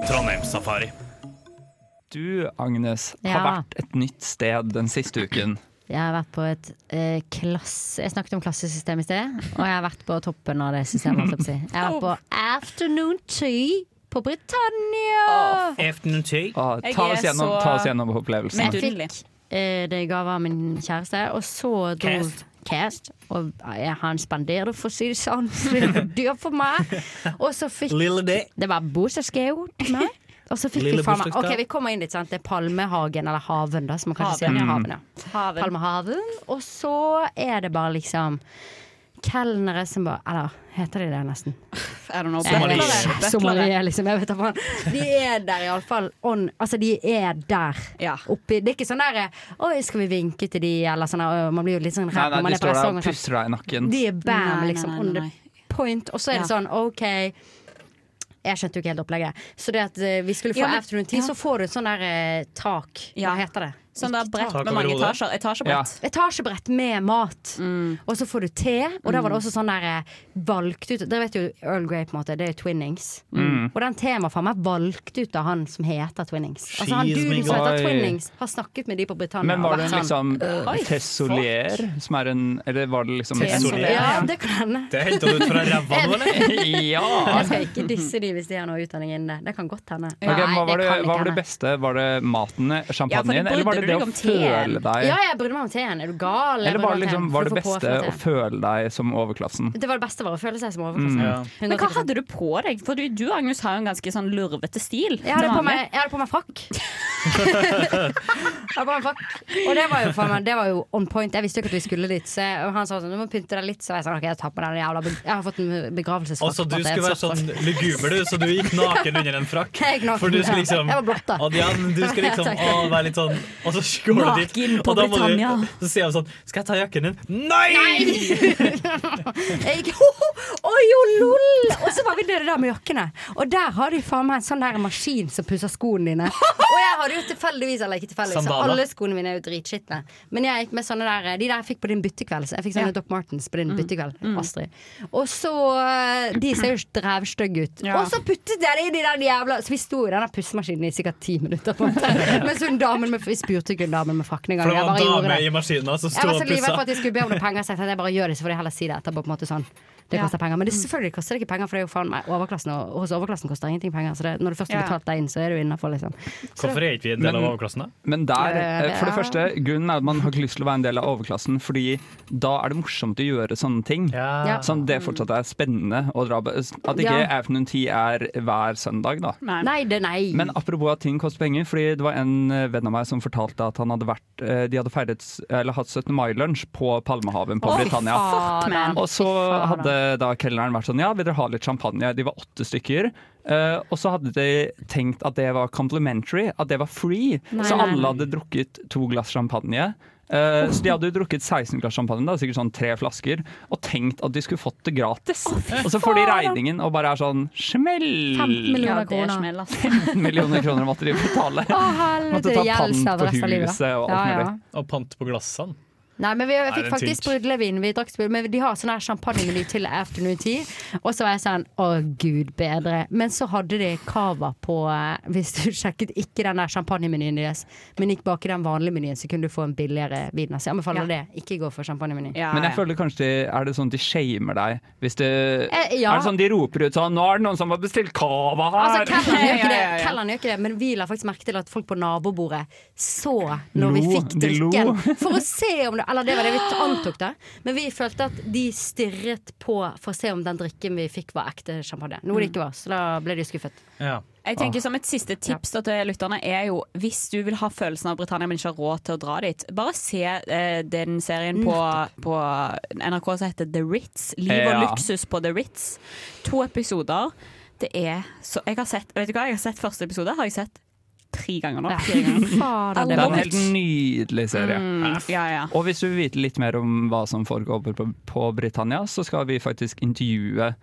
Speaker 12: Trondheimssafari.
Speaker 8: Du, Agnes, har
Speaker 7: Ja.
Speaker 8: vært et nytt sted den siste uken.
Speaker 7: Jeg har vært på et eh, klasse... Jeg snakket om klassesystem i sted, og jeg har vært på toppen av det systemet. holdt Jeg på å si. Jeg har vært på afternoon tea på Britannia!
Speaker 12: Afternoon tea.
Speaker 7: Jeg
Speaker 8: ta, oss
Speaker 7: er
Speaker 8: gjennom,
Speaker 7: så-
Speaker 8: ta oss gjennom opplevelsen.
Speaker 7: Men jeg fikk eh, det i gave av min kjæreste, og så dro
Speaker 8: Cast.
Speaker 7: Cast. Og jeg, han spanderer, for å si det sånn. så Det var dyr for meg. Og så fikk
Speaker 12: Lille D.
Speaker 7: Det var bursdagsgave til meg. Og så fikk
Speaker 15: Lille
Speaker 7: vi faen meg
Speaker 15: bursdagsgave.
Speaker 7: Ok, vi kommer inn dit, sant. Det er Palmehagen, eller Haven, da, som man kanskje
Speaker 15: Haven,
Speaker 7: sier.
Speaker 15: ja.
Speaker 7: Haven, ja.
Speaker 15: Haven.
Speaker 7: Palmehaven. Og så er det bare liksom kelnere som bare Eller heter de det, nesten?
Speaker 10: Er det noe
Speaker 7: Sommelier.
Speaker 10: bøtlere?
Speaker 7: Sommelier, liksom. Jeg vet da faen. De er der iallfall. Altså, de er der. Oppi. Det er ikke sånn derre Oi, skal vi vinke til de, eller sånn der, «Å, Man blir jo litt sånn
Speaker 8: Nei,
Speaker 7: redd
Speaker 8: nei,
Speaker 7: når man
Speaker 8: de
Speaker 7: er på
Speaker 8: står der og
Speaker 7: restaurant. og sånn.
Speaker 8: pusser deg i nakken.
Speaker 7: De er
Speaker 10: Nei,
Speaker 7: bam,
Speaker 10: nei,
Speaker 7: liksom.
Speaker 10: nei,
Speaker 7: On
Speaker 10: nei.
Speaker 7: the point. Og så er det
Speaker 10: Ja.
Speaker 7: sånn, OK. Jeg skjønte jo ikke helt opplegget. Så det at eh, vi skulle få
Speaker 10: Ja, men-
Speaker 7: afternoon tea,
Speaker 10: ja.
Speaker 7: så får du et sånn der eh, tak. Hva heter det?
Speaker 10: Sånn der brett
Speaker 7: Tak
Speaker 10: med
Speaker 7: over
Speaker 10: mange
Speaker 7: hodet.
Speaker 10: etasjer. Etasjebrett.
Speaker 7: Etasjebrett med mat.
Speaker 10: Mm.
Speaker 7: Og så får du te, og der var det også sånn der eh, valgt ut Dere vet jo Earl Grey, på en måte. Det er jo Twinnings.
Speaker 15: Mm.
Speaker 7: Og den teen var faen meg valgt ut av han som heter Twinnings. Altså han
Speaker 8: Jeez,
Speaker 7: duden
Speaker 8: men
Speaker 7: som
Speaker 8: gøy.
Speaker 7: heter Twinnings, har snakket med de på Britannia.
Speaker 8: Men var
Speaker 7: og
Speaker 8: det
Speaker 7: vært
Speaker 8: en liksom
Speaker 7: sånn, «Oi,
Speaker 8: tessolier? Som er en Eller var det liksom en-
Speaker 7: Tessolier. Ja, det kan hende.
Speaker 8: Det hentet du ut fra ræva nå, eller? Ja.
Speaker 7: Jeg skal ikke disse de hvis de har noe utdanning innen det. Det kan godt hende.
Speaker 8: Ok, men hva,
Speaker 7: Nei,
Speaker 8: var det,
Speaker 7: kan ikke
Speaker 8: hva var det
Speaker 7: hende.
Speaker 8: beste? Var det maten, eh,
Speaker 7: Ja,
Speaker 8: champagnen,
Speaker 7: for
Speaker 8: eller var det
Speaker 7: brydde
Speaker 8: det
Speaker 7: du
Speaker 8: å
Speaker 7: deg om teen?
Speaker 8: føle deg
Speaker 7: Ja, jeg brydde meg om teen. Er du gal? Jeg
Speaker 8: Eller var
Speaker 7: brydde meg om
Speaker 8: det, liksom,
Speaker 7: teen.
Speaker 8: var det
Speaker 7: For å få
Speaker 8: beste
Speaker 7: påfyll av
Speaker 8: å føle deg som overklassen?
Speaker 7: teen. Det var det beste, var å føle seg som overklassen.
Speaker 8: Mm.
Speaker 10: Men hva hadde du på deg? For du, Agnes, har jo en ganske sånn lurvete stil.
Speaker 7: Jeg hadde på meg, jeg hadde på meg frakk. jeg hadde på meg frakk. Og det var, jo, faen meg, det var jo on point. Jeg visste jo ikke at vi skulle dit. Så jeg, og han sa sånn, du må pynte deg litt. Så jeg sa ok, jeg tar på den jævla be- Jeg har fått en
Speaker 12: Og
Speaker 7: begravelsesfrakk.
Speaker 12: så du
Speaker 7: på at det er
Speaker 12: skulle
Speaker 7: en
Speaker 12: være
Speaker 7: svart
Speaker 12: sånn
Speaker 7: frakk.
Speaker 12: luguber, du, så du gikk naken under en frakk.
Speaker 7: Jeg gikk naken,
Speaker 12: For du skulle
Speaker 7: ja.
Speaker 12: liksom
Speaker 7: Jeg var blotta.
Speaker 12: Å, ja, men du skulle liksom
Speaker 7: Takk.
Speaker 12: å, være litt sånn Og så går du dit,
Speaker 7: Naken på
Speaker 12: og da må du
Speaker 7: Britannia.
Speaker 12: Så sier han sånn Skal jeg ta jakken din? Nei!
Speaker 7: Jeg gikk ho, ho, oi, jo, lol! Og så var vi nede der med jakkene. Og der har de faen meg en sånn der maskin som pusser skoene dine. Og jeg hadde jo tilfeldigvis, eller ikke tilfeldigvis, så
Speaker 15: Sandaler.
Speaker 7: alle skoene mine er jo dritskitne. Men jeg gikk med sånne der De der jeg fikk på din byttekveld. Så jeg fikk sånne
Speaker 15: Ja.
Speaker 7: Doc Martens på
Speaker 12: Mm.
Speaker 7: din byttekveld, Astrid. Og så eh, De ser jo drevstygge ut.
Speaker 15: Ja.
Speaker 7: Og så puttet jeg det inn i den jævla Så vi sto i den der pussemaskinen i sikkert ti minutter. På en måte. Mens hun damen med Vi spurte ikke hun damen med frakken engang.
Speaker 12: For det
Speaker 7: Jeg
Speaker 12: var
Speaker 7: bare
Speaker 12: en
Speaker 7: gjorde
Speaker 12: dame
Speaker 7: det.
Speaker 12: i maskinen som
Speaker 7: Jeg
Speaker 12: sto
Speaker 7: var
Speaker 12: og
Speaker 7: så livredd altså, for at
Speaker 12: pussa.
Speaker 7: de skulle be om noen penger. Så jeg tenkte jeg bare gjør det, så får de heller si det etterpå. På en måte sånn. Det
Speaker 15: Ja.
Speaker 7: koster penger. Men det, selvfølgelig koster det ikke penger, for det er jo faen meg overklassen. Og hos overklassen koster ingenting penger. Så det, når du først har
Speaker 12: Ja.
Speaker 7: betalt deg inn, så er du innafor, liksom. Så
Speaker 12: Hvorfor er ikke vi en del av overklassen, da?
Speaker 8: Men der,
Speaker 7: Eh,
Speaker 8: eh, for det
Speaker 7: ja.
Speaker 8: første, grunnen er at man har ikke lyst til å være en del av overklassen, fordi da er det morsomt å gjøre sånne ting.
Speaker 7: Ja.
Speaker 8: Sånn det fortsatt er spennende å dra på. At ikke
Speaker 7: Ja.
Speaker 8: afternoon tea er hver søndag, da.
Speaker 7: Nei. det nei.
Speaker 8: Men apropos at ting koster penger, fordi det var en eh, venn av meg som fortalte at han hadde vært eh, De hadde feiret, s- eller hatt 17. mai-lunsj på Palmehaven på
Speaker 7: Å, fy
Speaker 8: Britannia.
Speaker 7: faen. Fuck, man.
Speaker 8: Og så hadde eh, da kelneren vært sånn Ja, vil dere ha litt champagne? De var åtte stykker. Eh, og så hadde de tenkt at det var complimentary, at det var free.
Speaker 19: Nei,
Speaker 8: så
Speaker 19: nei,
Speaker 8: alle
Speaker 19: nei.
Speaker 8: hadde drukket to glass champagne. Eh, så de hadde jo drukket 16 glass champagne, da, sikkert sånn tre flasker, og tenkt at de skulle fått det gratis. og så får de regningen og bare er sånn smell!
Speaker 10: 15 millioner
Speaker 8: Ja, det
Speaker 10: kroner.
Speaker 8: smell, altså. 15 millioner kroner måtte de betale.
Speaker 7: Å, helvete,
Speaker 8: måtte ta
Speaker 7: det gjelder
Speaker 8: pant
Speaker 7: seg
Speaker 8: på
Speaker 7: resten av livet.
Speaker 8: huset og alt
Speaker 7: Ja, ja.
Speaker 8: mulig.
Speaker 12: Og pant på glassene.
Speaker 7: Nei, men vi
Speaker 12: Nei,
Speaker 7: fikk
Speaker 12: den er
Speaker 7: faktisk
Speaker 12: tynt.
Speaker 7: brudlevin. Vi drakk sprudlevin, men de har sånn her champagnemeny til afternoon tea. Og så var jeg sånn Å, gud bedre. Men så hadde de cava på eh, Hvis du sjekket ikke den der champagnemenyen deres, men gikk bak i den vanlige menyen, så kunne du få en billigere vin. Så jeg anbefaler det. Ikke gå for champagnemeny.
Speaker 8: Men jeg føler kanskje de, er det sånn de shamer deg hvis det
Speaker 7: Eh, ja.
Speaker 8: Er det sånn de roper ut sånn 'Nå er det noen som har bestilt cava her!'
Speaker 7: Altså, Kellan gjør ikke det,
Speaker 8: Ja, ja, ja.
Speaker 7: Kellan gjør ikke det, men vi la faktisk merke til at folk på nabobordet så når vi
Speaker 8: Lo,
Speaker 7: fikk
Speaker 8: de lo.
Speaker 7: drikken. For å se om det Eller det var det vi antok, da. Men vi følte at de stirret på for å se om den drikken vi fikk, var ekte champagne. Noe
Speaker 8: Mm.
Speaker 7: det ikke var, så da ble de skuffet.
Speaker 10: Jeg tenker som Et siste tips da til lytterne er jo hvis du vil ha følelsen av Britannia, men ikke har råd til å dra dit, bare se eh, den serien på, på NRK som heter The Ritz. Liv og
Speaker 8: Ja.
Speaker 10: luksus på The Ritz. To episoder. Det er så Jeg har sett, vet du hva, jeg har sett første episode. Har jeg sett tre ganger nå. Fire ganger.
Speaker 8: Det er en
Speaker 10: Alvorlig.
Speaker 8: helt nydelig serie.
Speaker 10: Mm, ja, ja.
Speaker 8: Og hvis du vil vite litt mer om hva som foregår på, på Britannia, så skal vi faktisk intervjue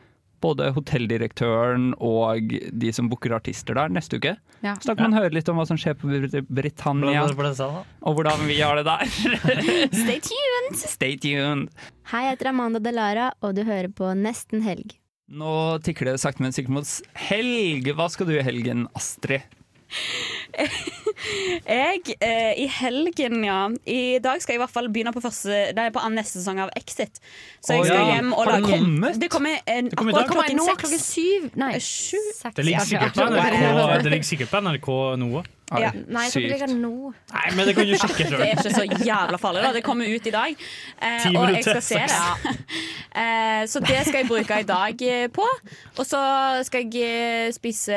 Speaker 8: både hotelldirektøren og de som booker artister der neste uke.
Speaker 7: Ja.
Speaker 8: Så da kan man høre litt om hva som skjer på Br- Britannia,
Speaker 12: Hvordan går det på disse, da?
Speaker 8: og hvordan vi har det der.
Speaker 20: Stay tuned!
Speaker 8: Stay tuned!
Speaker 20: Hei, jeg heter Amanda Delara, og du hører på Nesten helg.
Speaker 8: Nå tikker det sakte, men sikkert mot s- helg. Hva skal du i helgen, Astrid?
Speaker 10: Jeg, eh, i helgen, ja I dag skal jeg i hvert fall begynne på, første, nei, på andre neste sesong av Exit. Så jeg
Speaker 8: Å,
Speaker 10: skal
Speaker 8: ja.
Speaker 10: hjem og
Speaker 8: Har det
Speaker 10: lage
Speaker 8: kommet?
Speaker 10: Det kommer, eh,
Speaker 12: Det kommer i dag.
Speaker 10: akkurat
Speaker 12: Kommer
Speaker 10: klokken
Speaker 12: nå,
Speaker 10: seks.
Speaker 12: klokken
Speaker 7: syv? Nei,
Speaker 10: sju?
Speaker 12: Det ligger sikkert på NRK, det ligger sikkert på NRK nå.
Speaker 10: Ja.
Speaker 20: nå.
Speaker 12: Nei, men det kan du sjekke
Speaker 10: Det
Speaker 12: selv.
Speaker 10: er ikke så jævla farlig, da. Det kommer ut i dag. Eh,
Speaker 12: Ti
Speaker 10: og jeg
Speaker 12: minutter,
Speaker 10: skal se det.
Speaker 12: seks.
Speaker 10: Eh, så det skal jeg bruke i dag eh, på. Og så skal jeg eh, spise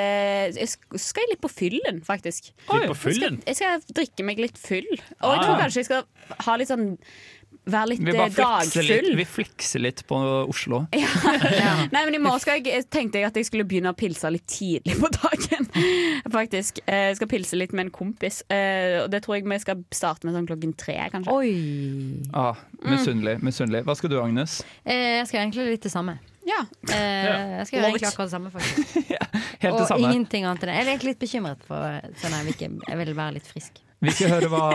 Speaker 10: Jeg sk- skal jeg litt på fyllen, faktisk.
Speaker 12: Litt på fyllen?
Speaker 10: Jeg skal, jeg skal drikke meg litt full. Og
Speaker 8: Ah,
Speaker 10: jeg tror
Speaker 8: ja.
Speaker 10: kanskje jeg skal ha litt sånn Være litt
Speaker 8: Vi
Speaker 10: eh,
Speaker 8: bare flekser litt,
Speaker 10: dagfull.
Speaker 8: vi flekser litt på Oslo.
Speaker 10: Nei, men i morgen skal jeg, eh, tenkte jeg at jeg skulle begynne å pilse litt tidlig på dagen. Faktisk. Eh, Jeg skal pilse litt med en kompis. Eh, Og det tror jeg vi skal starte med sånn klokken tre, kanskje.
Speaker 8: Ah, misunnelig. misunnelig. Hva skal du, Agnes?
Speaker 7: Eh, jeg skal egentlig litt det samme.
Speaker 10: Ja.
Speaker 7: Eh, jeg skal gjøre
Speaker 10: Love it.
Speaker 7: egentlig akkurat det samme, faktisk.
Speaker 8: Helt det
Speaker 7: Og
Speaker 8: samme.
Speaker 7: ingenting annet enn det. Jeg er egentlig litt bekymret for sånn her, hvilken Jeg vil være litt frisk.
Speaker 8: Vi skal høre hva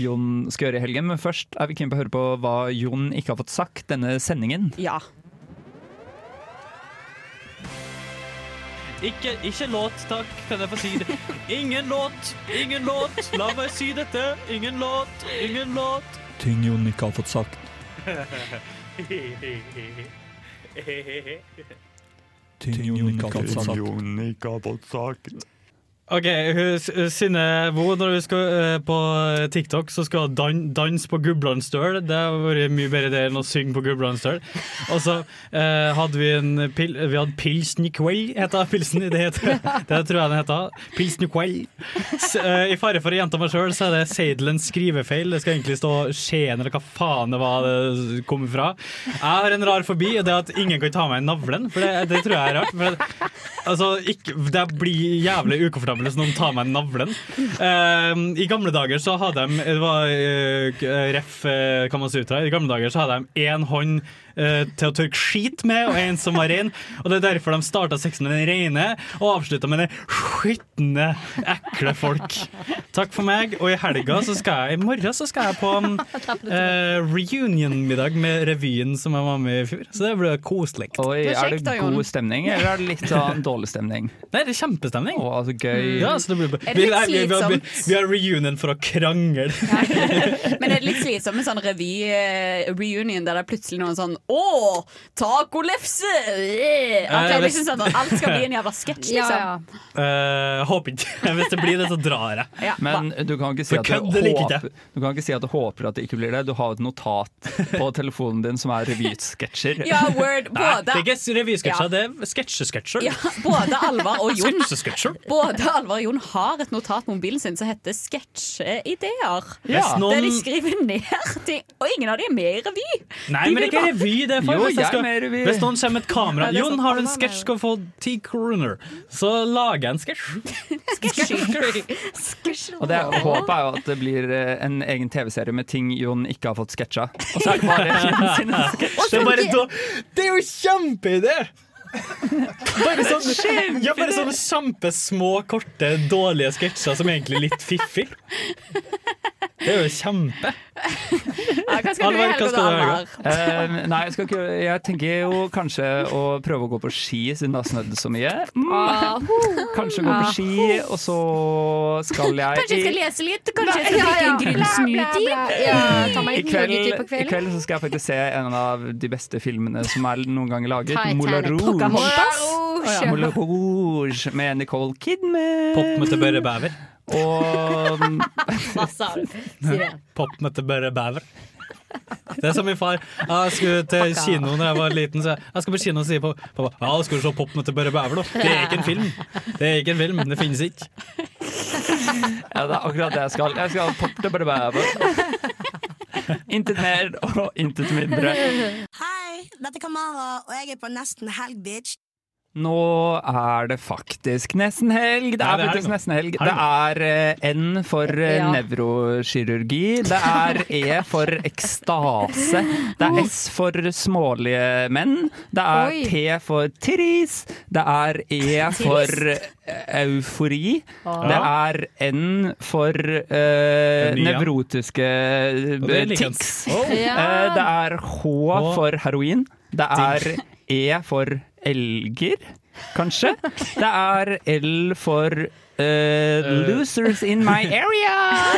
Speaker 8: Jon skal gjøre i helgen, men først er vi keen på å høre på hva Jon ikke har fått sagt denne sendingen.
Speaker 10: Ja.
Speaker 12: Ikke, ikke låt, takk, kan jeg få si det. Ingen låt, ingen låt, la meg si dette. Ingen låt, ingen låt.
Speaker 8: Ting Jon ikke har fått sagt. Ting Jon ikke har fått sagt.
Speaker 12: OK, hun- hun- Synne Vo, når du skal eh, på TikTok, så skal hun dan danse på Gudbrandsdøl. Det har vært mye bedre det enn å synge på Gudbrandsdøl. Og så eh, hadde vi en pil Vi hadde Pilsen i kveld, heter pilsen. Det, heter, det tror jeg den heter. Pilsen i kveld. S eh, I fare for å gjenta meg sjøl, så er det Seidelens skrivefeil. Det skal egentlig stå Skien, eller hva faen det var det kom fra. Jeg har en rar forbi, og det er at ingen kan ta meg i navlen. For det, det tror jeg er rart. For det, Altså, ikke, det blir jævlig ukomfortabelt hvis noen tar meg i navlen. Eh, I gamle dager så hadde de Det var eh, ref uh, Kamasutra. I gamle dager så hadde de én hånd eh, til å tørke skit med, og én som var ren. Og det er derfor de starta sexen med den rene, og avslutta med den skitne, ekle folk. Takk for meg. Og i helga så skal jeg I morgen så skal jeg på mm, eh, reunion-middag med revyen som jeg var med i fjor. Så det blir koselig.
Speaker 8: Oi, er det god stemning, eller er det litt sånn dårlig stemning?
Speaker 12: Nei, det er kjempestemning.
Speaker 8: Å, så gøy.
Speaker 12: Ja, så det blir
Speaker 10: Er
Speaker 12: bare,
Speaker 10: det
Speaker 12: vi,
Speaker 10: litt
Speaker 12: nei, vi, vi, har- vi,
Speaker 10: slitsomt?
Speaker 12: vi har reunion for å krangle.
Speaker 10: Men det er litt slitsomt med sånn revy-reunion der det er plutselig noen sånn Å, tacolefse! eh!» At det er liksom sånn at alt skal bli en jævla sketsj,
Speaker 7: Ja,
Speaker 10: liksom.
Speaker 7: ja.
Speaker 12: Eh, håper ikke. Hvis det blir det, så drar jeg.
Speaker 8: Men du kan, ikke si
Speaker 12: For
Speaker 8: at
Speaker 12: kødd eller
Speaker 8: du
Speaker 12: ikke?
Speaker 8: håper, du kan ikke si at du håper at det ikke blir det. Du har et notat på telefonen din som er revysketsjer.
Speaker 10: Ja, word,
Speaker 12: Nei,
Speaker 10: både.
Speaker 12: det er ikke revysketsjer,
Speaker 10: Ja.
Speaker 12: det er sketsjesketsjer.
Speaker 10: Ja, både Alvar og Jon.
Speaker 12: Sketsjesketsjer.
Speaker 10: Både Alvar og Jon har et notat på mobilen sin som heter Sketsjeideer.
Speaker 12: Ja. Hvis noen-
Speaker 10: Der de skriver ned ting, og ingen av de er med i revy.
Speaker 12: Nei,
Speaker 10: de
Speaker 12: men det er
Speaker 10: vil
Speaker 12: ikke revy, gi det for?
Speaker 8: Jo,
Speaker 12: hvis, jeg
Speaker 8: jeg
Speaker 12: skal,
Speaker 8: mer vil-
Speaker 12: hvis noen kommer med et kamera
Speaker 8: Ja, det er
Speaker 12: Jon,
Speaker 10: sånn
Speaker 8: sant.
Speaker 12: har du en sketsj skal få ti kroner? Så lager jeg en sketsj.
Speaker 8: Og det jeg håper er jo at det blir eh, en egen TV-serie med ting Jon ikke har fått sketsja. Og så er det bare sine sketsjer.
Speaker 12: Det er bare da- Det er jo kjempeidé! Bare sånne,
Speaker 8: Kjempeidé!
Speaker 12: ja, bare sånne kjempesmå, korte, dårlige sketsjer som er egentlig er litt fiffig. Det er jo kjempe.
Speaker 10: Ja, hva skal du i
Speaker 8: Alvar,
Speaker 10: helga, da, Alvar?
Speaker 8: Eh, nei, jeg, skal ikke, jeg tenker jo kanskje å prøve å gå på ski, siden det har snødd så mye. Mm.
Speaker 10: Ah.
Speaker 8: Kanskje gå på ski, og så skal jeg
Speaker 10: Kanskje jeg
Speaker 8: i-
Speaker 10: skal lese litt? Kanskje jeg skal drikke en grønn smoothie?
Speaker 8: I kveld, I kveld så skal jeg faktisk se en av de beste filmene som er noen gang laget.
Speaker 10: Titanic,
Speaker 8: Moulin Rouge.
Speaker 10: Pocahontas.
Speaker 8: Å ja, Moulin Rouge med Nicole Kidman.
Speaker 12: Poppmøte Børre Bæver.
Speaker 8: Og
Speaker 10: Hva sa du? Si det.
Speaker 12: Poppmøte Børre Bæver. Det er som min far. Jeg skulle til kino da jeg var liten. Så jeg, jeg skal på kino og si på pappa Ja, skal du se Poppmøte Børre Bæver, da? Det er ikke en film. Det er ikke en film. Det finnes ikke.
Speaker 8: Ja, det er akkurat det jeg skal. Jeg skal poppe bare bæve. Intet mer og intet mindre.
Speaker 21: Hei, dette er Kamara, og jeg er på Nesten Helg, bitch.
Speaker 8: Nå er det faktisk nesten helg. Det
Speaker 12: Ja,
Speaker 8: er
Speaker 12: det er
Speaker 8: faktisk
Speaker 12: helg nå.
Speaker 8: nesten helg.
Speaker 12: Helg
Speaker 8: Det er eh, N for eh,
Speaker 12: Ja.
Speaker 8: nevrokirurgi. Det er E for ekstase. Det
Speaker 21: Oh.
Speaker 8: er S for smålige menn. Det er
Speaker 12: Oi.
Speaker 8: T E for tris. Det er E for
Speaker 12: Trist.
Speaker 8: eh, eufori.
Speaker 12: Ah.
Speaker 8: Det er N for eh,
Speaker 12: En ny, ja.
Speaker 8: nevrotiske
Speaker 12: Og det
Speaker 8: eh,
Speaker 12: liker jeg.
Speaker 8: tics.
Speaker 12: Oh.
Speaker 8: Eh, Det er H for heroin. Det er E for elger, kanskje. Det er L for eh, losers in my area.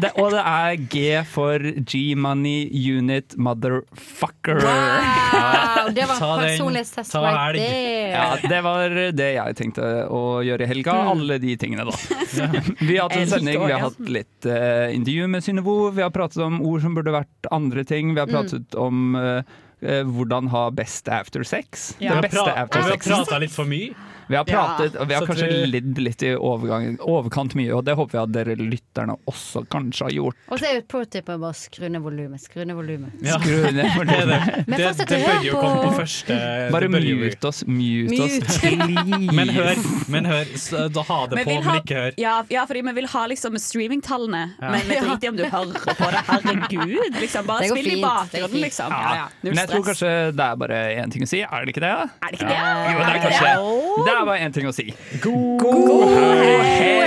Speaker 8: Det, og det er G for G-money unit motherfucker.
Speaker 7: Wow, det var
Speaker 8: Ta den.
Speaker 7: personlighetstest
Speaker 8: Ta
Speaker 7: right
Speaker 8: helg.
Speaker 7: there.
Speaker 8: Ja,
Speaker 12: Eh.
Speaker 8: det var det jeg tenkte å gjøre i helga.
Speaker 12: Mm.
Speaker 8: Alle de tingene, da. Vi har hatt en
Speaker 7: Jeg liker
Speaker 8: sending, vi har
Speaker 7: også, ja.
Speaker 8: hatt litt eh, intervju med Synnøvo. Vi har pratet om ord som burde vært andre
Speaker 12: Mm.
Speaker 8: ting. Vi har pratet om eh, eh, hvordan ha best after sex.
Speaker 12: Vi har
Speaker 8: Det beste
Speaker 12: pra-
Speaker 8: after
Speaker 12: vi har
Speaker 8: sexen.
Speaker 12: prata litt for mye.
Speaker 8: Vi har pratet,
Speaker 12: Ja.
Speaker 8: og vi har
Speaker 12: Så
Speaker 8: kanskje
Speaker 12: tror-
Speaker 8: lidd litt i overgang, overkant mye, og det håper jeg at dere lytterne også kanskje har gjort.
Speaker 7: Og så er jo et pro tip å bare skru ned volumet. Skru ned volumet.
Speaker 8: Ja. Skru ned for
Speaker 12: Det, det,
Speaker 7: Men
Speaker 12: det,
Speaker 7: fortsett å
Speaker 12: det bør
Speaker 7: høre
Speaker 12: jo
Speaker 7: på-
Speaker 12: komme på første det
Speaker 8: Bare
Speaker 12: bør jo-
Speaker 8: mute oss, mute, oss.
Speaker 12: Mute. Men hør, men hør. Så, da ha det
Speaker 10: Vi
Speaker 12: på,
Speaker 10: vil ha-
Speaker 12: men ikke hør.
Speaker 10: Ja, ja, fordi vi vil ha liksom streamingtallene.
Speaker 12: Ja.
Speaker 10: Men vi driter i om du hører på det. Herregud. Liksom, bare
Speaker 7: Det går
Speaker 10: spill i
Speaker 7: fint, det
Speaker 10: bakgrunnen,
Speaker 7: går fint.
Speaker 10: liksom. Ja, ja.
Speaker 8: Ja, men
Speaker 10: Null
Speaker 8: jeg tror
Speaker 10: stress.
Speaker 8: kanskje det er bare én ting å si, er det ikke det? da?
Speaker 10: Er det ikke det?
Speaker 8: Jo, det er kanskje det. er bare én ting å si. God,
Speaker 10: helg!